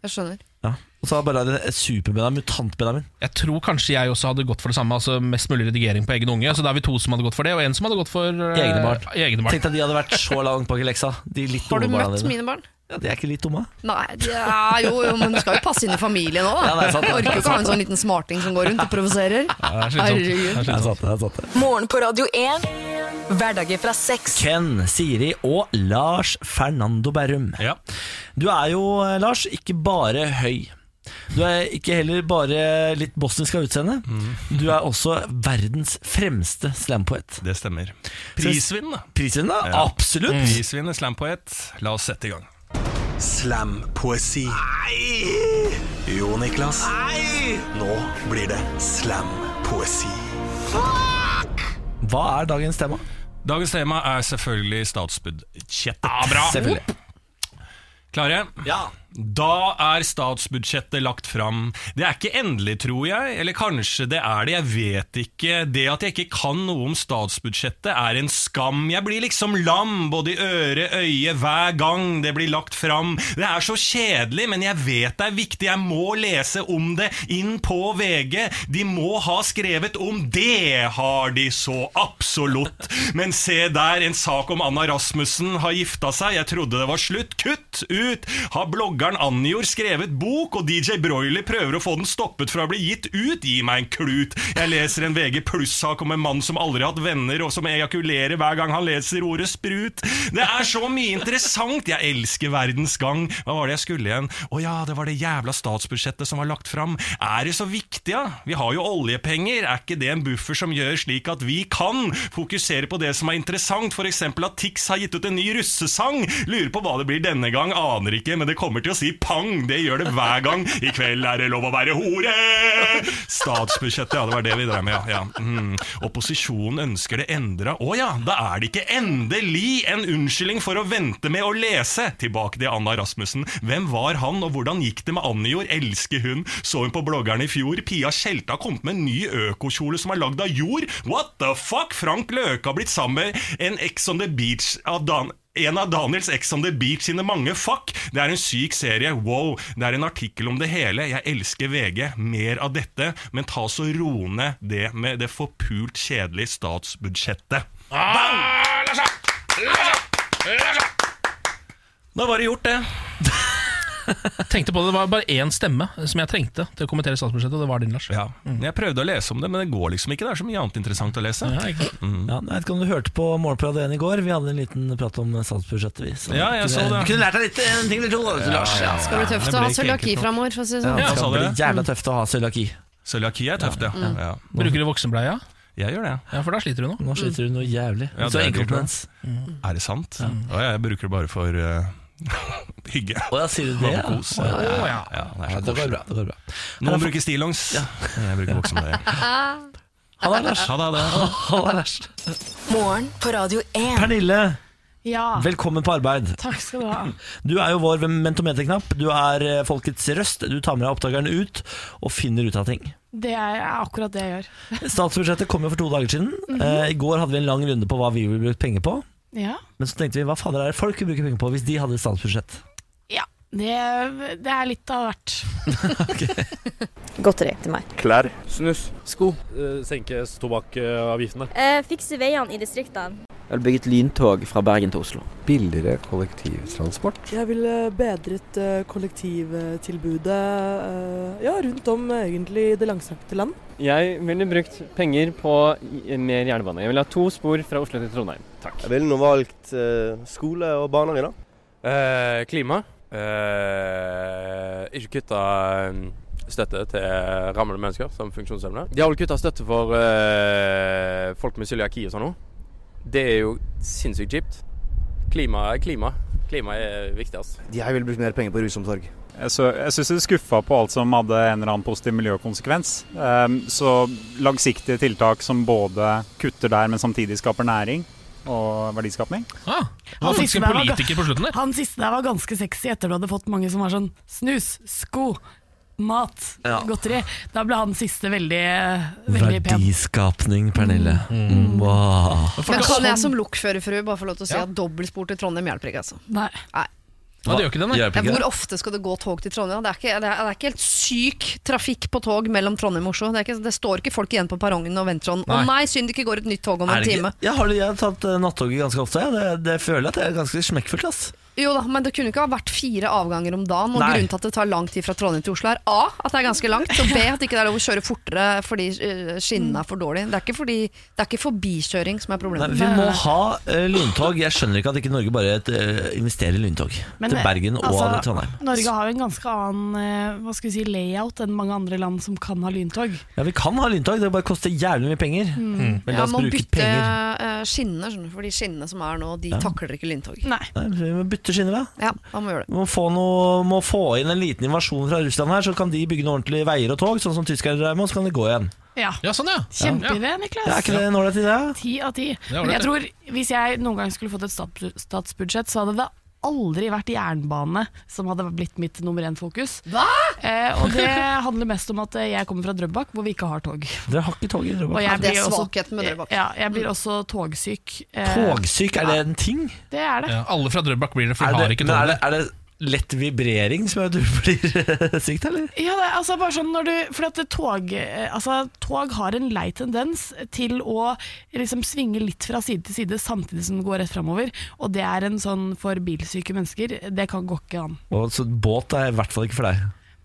Speaker 3: jeg skjønner.
Speaker 1: Ja. Og så har jeg bare lagd en super-Benjamin, mutant-Benjamin.
Speaker 2: Jeg tror kanskje jeg også hadde gått for det samme. Altså Mest mulig redigering på egen unge. Så da er vi to som hadde gått for det, og en som hadde gått for eh,
Speaker 1: Egne barn.
Speaker 2: egne barn.
Speaker 1: Tenk deg de hadde vært så langt bak i leksa. De litt
Speaker 3: Har du
Speaker 1: dumme barna
Speaker 3: møtt
Speaker 1: dine.
Speaker 3: mine barn?
Speaker 1: Ja, de er ikke litt dumme?
Speaker 3: Nei, ja, jo, jo, men du skal jo passe inn i familien òg, da.
Speaker 1: Ja, det er sant, det er
Speaker 3: Orker jo
Speaker 1: sant.
Speaker 3: ikke å ha en sånn liten smarting som går rundt og provoserer.
Speaker 2: Ja, det er slitsomt.
Speaker 3: Herregud.
Speaker 2: Det er
Speaker 1: Det er
Speaker 2: slitsomt.
Speaker 1: sant, det er sant. det.
Speaker 4: Morgen på Radio 1. Hverdager fra seks.
Speaker 1: Ken, Siri og Lars Fernando Berrum.
Speaker 7: Ja.
Speaker 1: Du er jo, eh, Lars, ikke bare høy. Du er ikke heller bare litt bosnisk av utseende. Du er også verdens fremste slampoet.
Speaker 7: Det stemmer. Prisvinn, da.
Speaker 1: Prisvinnende?
Speaker 7: Ja.
Speaker 1: Absolutt!
Speaker 7: Prisvinn slampoet. La oss sette i gang.
Speaker 6: Slampoesi. Nei! Jo, Niklas. Nei! Nå blir det slampoesi.
Speaker 1: Hva er dagens tema?
Speaker 7: Dagens tema er selvfølgelig statsbudsjettet.
Speaker 1: Selvfølgelig.
Speaker 7: Klare?
Speaker 1: Ja.
Speaker 7: Da er statsbudsjettet lagt fram. Det er ikke endelig, tror jeg. Eller kanskje det er det, jeg vet ikke. Det at jeg ikke kan noe om statsbudsjettet er en skam. Jeg blir liksom lam, både i øre, øye, hver gang det blir lagt fram. Det er så kjedelig, men jeg vet det er viktig. Jeg må lese om det inn på VG. De må ha skrevet om det, har de så absolutt. Men se der, en sak om Anna Rasmussen har gifta seg. Jeg trodde det var slutt. Kutt ut! Har bloggeren Anjor skrevet bok, og DJ Broiler prøver å få den stoppet fra å bli gitt ut? Gi meg en klut! Jeg leser en VG pluss-sak om en mann som aldri har hatt venner, og som ejakulerer hver gang han leser ordet sprut. Det er så mye interessant! Jeg elsker verdens gang. Hva var det jeg skulle igjen? Å ja, det var det jævla statsbudsjettet som var lagt fram. Er det så viktig, da? Vi har jo oljepenger. Er ikke det en buffer som gjør slik at vi kan fokusere på det som er interessant? F.eks. at Tix har gitt ut en ny russesang. Lurer på hva det blir denne gang, aner ikke, men det kommer til å si pang. Det gjør det hver gang. I kveld er det lov å være hore! Statsbudsjettet, ja, det var det vi drev med, ja. ja. Mm. Opposisjonen ønsker det endra. Å ja, da er det ikke endelig en unnskyldning for å vente med å lese! Tilbake til Anna Rasmussen. Hvem var han, og hvordan gikk det med Anjor? Elsker hun. Så hun på bloggerne i fjor. Pia Tjelta har kommet med en ny økokjole som er lagd av jord. What the fuck? Frank Løke har blitt sammen med en Ex on the Beach av Dan... En av Daniels Ex on the Beach sine mange fuck. Det er en syk serie. Wow. Det er en artikkel om det hele. Jeg elsker VG. Mer av dette. Men ta så ro ned det med det forpult kjedelige statsbudsjettet. Da var det gjort, det.
Speaker 2: Tenkte på det, det var bare én stemme som jeg trengte til å kommentere statsbudsjettet, og det var din, Lars.
Speaker 7: Ja. Jeg prøvde å lese om det, men det går liksom ikke. Det er så mye annet interessant å lese.
Speaker 2: Ja, ikke sant?
Speaker 1: Mm. Ja, jeg vet ikke om du hørte på Morgenprat 1 i går. Vi hadde en liten prat om statsbudsjettet. Vi, så
Speaker 7: Ja, jeg
Speaker 1: du
Speaker 7: så
Speaker 1: kunne-
Speaker 7: det.
Speaker 1: kunne lært deg litt, eh, en ting eller to, da, Lars. Ja,
Speaker 3: Det blir tøft
Speaker 7: det
Speaker 3: å ha
Speaker 7: ble ikke
Speaker 3: cøliaki
Speaker 7: enkelt nok.
Speaker 3: framover, for å si det sånn.
Speaker 1: det
Speaker 7: Ja,
Speaker 1: skal
Speaker 7: sa
Speaker 1: bli
Speaker 7: det.
Speaker 1: jævla tøft å ha cøliaki.
Speaker 7: Cøliaki er tøft, ja. ja.
Speaker 2: Bruker du voksenbleia?
Speaker 7: Jeg gjør det.
Speaker 2: Ja, for da sliter du nå.
Speaker 9: Mm.
Speaker 1: Nå sliter du noe jævlig.
Speaker 7: Ja,
Speaker 1: så
Speaker 7: det er dyrt,
Speaker 1: inkontinens.
Speaker 7: Er det sant? Ja, jeg bruker det bare for eh, hygge.
Speaker 1: Å ja, sier du det? Ja.
Speaker 7: Kos.
Speaker 1: Å, ja.
Speaker 7: Ja, det er
Speaker 1: Ja,
Speaker 7: så
Speaker 1: det
Speaker 7: koselig.
Speaker 1: går bra. Det går bra.
Speaker 7: Noen bruker stillongs. Jeg bruker voksenbleie.
Speaker 1: Ha det, Lars.
Speaker 7: Ha det, ha det.
Speaker 1: Ha det, Lars.
Speaker 4: Morgen på Radio 1.
Speaker 1: Pernille,
Speaker 9: Ja,
Speaker 1: velkommen på arbeid.
Speaker 9: takk skal du ha.
Speaker 1: Du er jo vår mentometerknapp. Du er eh, folkets røst. Du tar med deg oppdageren ut og finner ut av ting.
Speaker 9: Det er akkurat det jeg gjør.
Speaker 1: Statsbudsjettet kom jo for to dager siden. Eh, I går hadde vi en lang runde på hva vi ville brukt penger på.
Speaker 9: Mhm. Ja.
Speaker 1: Men så tenkte vi hva fader er det folk vil bruke penger på hvis de hadde et statsbudsjett?
Speaker 9: ja. Det, det er litt av hvert.
Speaker 10: Godteri til meg.
Speaker 6: Klær.
Speaker 11: Sko. Eh, senke tobakksavgiftene.
Speaker 10: fikse Eh, veiene i distriktene.
Speaker 11: Eller bygget lyntog fra Bergen til Oslo.
Speaker 8: Billigere kollektivtransport.
Speaker 9: Jeg ville bedret kollektivtilbudet ja, rundt om eh, egentlig i det langstrakte land.
Speaker 11: Jeg ville brukt penger på mer jernbane. Jeg ville ha to spor fra Oslo til Trondheim. Takk.
Speaker 6: Jeg ville nå valgt skole og barner i dag.
Speaker 11: klima. ikke kutta støtte til rammede mennesker som funksjonshemmede. De har vel kutta støtte for eh, folk med cøliaki og sånn noe. Det er jo sinnssykt kjipt. Klima er klima. Klima er viktig, altså.
Speaker 6: Jeg ville brukt mer penger på rusomsorg.
Speaker 11: Jeg, så, jeg syns du skuffa på alt som hadde en eller annen positiv miljøkonsekvens. Ehm, så langsiktige tiltak som både kutter der, men samtidig skaper næring og verdiskapning.
Speaker 2: Ah, det var faktisk en
Speaker 9: Han fikk
Speaker 2: politiker på slutten der.
Speaker 9: Han siste der var ganske sexy etter du hadde fått mange som var sånn snus, sko, mat,
Speaker 1: Ja.
Speaker 9: godteri. Da ble han siste veldig, veldig pen.
Speaker 1: Verdiskapning, Pernille. Mm. Wow.
Speaker 3: Men kan jeg som lokførerfrue bare få lov til å si at dobbeltspor til Trondheim hjelper ikke, altså.
Speaker 9: Nei.
Speaker 2: Ja, det gjør ikke det, nei.
Speaker 1: Hjelper
Speaker 3: Ja,
Speaker 1: ikke
Speaker 3: hvor
Speaker 1: det?
Speaker 3: ofte skal det gå tog til Trondheim? Det er ikke, det er, det er ikke helt syk trafikk på tog mellom Trondheim og Oslo. Det, er ikke, det står ikke folk igjen på perrongen og venter sånn Å
Speaker 2: Nei.
Speaker 3: nei, synd det ikke går et nytt tog om
Speaker 1: Er
Speaker 3: en
Speaker 1: det
Speaker 3: time.
Speaker 1: ikke? Ja, har du, jeg har tatt eh, nattoget ganske ofte. ja. Det, det føler jeg at det er ganske smekkfullt. ass
Speaker 3: Jo da, men det kunne ikke ha vært fire avganger om dagen. Og
Speaker 1: Nei.
Speaker 3: Grunnen til at det tar lang tid fra Trondheim til Oslo, er A. At det er ganske langt. Og B. At det ikke er lov å kjøre fortere fordi eh, skinnene er for dårlige. Det er ikke, fordi, det er ikke forbikjøring som er
Speaker 1: Nei,
Speaker 3: problemet.
Speaker 1: vi må ha eh, lyntog. Jeg skjønner ikke at ikke Norge bare eh, investerer i lyntog
Speaker 9: Men,
Speaker 1: til Bergen og
Speaker 9: altså,
Speaker 1: Trondheim.
Speaker 9: Norge har jo en ganske annen eh, hva skal vi si, layout enn mange andre land som kan ha lyntog.
Speaker 1: Ja, Vi kan ha lyntog, det bare koster jævlig mye penger.
Speaker 9: Mm.
Speaker 1: Men la
Speaker 3: ja,
Speaker 1: oss
Speaker 3: man
Speaker 1: bruke
Speaker 3: bytter
Speaker 1: penger.
Speaker 3: eh, skinnene, skjønner du, for de skinnene som er nå, de
Speaker 1: Ja.
Speaker 3: takler ikke lyntog.
Speaker 1: Nei, vi må bytte skinner, da.
Speaker 3: Ja, da må vi gjøre det.
Speaker 1: Vi må få, noe, må få inn en liten invasjon fra Russland her, så kan de bygge noen ordentlige veier og tog, sånn som tyskerne drev med, og så kan de gå igjen.
Speaker 9: Ja.
Speaker 2: sånn, ja.
Speaker 9: Kjempeidé, Niklas.
Speaker 1: Ja, er ikke det en ålreit idé?
Speaker 9: Ti av ti.
Speaker 1: Ja,
Speaker 9: Men jeg
Speaker 1: det
Speaker 9: tror Hvis jeg noen gang skulle fått et stats- statsbudsjett, så hadde det aldri vært jernbane som hadde blitt mitt nummer én-fokus. Eh, og det handler mest om at eh, jeg kommer fra Drøbak, hvor vi ikke har tog.
Speaker 1: Dere har ikke tog i Drøbak.
Speaker 9: Og jeg blir også-
Speaker 3: med
Speaker 9: Ja, jeg blir også togsyk. eh,
Speaker 1: Togsyk, er det en ting?
Speaker 9: Det er det.
Speaker 2: Ja, alle fra Drøbak blir det, for
Speaker 1: Er
Speaker 2: de har
Speaker 1: det,
Speaker 2: ikke
Speaker 1: men er
Speaker 2: toget.
Speaker 1: det, er det lett vibrering som gjør at du blir sykt, eller?
Speaker 9: Ja, det er altså bare sånn når du For at det tog, eh, altså, tog har en lei tendens til å liksom svinge litt fra side til side samtidig som det går rett framover. Og det er en sånn for bilsyke mennesker, det kan gå ikke an.
Speaker 1: Og så båt er i hvert fall ikke for deg.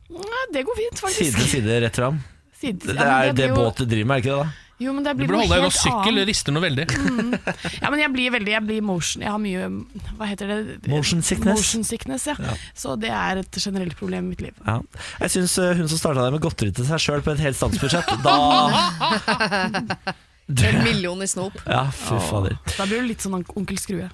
Speaker 9: Nei, det går fint,
Speaker 1: Side
Speaker 9: faktisk.
Speaker 1: til side, rett fram.
Speaker 9: Side til
Speaker 1: Det
Speaker 9: side. Ja,
Speaker 1: er
Speaker 9: men
Speaker 1: det
Speaker 9: blir jo-
Speaker 1: båt du driver med, er det ikke det? da?
Speaker 9: Jo, men det
Speaker 2: Du
Speaker 9: blir
Speaker 2: burde
Speaker 9: noe
Speaker 2: holde deg
Speaker 9: helt
Speaker 2: unna sykkel,
Speaker 9: annet.
Speaker 2: rister noe veldig.
Speaker 9: Ja, men jeg blir veldig Jeg blir motion Jeg har mye Hva heter det?
Speaker 1: Motion sickness.
Speaker 9: Motion sickness, ja.
Speaker 1: Ja.
Speaker 9: Så det er et generelt problem i mitt liv.
Speaker 1: Ja. Jeg syns hun som starta det med godteri til seg sjøl på et helt statsbudsjett, da
Speaker 3: En million i snop.
Speaker 1: Ja, fy fader.
Speaker 9: Da blir du litt sånn onkel Skrue.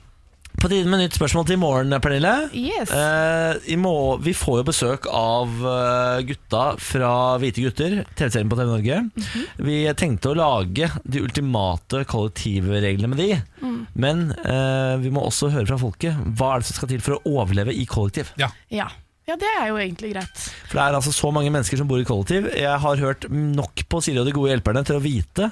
Speaker 1: På tide med nytt spørsmål til i morgen, Pernille.
Speaker 9: Yes.
Speaker 1: Eh, i må- vi får jo besøk av eh, gutta fra Hvite gutter, TV-serien på TV Norge. Vi tenkte å lage de ultimate kollektivreglene med de.
Speaker 9: Mm.
Speaker 1: Men eh, vi må også høre fra folket. Hva er det som skal til for å overleve i kollektiv?
Speaker 9: Ja. ja, det er jo egentlig greit.
Speaker 1: For det er altså så mange mennesker som bor i kollektiv. Jeg har hørt nok på Siri og de gode hjelperne til å vite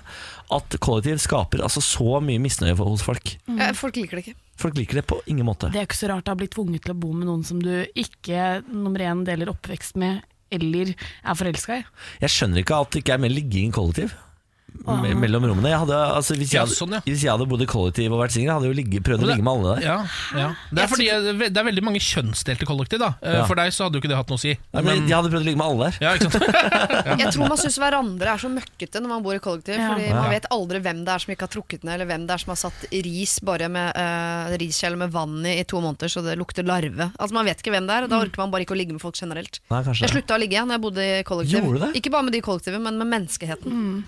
Speaker 1: at kollektiv skaper altså så mye misnøye for- hos folk.
Speaker 3: Eh, Folk liker det ikke.
Speaker 1: Folk liker det på ingen måte.
Speaker 9: Det er jo ikke så rart å ha blitt tvunget til å bo med noen som du ikke nummer én deler oppvekst med, eller er forelska i.
Speaker 1: Jeg skjønner ikke at det ikke er mer ligging i kollektiv.
Speaker 9: Ah.
Speaker 1: Me mellom rommene. Jeg hadde, altså, hvis,
Speaker 2: Ja,
Speaker 1: jeg hadde,
Speaker 2: sånn, ja.
Speaker 1: hvis jeg hadde bodd i kollektiv og vært singel, hadde jeg jo ligge, prøvd å
Speaker 2: Men det-
Speaker 1: ligge med alle der.
Speaker 2: Ja, ja. Det er fordi eh, det er veldig mange kjønnsdelte kollektiv. da Eh,
Speaker 1: Ja.
Speaker 2: For deg så hadde jo ikke det hatt noe å si.
Speaker 1: Nei, men jeg hadde prøvd å ligge med alle der.
Speaker 2: Ja, ikke sant?
Speaker 3: Jeg tror man syns hverandre er så møkkete når man bor i kollektiv. Fordi
Speaker 1: Ja.
Speaker 3: man vet aldri hvem det er som ikke har trukket ned, eller hvem det er som har satt ris bare med uh, riskjele med vann i i to måneder så det lukter larve. Altså Man vet ikke hvem det er, og da orker man bare ikke å ligge med folk generelt.
Speaker 1: Nei, kanskje
Speaker 3: Jeg
Speaker 1: det.
Speaker 3: slutta å ligge når jeg bodde i kollektiv.
Speaker 1: Gjorde du det?
Speaker 3: Ikke bare med de i kollektivet, men med menneskeheten.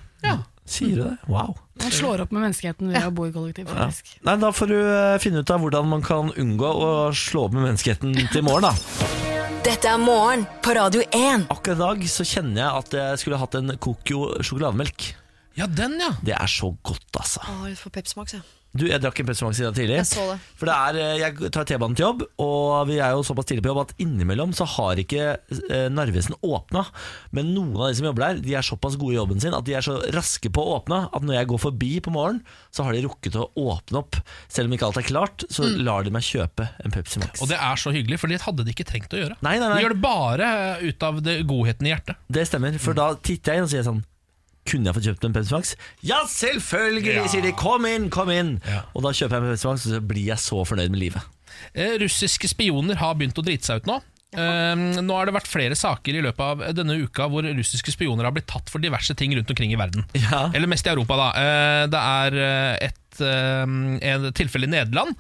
Speaker 1: Sier du det? Wow.
Speaker 9: Man slår opp med menneskeheten ved å bo i kollektiv,
Speaker 1: Ja.
Speaker 9: faktisk.
Speaker 1: Nei, da får du eh, finne ut av hvordan man kan unngå å slå opp med menneskeheten til i morgen, da.
Speaker 4: Dette er morgen på Radio 1.
Speaker 1: Akkurat i dag så kjenner jeg at jeg skulle hatt en Coco sjokolademelk.
Speaker 2: Ja, den, ja.
Speaker 1: Det er så godt, altså.
Speaker 3: Å, jeg får Pepsi Max, jeg.
Speaker 1: Du, jeg drakk en Pepsi Max i dag tidlig.
Speaker 3: Jeg så det.
Speaker 1: For det er, eh, jeg tar T-banen til jobb, og vi er jo såpass tidlig på jobb at innimellom så har ikke eh, Narvesen åpna. Men noen av de som jobber der, de er såpass gode i jobben sin at de er så raske på å åpne at når jeg går forbi på morgenen, så har de rukket å åpne opp. Selv om ikke alt er klart, så
Speaker 3: Mm.
Speaker 1: lar de meg kjøpe en Pepsi Max.
Speaker 2: Og det er så hyggelig, for det hadde de ikke trengt å gjøre.
Speaker 1: Nei, nei, nei.
Speaker 2: De gjør det bare eh, ut av det godheten i hjertet.
Speaker 1: Det stemmer,
Speaker 2: Mm.
Speaker 1: for da titter jeg inn og sier sånn kunne jeg fått kjøpt en Pepsi Max? Ja, selvfølgelig,
Speaker 2: Ja.
Speaker 1: sier de. Kom inn, kom inn! Og da kjøper jeg en Pepsi Max, og så blir jeg så fornøyd med livet.
Speaker 2: Eh, Russiske spioner har begynt å drite seg ut nå. Eh, nå har det vært flere saker i løpet av denne uka hvor russiske spioner har blitt tatt for diverse ting rundt omkring i verden. Eller mest i Europa, da. Eh, det er eh, et, eh, et tilfelle i Nederland.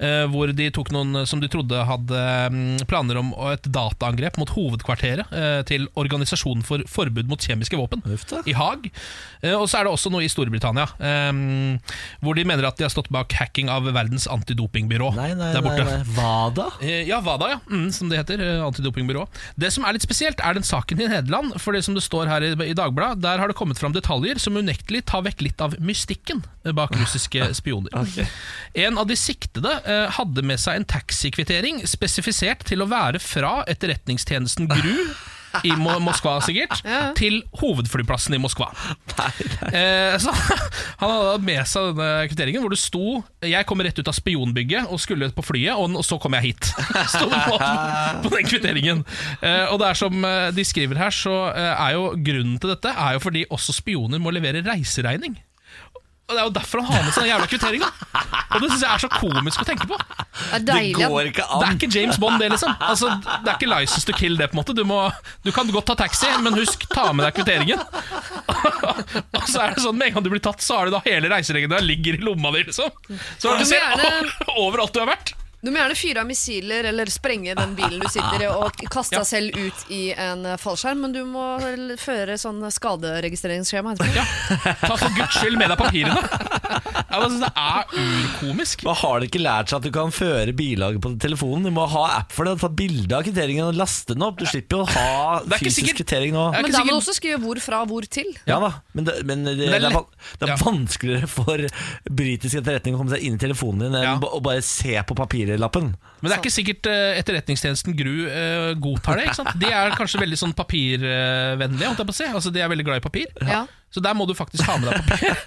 Speaker 2: eh, hvor de tok noen som de trodde hadde eh, planer om et dataangrep mot hovedkvarteret eh, til Organisasjonen for forbud mot kjemiske våpen i Haag. Eh, Og så er det også noe i Storbritannia, eh, hvor de mener at de har stått bak hacking av verdens antidopingbyrå der borte.
Speaker 1: Hva da?
Speaker 2: Eh, Ja, WADA, ja. Mm, som det heter. eh, Antidopingbyrå. Det som er litt spesielt, er den saken i Nederland. For det som det står her i, i Dagbladet, der har det kommet fram detaljer som unektelig tar vekk litt av mystikken eh, bak russiske spioner. En av de siktede eh, hadde med seg en taxikvittering spesifisert til å være fra etterretningstjenesten GRU. I Mo Moskva, sikkert. Til hovedflyplassen i Moskva. Eh, så, han hadde med seg denne kvitteringen hvor det sto 'Jeg kom rett ut av spionbygget og skulle på flyet, og, og så kom jeg hit'. Sto det på, den- på den kvitteringen. Eh, og det er som eh, de skriver her, så eh, er jo grunnen til dette er jo fordi også spioner må levere reiseregning. Og Det er jo derfor han har med seg den jævla kvitteringa! Og det syns jeg er så komisk å tenke på.
Speaker 3: Det er deilig at-
Speaker 2: Det er ikke James Bond, det, liksom. Altså, det er ikke license to kill, det, på en måte. Du, må, du kan godt ta taxi, men husk, ta med deg kvitteringen. og så er det sånn, med en gang du blir tatt, så har du da hele reiseregelen der ligger i lomma di, liksom. Så
Speaker 3: Du
Speaker 2: du ser
Speaker 3: må gjerne-
Speaker 2: overalt du har vært.
Speaker 3: Du må gjerne fyre av missiler eller sprenge den bilen du sitter i og kaste deg selv ut i en eh, fallskjerm, men du må vel føre sånn skaderegistreringsskjema etterpå.
Speaker 2: Ta for guds skyld med deg papirene. Ja, men det er urkomisk.
Speaker 1: Man har de ikke lært seg at du kan føre billaget på telefonen? Du må ha app for det. Ta bilde av kvitteringen og laste den opp. Du slipper jo å
Speaker 2: Det
Speaker 1: ha
Speaker 2: er ikke
Speaker 1: fysisk
Speaker 2: sikkert-
Speaker 1: kvittering nå.
Speaker 3: Men da må du også skrive hvor fra hvor til.
Speaker 1: Ja da, men det, men det, det,
Speaker 2: er
Speaker 1: er, van- det er vanskeligere for britisk etterretning å komme seg inn i telefonen din enn ba- å bare se på papirlappen.
Speaker 2: Men det er ikke sikkert eh, etterretningstjenesten GRU eh, godtar det. ikke sant? De er kanskje veldig sånn papirvennlige, holdt jeg på å si. Altså, de er veldig glad i papir.
Speaker 3: Ja.
Speaker 2: Så der må du faktisk ha med deg papir.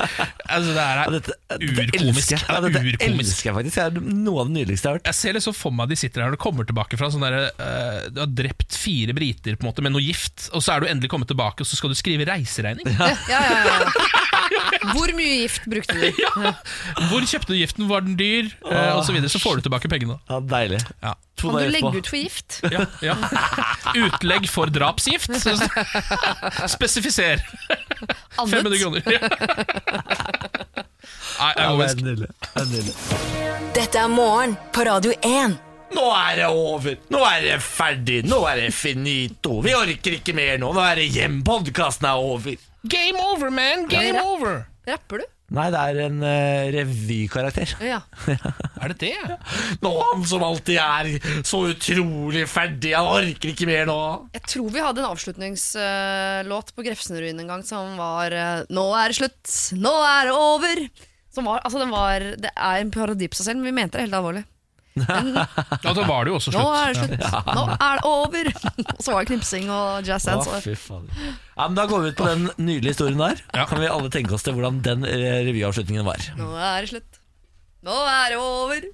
Speaker 2: altså, det her er urkomisk.
Speaker 1: elsker jeg. Ja,
Speaker 2: Det
Speaker 1: dette
Speaker 2: er urkomisk.
Speaker 1: elsker jeg faktisk. Det er noe av det nydeligste jeg har hørt.
Speaker 2: Jeg ser liksom for meg de sitter her og kommer tilbake fra sånn derre eh, Du har drept fire briter på en måte med noe gift, og så er du endelig kommet tilbake, og så skal du skrive reiseregning.
Speaker 3: Ja, ja, ja. Hvor mye gift brukte du? Ja.
Speaker 2: Hvor kjøpte du giften, var den dyr, eh, og så videre. Så får du tilbake pengene.
Speaker 1: Ja, deilig.
Speaker 2: Ja.
Speaker 3: Kan du legge ut for gift?
Speaker 2: Ja, ja. Utlegg for drapsgift. Så- Spesifiser.
Speaker 3: Annet.
Speaker 2: 500 kroner. Ja. Nei, jeg
Speaker 1: Ja,
Speaker 2: går
Speaker 1: det
Speaker 2: vekk.
Speaker 1: er nydelig. Det er nydelig.
Speaker 4: Dette er morgen på Radio 1.
Speaker 1: Nå er det over! Nå er det ferdig! Nå er det finito! Vi orker ikke mer nå! Nå er det hjem! Podkasten er over!
Speaker 2: Game over, man! Game
Speaker 3: Ja.
Speaker 2: over!
Speaker 3: Rapper du?
Speaker 1: Nei, det er en eh, revykarakter.
Speaker 3: Ja.
Speaker 2: Er det det?
Speaker 1: Nå han som alltid er så utrolig ferdig, han orker ikke mer nå.
Speaker 3: Jeg tror vi hadde en avslutningslåt på Grefsenruinen en gang som var eh, Nå er det slutt, nå er det over. Som var, altså den var, det er en parodi på seg selv, men vi mente det helt alvorlig.
Speaker 2: Ja, da var det jo også
Speaker 3: Nå
Speaker 2: slutt.
Speaker 3: er det slutt, nå er det over. Og så var det knipsing og jazz
Speaker 1: Å,
Speaker 3: dance. og-
Speaker 1: fy fader. Ja, men da går vi ut på den nydelige historien der. Kan vi alle tenke oss til hvordan den eh, revyavslutningen var.
Speaker 3: Nå er det slutt, nå er det over.